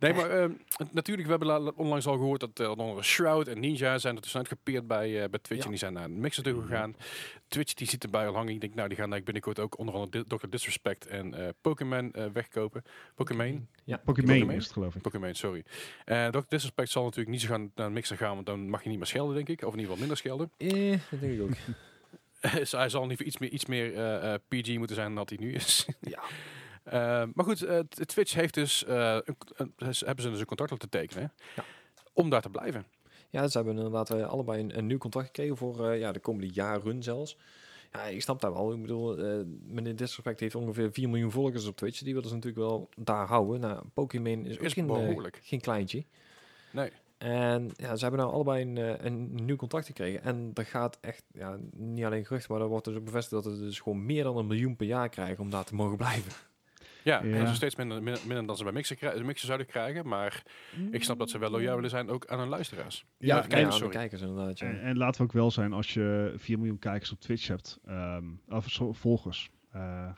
Nee, maar ehm, natuurlijk, we hebben la- onlangs al gehoord dat eh, onder andere Shroud en Ninja zijn dat zijn dus uitgepeerd bij, eh, bij Twitch. Ja. En die zijn naar Mixer toe gegaan. Twitch die ziet erbij al hangen. Ik denk, nou, die gaan eigenlijk binnenkort ook onder andere Dr. Disrespect en eh, Pokémon eh, wegkopen. Pokémon, Ja, Pokémon is het, geloof ik. Pokémon, sorry. Eh Dr. Disrespect zal natuurlijk niet zo gaan naar een mixer gaan, want dan mag je niet meer schelden, denk ik. Of in ieder geval minder schelden. [LAUGHS] [LAUGHS] Eh, dat denk ik ook. dus hij zal in ieder geval iets meer, iets meer eh, eh, PG moeten zijn dan dat hij nu is. Ja. Eh, maar goed, eh, t- Twitch heeft dus, eh, een, een- ze- hebben ze dus een contract op te tekenen. hè? Ja. Om daar te blijven. Ja, ze hebben inderdaad eh, allebei een, een nieuw contract gekregen voor eh, ja, de komende jaren zelfs. Ja, ik snap daar wel. Ik bedoel, eh, meneer Disrespect heeft ongeveer 4 miljoen volgers op Twitch. Die willen ze natuurlijk wel daar houden. Nou, Pokémon is ook Is geen, eh, behoorlijk. geen kleintje. Nee. En ja, ze hebben nou allebei een, eh, een nieuw contract gekregen. En er gaat echt, ja, niet alleen gerucht, maar er wordt dus ook bevestigd dat ze dus gewoon meer dan een miljoen per jaar krijgen om daar te mogen blijven. Ja, Ja. en zo steeds minder, minder, minder dan ze bij mixer, krij- mixer zouden krijgen. Maar ik snap dat ze wel loyaal willen zijn ook aan hun luisteraars. Ja, Ja, en kijkers, aan de sorry. kijkers inderdaad. Ja. En, en laten we ook wel zijn, als je 4 miljoen kijkers op Twitch hebt, ehm, of zo- volgers, eh,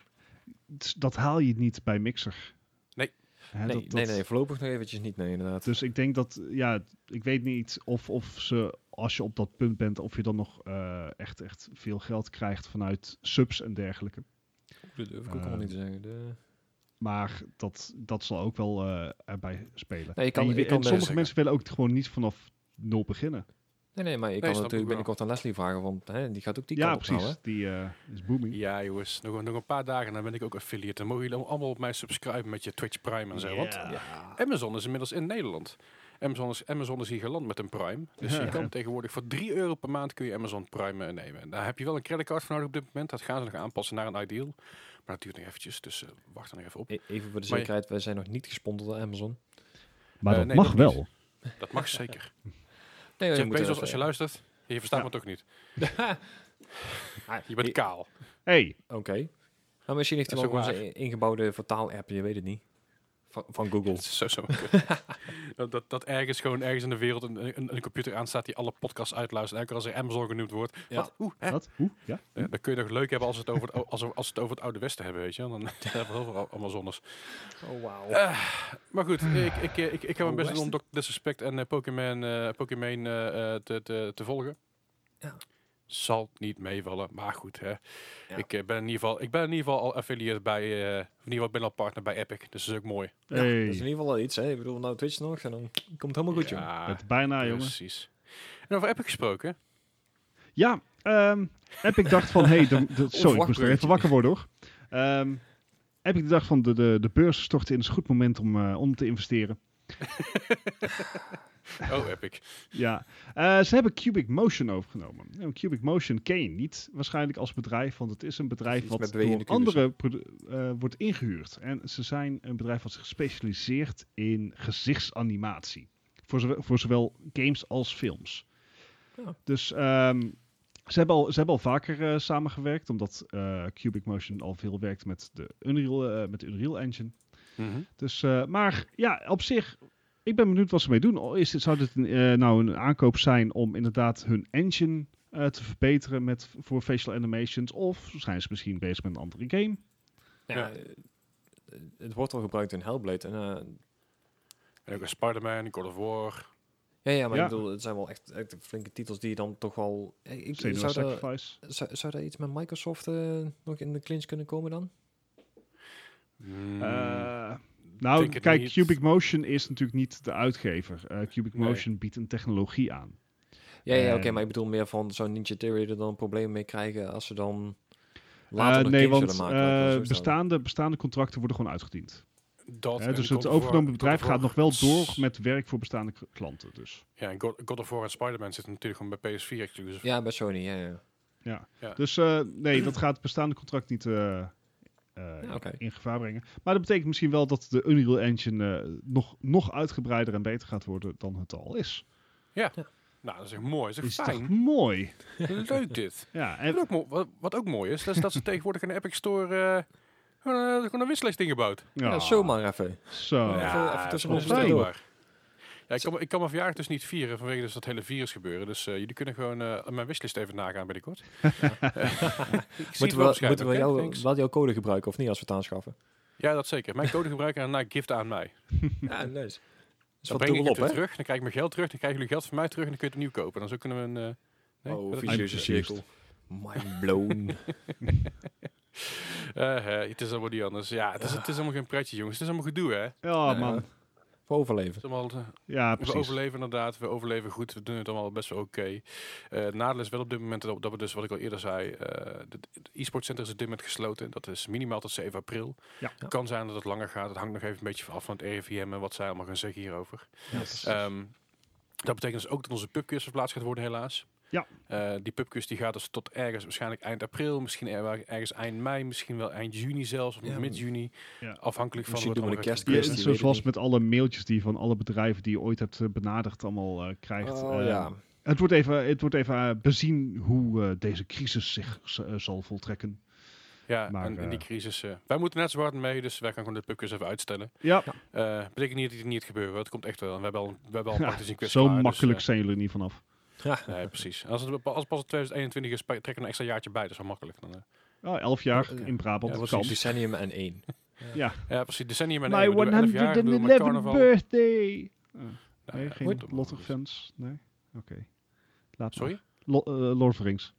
t- dat haal je niet bij Mixer. Nee. Hè, nee, dat- dat- nee, nee, voorlopig nog eventjes niet. Nee, inderdaad. Dus ik denk dat, ja, ik weet niet of, of ze, als je op dat punt bent, of je dan nog eh, echt, echt veel geld krijgt vanuit subs en dergelijke. Dat durf ik ook allemaal Ehm, niet te zeggen. De- Maar dat, dat zal ook wel eh, erbij spelen. Nee, je kan- en je en kan sommige mensen- mensen willen ook gewoon niet vanaf nul beginnen. Nee, nee, maar je Nee, kan snap ik natuurlijk wel. binnenkort aan Leslie vragen, want hè, die gaat ook die ja, kant op nou, precies. Die eh, is booming. Ja, jongens, nog, nog een paar dagen dan ben ik ook affiliate. Dan mogen jullie allemaal op mij subscriben met je Twitch Prime en zo. Want hè? Ja. Amazon is inmiddels in Nederland. Amazon is, Amazon is hier geland met een Prime. Dus Ja. je kan tegenwoordig voor 3 euro per maand kun je Amazon Prime eh, nemen. En daar heb je wel een creditcard voor nodig op dit moment. Dat gaan ze nog aanpassen naar een ideal. Maar dat duurt nog eventjes, dus eh, wacht er nog even op. E- Even voor de Maar je- zekerheid, wij zijn nog niet gesponsord door Amazon. Maar Eh, dat nee, mag dat niet. wel. Dat mag zeker. Nee, Jeff we moeten Bezos, even- als je luistert, je verstaat Ja. me toch niet. Ah, Je bent i- kaal. Hey, Oké. Nou, misschien heeft hij Dat wel is ook onze i- ingebouwde vertaal-app, je weet het niet. Van, van Google. Dat is zo, zo. dat, dat, dat ergens gewoon ergens in de wereld een, een, een computer aanstaat die alle podcasts uitluistert. Elke keer als er Amazon genoemd wordt. Ja. Wat? Oeh, hè? wat? Hoe? Ja? Ja, dan kun je nog leuk hebben als we het over het, o- als we, als we het, over het Oude Westen hebben, weet je. wel. Dan [LAUGHS] hebben we heel veel Amazoners. Oh, wauw. Maar goed, Ah. ik, ik, eh, ik, ik ga mijn best doen om Westen? Dr. Disrespect en eh, Pokémon, eh, Pokémon eh, eh, te, te, te volgen. Ja. Zal niet meevallen, maar goed. Hè. Ja. Ik, eh, ben in ieder geval, ik ben in ieder geval al affiliate bij, eh, of in ieder geval ik ben al partner bij Epic. Dus dat is ook mooi. Hey. Dat is in ieder geval wel iets, hè. Ik bedoel, nou Twitch nog, en dan komt het helemaal goed, joh. ja, Het bijna, jongen. precies. En over Epic gesproken. Ja, ehm, Epic dacht van, hey, de, de- sorry, ik moest nog even Onverwacht wakker worden hoor. Ehm, Epic dacht van, de, de, de beurs stort in, is een goed moment om, eh, om te investeren. Oh, Epic. Ja, Eh, ze hebben Cubic Motion overgenomen. Nou, Cubic Motion ken je niet waarschijnlijk als bedrijf, want het is een bedrijf Iets wat met door bewegende andere produ- eh, wordt ingehuurd. En ze zijn een bedrijf wat zich specialiseert in gezichtsanimatie. Voor, zowe- voor zowel games als films. Ja. Dus ehm, ze, hebben al, ze hebben al vaker eh, samengewerkt, omdat eh, Cubic Motion al veel werkt met de Unreal, eh, met de Unreal Engine. Mhm. Dus, eh, maar ja, op zich, ik ben benieuwd wat ze mee doen. Al Is dit, zou dit een, eh, nou een aankoop zijn om inderdaad hun engine eh, te verbeteren met, voor facial animations? Of zijn ze misschien bezig met een andere game? Ja, Ja. eh, Het wordt al gebruikt in Hellblade. En, eh, En ook een Spider-Man, God of War. ja, ja, maar Ja. ik bedoel, het zijn wel echt, echt flinke titels die je dan toch wel... eh, Ik, Senua zou, daar, Sacrifice? zou, zou daar iets met Microsoft eh, nog in de clinch kunnen komen dan? Mm, Eh, denk nou, het kijk, niet. Cubic Motion is natuurlijk niet de uitgever. Eh, Cubic Nee. Motion biedt een technologie aan. Ja, ja oké, En- maar ik bedoel meer van zou Ninja Theory er dan problemen mee krijgen als ze dan Eh, later nog nee, games want zullen maken? laat ik eh, het zo stellen. bestaande, bestaande contracten worden gewoon uitgediend. dat Hè, en dus God het of War- overgenomen bedrijf God of gaat nog War wel is- door met werk voor bestaande k- klanten. Dus. Ja, en God, God of War en Spider-Man zitten natuurlijk gewoon bij PS4 exclusive. Ja, bij Sony, ja, ja. Ja. Ja. Dus eh, nee, dat gaat het bestaande contract niet eh, eh, Ja, oké. in gevaar brengen. Maar dat betekent misschien wel dat de Unreal Engine eh, nog, nog uitgebreider en beter gaat worden dan het al is. Nou, dat is echt mooi. Dat Is is echt toch fijn. mooi? Leuk dit. [LAUGHS] Ja, En en, ook mo- wat, wat ook mooi is, dat is dat [LAUGHS] ze tegenwoordig in de Epic Store eh, gewoon, eh, gewoon een wissellijst ingebouwd. ja. Ah, Zomaar even. Zo. Ja. even dat tussen is ons wel door. waar. Ja, ik, kan, ik kan mijn verjaardag dus niet vieren vanwege dus dat hele virus gebeuren. Dus eh, jullie kunnen gewoon eh, mijn wishlist even nagaan [LAUGHS] binnenkort. Moeten we, moeten we jou, wel jouw code gebruiken of niet als we [LAUGHS] het aanschaffen? Ja, dat zeker. Mijn code gebruiken en daarna giften aan mij. ja, nice. Is Dan wat breng ik dubbel het op, weer hè? terug, dan krijg ik mijn geld terug, dan krijgen jullie geld van mij terug en dan kun je het opnieuw kopen. Dan zo kunnen we een... eh, nee, Oh, dat- vicieuze vicieuze cirkel. cirkel. [LAUGHS] Mind blown. Eh, hè, het is allemaal niet anders. Ja, het is, het is allemaal geen pretje, jongens. Het is allemaal gedoe, hè? Het Ja, Ja. Ah, man. Voor overleven. is allemaal, eh, Ja, we precies. overleven inderdaad. We overleven goed. We doen het allemaal best wel oké. Eh, het nadeel is wel op dit moment dat, dat we dus, wat ik al eerder zei, eh het e-sport center is op dit moment gesloten. Dat is minimaal tot 7 april. Ja. Het kan zijn dat het langer gaat. Het hangt nog even een beetje af van het RIVM en wat zij allemaal gaan zeggen hierover. Yes. Ehm, dat betekent dus ook dat onze pubquiz verplaatst gaat worden, helaas. Ja. Eh, die pubquiz die gaat dus tot ergens, waarschijnlijk eind april, misschien er- ergens eind mei, misschien wel eind juni zelfs, of Ja, mid-juni. Ja. Afhankelijk van Misschien wat doen we er allemaal Ja, de kerstquiz, gaat die gebeuren. weet zoals ik zoals niet. met alle mailtjes die je van alle bedrijven die je ooit hebt eh, benaderd allemaal eh, krijgt. Oh Eh, ja. Het wordt even, het wordt even eh, bezien hoe eh, deze crisis zich z- eh, zal voltrekken. Ja, Maar, en, en die eh, crisis. eh, wij moeten net zo hard mee, dus wij gaan gewoon de pubquiz even uitstellen. Ja, Eh betekent niet dat het niet gebeurt, hoor. het komt echt wel. En we hebben al, we hebben al [LAUGHS] Ja, praktisch een quiz zo klaar, dus, makkelijk eh, zijn jullie er niet vanaf. Ja. nee, precies. Als het als het pas op 2021 is, pa- trekken we een extra jaartje bij, dat is wel makkelijk. Dan, eh. Oh, elf jaar Ja, in Brabant, ja, dat Dat was kan. een decennium en één. Ja, precies. Decennium en My nee, we doen elf jaar, we doen met 111 carnaval. birthday! Nou, Nee, ja, geen goed. Lord of Rings? Nee? Oké. Laat Sorry? maar. Lo- eh, Lord of the Rings.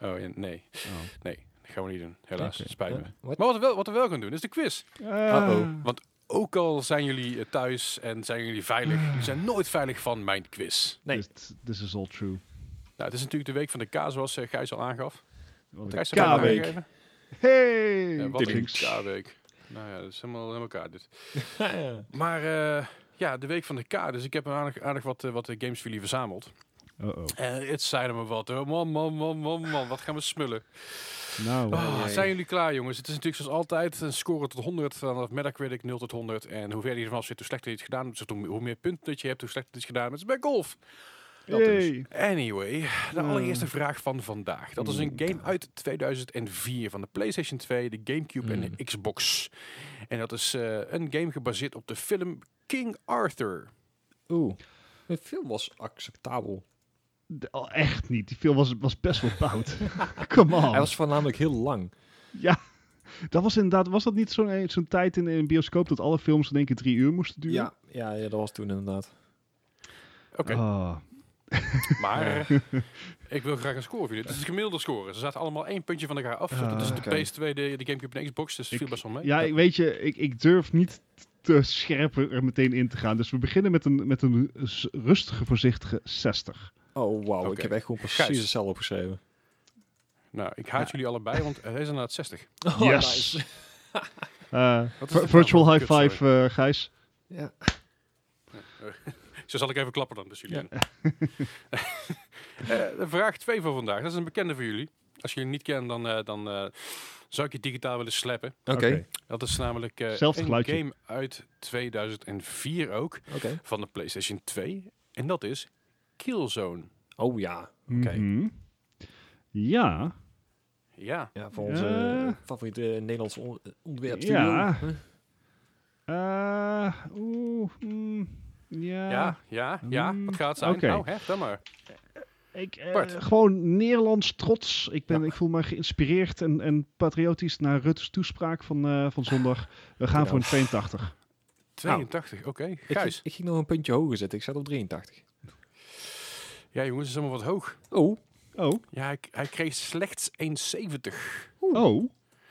Oh, ja, nee. Oh. Nee, dat gaan we niet doen. Helaas, Oké. spijt me. Ja, wat? Maar wat we, wel, wat we wel gaan doen, is de quiz. Eh, Want ook al zijn jullie eh, thuis en zijn jullie veilig, jullie Ah. zijn nooit veilig van mijn quiz. Nee. This, this is all true. Nou, het is natuurlijk de week van de K, zoals eh, Gijs al aangaf. Wat Gijs, een heb jij het K-week. Eh, aangegeven? Hey! Ja, wat een Jinx. K-week. Nou ja, dat is helemaal in elkaar dit. Maar eh, ja, de week van de K, dus ik heb aardig, aardig wat, eh, wat eh, games voor jullie verzameld. Uh-oh. Eh het zijn er maar wat. hoor. Man, man, man, man, man, wat gaan we smullen. Nou, Ah, ja, ja. zijn jullie klaar, jongens? Het is natuurlijk zoals altijd een score tot 100 vanaf Metacritic 0 tot 100. En hoe verder je ervan zit, hoe slechter je het gedaan hebt. Dus hoe- hoe meer punten dat je hebt, hoe slechter het is gedaan. hebt. Het is bij golf. dat dus. yay. Anyway, de Eh. allereerste vraag van vandaag. Dat is een Hmm. Mm. game uit 2004 van de PlayStation 2, de GameCube en de Hmm. Mm. Xbox. En dat is eh, een game gebaseerd op de film King Arthur. Oeh. De film was acceptabel. D- oh, echt niet. Die film was, was best wel [LAUGHS] fout. Come on. Hij was voornamelijk heel lang. Ja, dat was inderdaad... Was dat niet zo'n eh, zo'n tijd in een bioscoop dat alle films in één keer drie uur moesten duren? Ja, ja, ja, dat was toen inderdaad. Oké, Ah, maar eh, ik wil graag een score voor jullie. Het is een gemiddelde score. Ze zaten allemaal één puntje van elkaar af. Ah, dat is de oké. PS2, de, de GameCube en de Xbox. Dus het viel best wel mee. ja, ik, weet je, ik, ik durf niet te scherp er meteen in te gaan. Dus we beginnen met een, met een s- rustige, voorzichtige 60. Oh, wauw. Oké. Ik heb echt gewoon precies Gijs. hetzelfde opgeschreven. Nou, ik haat jullie allebei, want hij is inderdaad 60. Oh, Yes. [LAUGHS] nice. Eh, Wat is vir- dit virtual nou? high Kut, five, eh, Gijs. Ja. Zo zal ik even klappen dan, dus jullie. [LAUGHS] Eh, de vraag 2 van vandaag, dat is een bekende voor jullie. Als jullie hem niet kennen, dan, eh, dan eh, zou ik je digitaal willen slappen. Oké, Oké. Dat is namelijk eh, Zelfde een geluidje. game uit 2004 ook, oké. van de PlayStation 2. En dat is Killzone. Oh ja. Oké. Mhm. Ja, Ja, Ja, van onze Ja. eh, favoriete Nederlandse on ontwerp. Ja. Eh, Oeh. mm, ja. ja, ja, ja. Hmm, Wat gaat het zijn? oké. Nou, hè, dan maar. Ik, eh, Bart. gewoon Nederlands trots. Ik, ben, Ja. ik voel me geïnspireerd en, en patriotisch naar Rutte's toespraak van, eh, van zondag. We gaan Ja. voor een 82. 82, oké. Nou. Ik, Gijs. ging- ik ging nog een puntje hoger zitten. Ik zat op 83. Ja, jongens, het is allemaal wat hoog. Oh. Oh. Ja, hij, hij kreeg slechts 1,70. Oh.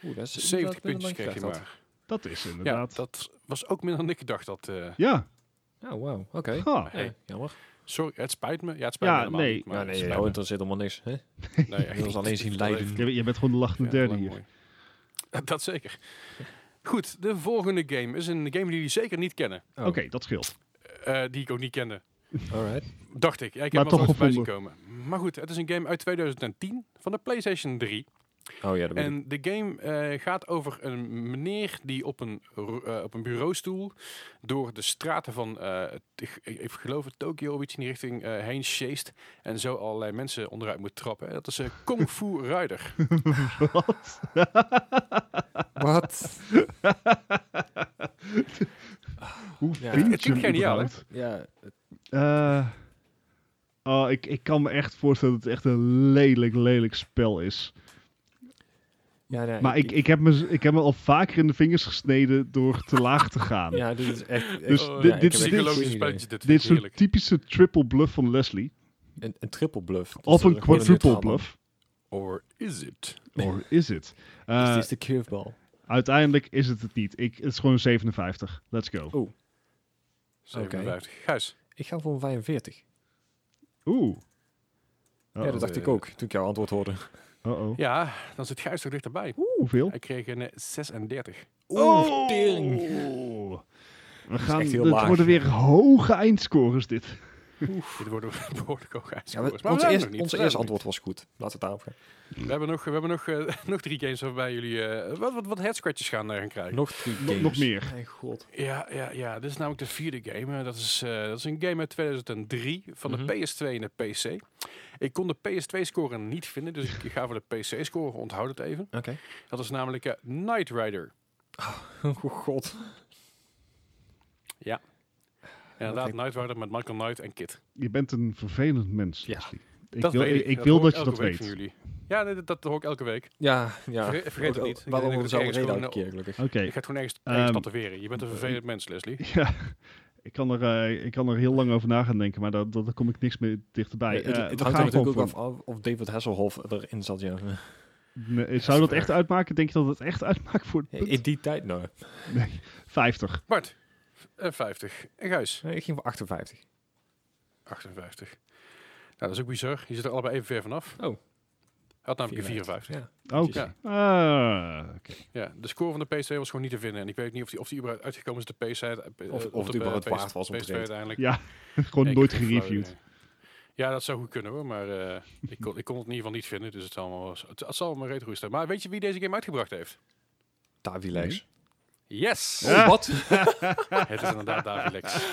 Oeh, dat is 70 inderdaad minder puntjes dan ik kreeg je gedacht maar. Dat is Ja, inderdaad. Ja. dat was ook minder dan ik gedacht had. eh. had. Oh, wauw. Oké. Ha. Hey. Ja, jammer. Sorry, het spijt me. Ja, het spijt Ja, me helemaal nee. niet. Maar Maar nee, het dat spijt nou, me. interesseert helemaal niks. Hè? [LAUGHS] Nee, echt wil ons niet. alleen zien Dat lijden. heeft- Je, je bent gewoon de lachende ja, derde lang hier. mooi. [LAUGHS] Dat zeker. Goed, de volgende game is een game die jullie zeker niet kennen. Oh, Oké, dat scheelt. Eh, die ik ook niet kende. Alright. Dacht ik. Ja, ik Maar heb hem toch nog voorbij zien komen. Maar goed, het is een game uit 2010 van de PlayStation 3. Oh ja, dat weet ik. En de game eh, gaat over een meneer die op een, ro- eh, op een bureaustoel door de straten van, eh, ik, ik- ik geloof het, Tokio of iets in die richting eh, heen sjeest. En zo allerlei mensen onderuit moet trappen. Dat is eh, Kung Fu Rider. Wat? Wat? Hoe Ja. vind Het je klinkt hem geniaal, hè? überhaupt? [LAUGHS] Ja, Eh, oh, ik, ik kan me echt voorstellen dat het echt een lelijk, lelijk spel is. ja nee, Maar ik, ik, heb me, z- ik heb me al vaker in de vingers gesneden door te laag te gaan. Ja, dit is echt... Dus echt- Oh, dit- ja, dit- ik heb echt psychologisch Psychologisch geen idee. spelletje, dit Dit vind is ik een heerlijk. typische triple bluff van Leslie. Een, een triple bluff. Dus Of dat een is gewoon quadruple neutraal dan. bluff. Or is it? Or is it? Eh, dit Dus is de curveball. uiteindelijk is het het niet. Ik, het is gewoon 57. Let's go. Oh, 57. Gijs. ik ga voor een 45. Oeh. Ja, dat dacht ik eh. ook toen ik jouw antwoord hoorde. Oh oh. Ja, dan zit Gijs toch dichterbij. Hoeveel? Hij kreeg een eh, 36. Oeh, tering. Oeh. We gaan, echt heel het laag. worden weer hoge eindscores dit. Dit worden [LAUGHS] behoorlijk ook Ja, uitscores. maar maar we ons zijn er eerste, nog niet. ons We zijn eerste er nog antwoord was goed. Laten we het daarop gaan. niet. We hebben nog, we hebben nog, eh, [LAUGHS] nog drie games waarbij jullie eh, wat, wat, wat headscratches gaan, eh, gaan krijgen. Nog drie Nog- games. nog meer. Mijn god. Ja, ja, ja, dit is namelijk de vierde game. Eh, dat, is, eh, dat is een game uit 2003 van Mhm. de PS2 en de PC. Ik kon de PS2-score niet vinden, dus ik ga voor de PC-score. Onthoud het even. Oké. Dat is namelijk eh, Knight Rider. [LAUGHS] Oh god. Inderdaad, Knight Rider met Michael Knight en Kit. Je bent een vervelend mens. Ja, Leslie. Ik wil, ik, ik wil hoor dat je elke dat week weet. van jullie. Ja, nee, dat, dat hoor ik elke week. Ja, ja. Verge- vergeet het Ook- niet. Ik Waarom denk we dat ik dezelfde ergens reden gewoon elke keer, gelukkig. Oké. Ik ga het gewoon ergens, ergens Ehm, tatoeëren. Je bent een vervelend mens, Leslie. [LAUGHS] Ja, ik kan, er, eh, ik kan er heel lang over na gaan denken, maar daar, daar daar kom ik niks meer dichterbij. Nee, het, Eh, we het hangt er gaan gewoon natuurlijk ook af voor- af of David Hasselhoff erin zat, ja. Nee, is zou dat waar. echt uitmaken? Denk je dat het echt uitmaakt voor het punt? In die tijd, nou. 50. Bart, eh, 50. En Gijs, Nee, ik ging voor 58. 58. Nou, dat is ook bizar. Je zit er allebei even ver vanaf. Oh. Had namelijk een 54. 54. Ja. Oké. Ja. Ah, oké. [LAUGHS] Ja, de score van de PC was gewoon niet te vinden. En ik weet niet of die, of die überhaupt uitgekomen is op de PC. eh, Of- op of de, het überhaupt eh, waard was om te PS2 reden. uiteindelijk. Ja, gewoon Nee, ik nooit heb eh, geen flauw gereviewd. idee. Ja, dat zou goed kunnen hoor, maar eh, ik, kon, ik kon het in ieder geval niet vinden, dus het zal allemaal, het, het zal allemaal retro staan. Maar weet je wie deze game uitgebracht heeft? Davy Lex. Yes! Oh, wat? Het is inderdaad David Lex.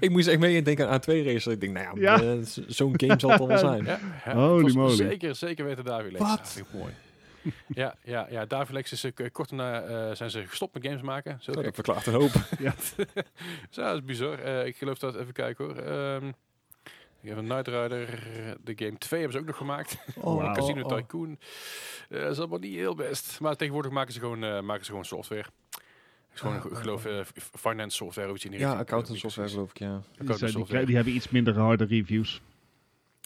ik moest echt mee denken aan twee races. Ik denk, nou ja, Ja. eh, z- zo'n game zal het wel wel [LAUGHS] zijn. Ja, ja, het Holy was moly. Zeker, zeker weten David Lex. Wat? Ja, vind ik mooi. Ja, ja, ja, David Lex is eh, kort daarna eh, zijn ze gestopt met games maken. Zo, Zo, gek. dat verklaart een hoop. [LAUGHS] Zo, dat is bizar. Eh, ik geloof dat, even kijken hoor. Ehm ik heb een Knight Rider, de game 2 hebben ze ook nog gemaakt. Oh, [LAUGHS] Wauw. Casino oh, oh. Tycoon. Eh, dat is allemaal niet heel best. Maar tegenwoordig maken ze gewoon, eh, maken ze gewoon software. Is gewoon, Ah, ik geloof, eh, f- finance software of iets in die Ja, richting. Ik weet accountant het niet software precies. geloof ik, ja. Die, zijn- Accountant die, software. die hebben iets minder harde reviews.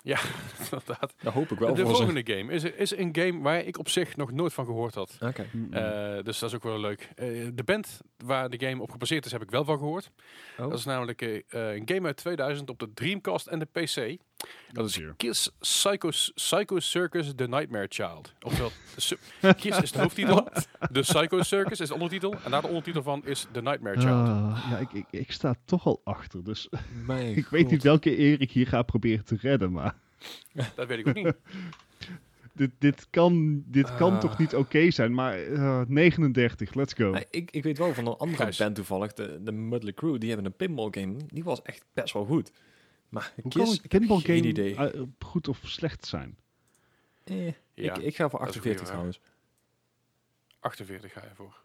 [LAUGHS] Inderdaad. Dat hoop ik wel de voor ze. volgende game is, is een game waar ik op zich nog nooit van gehoord had. Oké. Eh, dus dat is ook wel leuk. Eh, de band waar de game op gebaseerd is, heb ik wel van gehoord. Oh. Dat is namelijk eh, eh, een game uit 2000 op de Dreamcast en de PC. Dat is dear. Kiss Psycho, Psycho Circus The Nightmare Child. Oftewel, de [LAUGHS] su- Kiss is de hoofdtitel, de Psycho Circus is de ondertitel en daar de ondertitel van is The Nightmare Child. Ah, ja, ik, ik, ik sta toch al achter, dus [LAUGHS] Mijn ik weet god. niet welke eer ik hier ga proberen te redden, maar Dat weet ik ook niet. dit, dit kan, dit kan Ah. toch niet oké zijn, maar eh, 39, let's go. Maar ik, ik weet wel van een andere Gijs. band toevallig, de, de Mudley Crew, die hebben een pinball game. Die was echt best wel goed. Maar Hoe kan Kiss, een ik heb pinball geen game idee. eh, goed of slecht zijn? Eh, Ja, ik, ik ga voor dat is een goeie 48 trouwens. 48 ga je voor.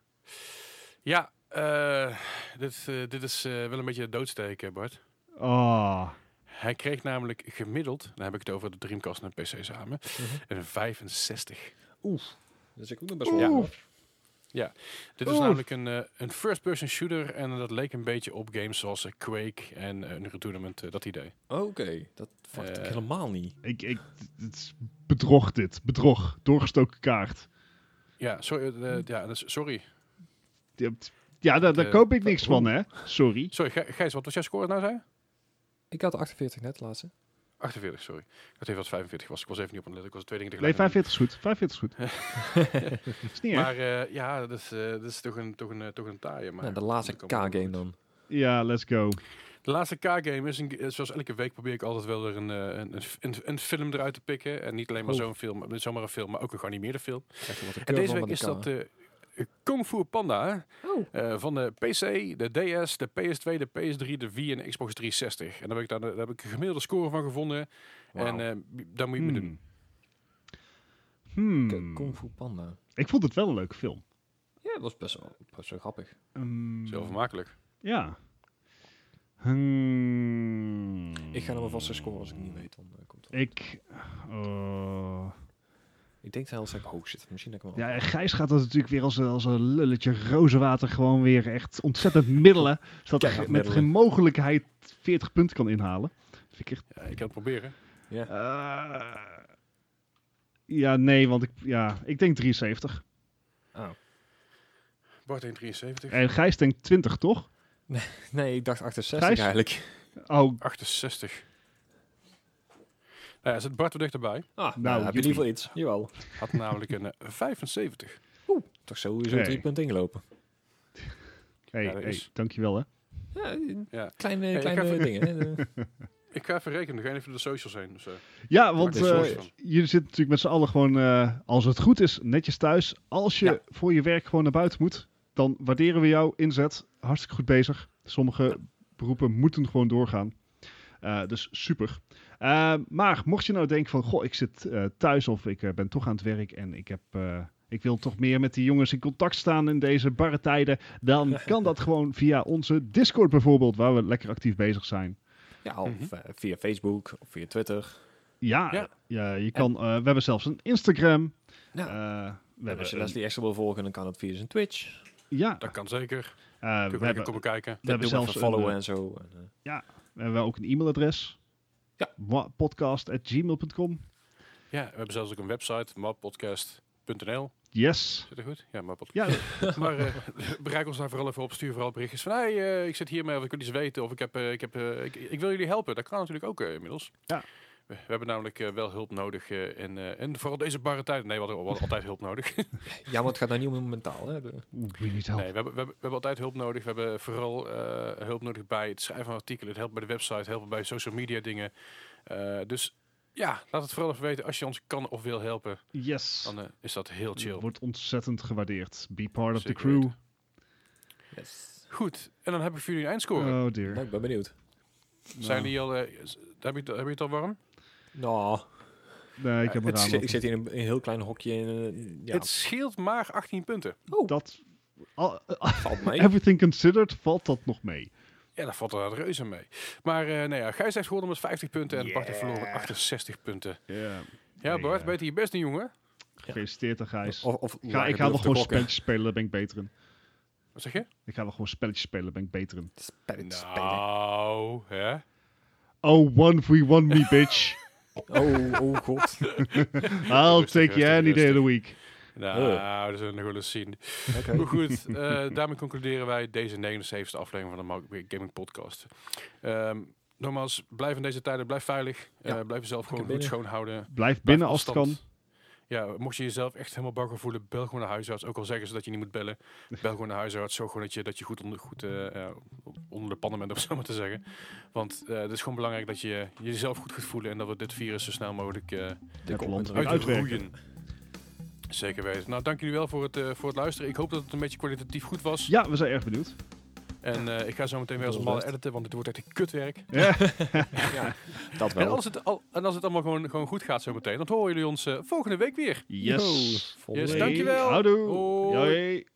Ja, eh, dit, eh, dit is eh, wel een beetje de doodsteek, eh, Bart. Ah, Hij kreeg namelijk gemiddeld, dan heb ik het over de Dreamcast en de PC samen, een 65. Dus ik ook nog best wel. Oeh. hoor. Dit is Oeh. namelijk een, eh, een first-person shooter en dat leek een beetje op games zoals eh, Quake en eh, Unreal Tournament, eh, dat idee. Oké, dat vond ik Eh. helemaal niet. ik, ik, het is bedrog dit, bedrog, doorgestoken kaart. Ja, sorry, eh, eh, ja, dus, sorry. Je hebt- Ja, daar, daar Eh, koop ik niks van, hè? Sorry. sorry Gij- Gijs, wat was jouw score nou, zei je? Ik had 48 net laatste. 48, sorry. Ik had even wat 45 was. Ik was even niet op een let. Ik was twee dingen Nee, tegelijk. aan het 45 is goed, 45 is goed. [LAUGHS] is niet doen. Maar erg. eh, ja, dat is, eh, dat is toch een, toch een, eh, toch een taaie. Maar Nou, de laatste dat komt wel K-game goed. dan. Ja, let's go. De laatste K-game is, een, eh, zoals elke week probeer ik altijd wel er een, eh, een, een, een, een film eruit te pikken. En niet alleen maar Oh. zo'n film, eh, zomaar een film, maar ook een geanimeerde film. Echt wat een En deze curveball week met is een dat K. de Kung Fu Panda Oh. eh, van de PC, de DS, de PS2, de PS3, de Wii en de Xbox 360. En daar heb ik, dan, daar heb ik een gemiddelde score van gevonden. En Wauw. eh, daar moet je me doen. Hmm. Hmm. K- Kung Fu Panda. Ik vond het wel een leuke film. Ja, dat was best wel, best wel grappig. Ehm, Zelf makkelijk. Ja. Hmm. Ik ga hem alvast eens scoren als ik het niet weet. Dan, eh, komt het wel. Ik... oh. ik denk zelfs dat ik hoog zit. oh, Misschien dat ik hem wel. Ja, en Gijs gaat dat natuurlijk weer als, een- als een lulletje rozenwater gewoon weer echt ontzettend middelen. Zodat hij Keihard met geen middelen. mogelijkheid 40 punten kan inhalen. Vind ik echt... Ja, ik kan het proberen. Ja. Eh, Ja, nee, want ik, ja, ik denk 73. Ah. Bart 173. En Gijs denkt 20, toch? Nee, ik dacht 68 Gijs? eigenlijk. Oh, 68. Nou ja, zit Bart er dichterbij. Ah, nou, Nou, heb je in ieder geval iets. Jawel. Had namelijk een eh, 75. Toch sowieso Nee. drie punten ingelopen. hey, Ja, dat hey, is- dankjewel hè. Ja, Ja. kleine, ik kleine heb- dingen. [LAUGHS] hè. De- Ik ga even rekenen. Dan ga je even de socials heen. Dus, eh, Ja, maak want je er eh, zorgen van. jullie zitten natuurlijk met z'n allen gewoon, eh, als het goed is, netjes thuis. Als je Ja. voor je werk gewoon naar buiten moet, dan waarderen we jouw inzet. Hartstikke goed bezig. Sommige beroepen moeten gewoon doorgaan. Eh, dus super. Eh, maar mocht je nou denken van, goh, ik zit eh, thuis of ik eh, ben toch aan het werk en ik heb... eh, ik wil toch meer met die jongens in contact staan in deze barre tijden. [LAUGHS] Dan kan dat gewoon via onze Discord bijvoorbeeld, waar we lekker actief bezig zijn. ja, of Mhm. eh, via Facebook of via Twitter. Ja, ja. Ja. je kan, eh, we hebben zelfs een Instagram. Nou, Eh, we en als je hebben een- Leslie extra wil volgen, dan kan dat via zijn Twitch. ja, Dat kan zeker. eh, Kun we, je lekker hebben, komen kijken. we hebben Doe maar zelfs even een, followen eh, en zo. En, eh, we hebben ook een e-mailadres. Ja. Wa- Podcast.gmail.com. Ja, we hebben zelfs ook een website. mappodcast.nl. Yes. Zit er goed? Ja, mappodcast. [LAUGHS] Ja, Maar eh, bereik ons daar vooral even op. Stuur vooral berichtjes van... Hey, eh, ik zit hiermee of ik wil iets weten. Of ik, heb, eh, ik, heb, eh, ik, ik wil jullie helpen. Dat kan natuurlijk ook eh, inmiddels. Ja. We, we hebben namelijk eh, wel hulp nodig. eh, en, eh, en vooral deze barre tijd. Nee, we hadden, we hadden altijd hulp nodig. ja, want het gaat nou niet om mentaal. Hè? De- Oeh, we niet helpen. Nee, we hebben, we, hebben, we hebben altijd hulp nodig. We hebben vooral eh, hulp nodig bij het schrijven van artikelen. Het helpt bij de website, helpen bij social media dingen. Eh, dus ja, laat het vooral even weten. Als je ons kan of wil helpen, Yes. dan eh, is dat heel chill. Wordt ontzettend gewaardeerd. Be part of Zeker the crew. weten. Goed, en dan heb ik voor jullie een eindscore. Oh dear. Nou, ik ben benieuwd. Zijn Nou, die al... eh, s- heb, je, het- heb je het al warm? Nou, Nee, ik heb het mijn raam zit- ik open. zit hier in een, in een heel klein hokje. En, eh, ja, Oh, Het scheelt maar 18 punten. Dat, [LAUGHS] al- valt mee. everything considered, valt dat nog mee. Ja, dat valt er een reuze mee. Maar eh nou ja, Gijs heeft gewonnen met 50 punten en Bart heeft verloren met 68 punten. Ja. Ja, Nee, Bart, eh, beter je best doen, jongen. Gefeliciteerd aan Gijs. Of, of Ga, ik ga wel gewoon spelletjes spelen, daar ben ik beter in. Wat zeg je? Ik ga wel gewoon spelletjes spelen, daar ben ik beter in. spelen. Nou, hè? Oh, one we one me, bitch. [LAUGHS] Oh, oh god. I'll Rustig, take you rustig, any day of rustig. the week. Nou, dat zullen we nog wel eens zien. Oké. Maar [LAUGHS] goed, eh, daarmee concluderen wij deze 79e aflevering van de Market Beer Gaming Podcast. Ehm, nogmaals, blijf in deze tijden, blijf veilig. Ja. Eh, blijf jezelf gewoon goed binnen. schoon houden. Blijf binnen als het kan. afstand. Ja, mocht je jezelf echt helemaal bakker voelen, bel gewoon naar huisarts. Ook al zeggen ze dat je niet moet bellen, bel gewoon naar huisarts. Zorg gewoon dat je, dat je goed, onder, goed eh, ja, onder de pannen bent, om zo maar te zeggen. Want eh, het is gewoon belangrijk dat je jezelf goed gaat voelen en dat we dit virus zo snel mogelijk eh, Het land uit eruit het uitwerken. roeien. Zeker weten. Nou, dank jullie wel voor het, eh, voor het luisteren. Ik hoop dat het een beetje kwalitatief goed was. Ja, we zijn erg benieuwd. En eh, ik ga zo meteen weer als een Doe malle best. editen, want dit wordt echt een kutwerk. Ja. Dat En wel. als het, al, en als het allemaal gewoon, gewoon goed gaat zo meteen, dan horen jullie ons eh, volgende week weer. Yes. Volgende Yes, week. dankjewel. Houdoe. Hoi. Joi.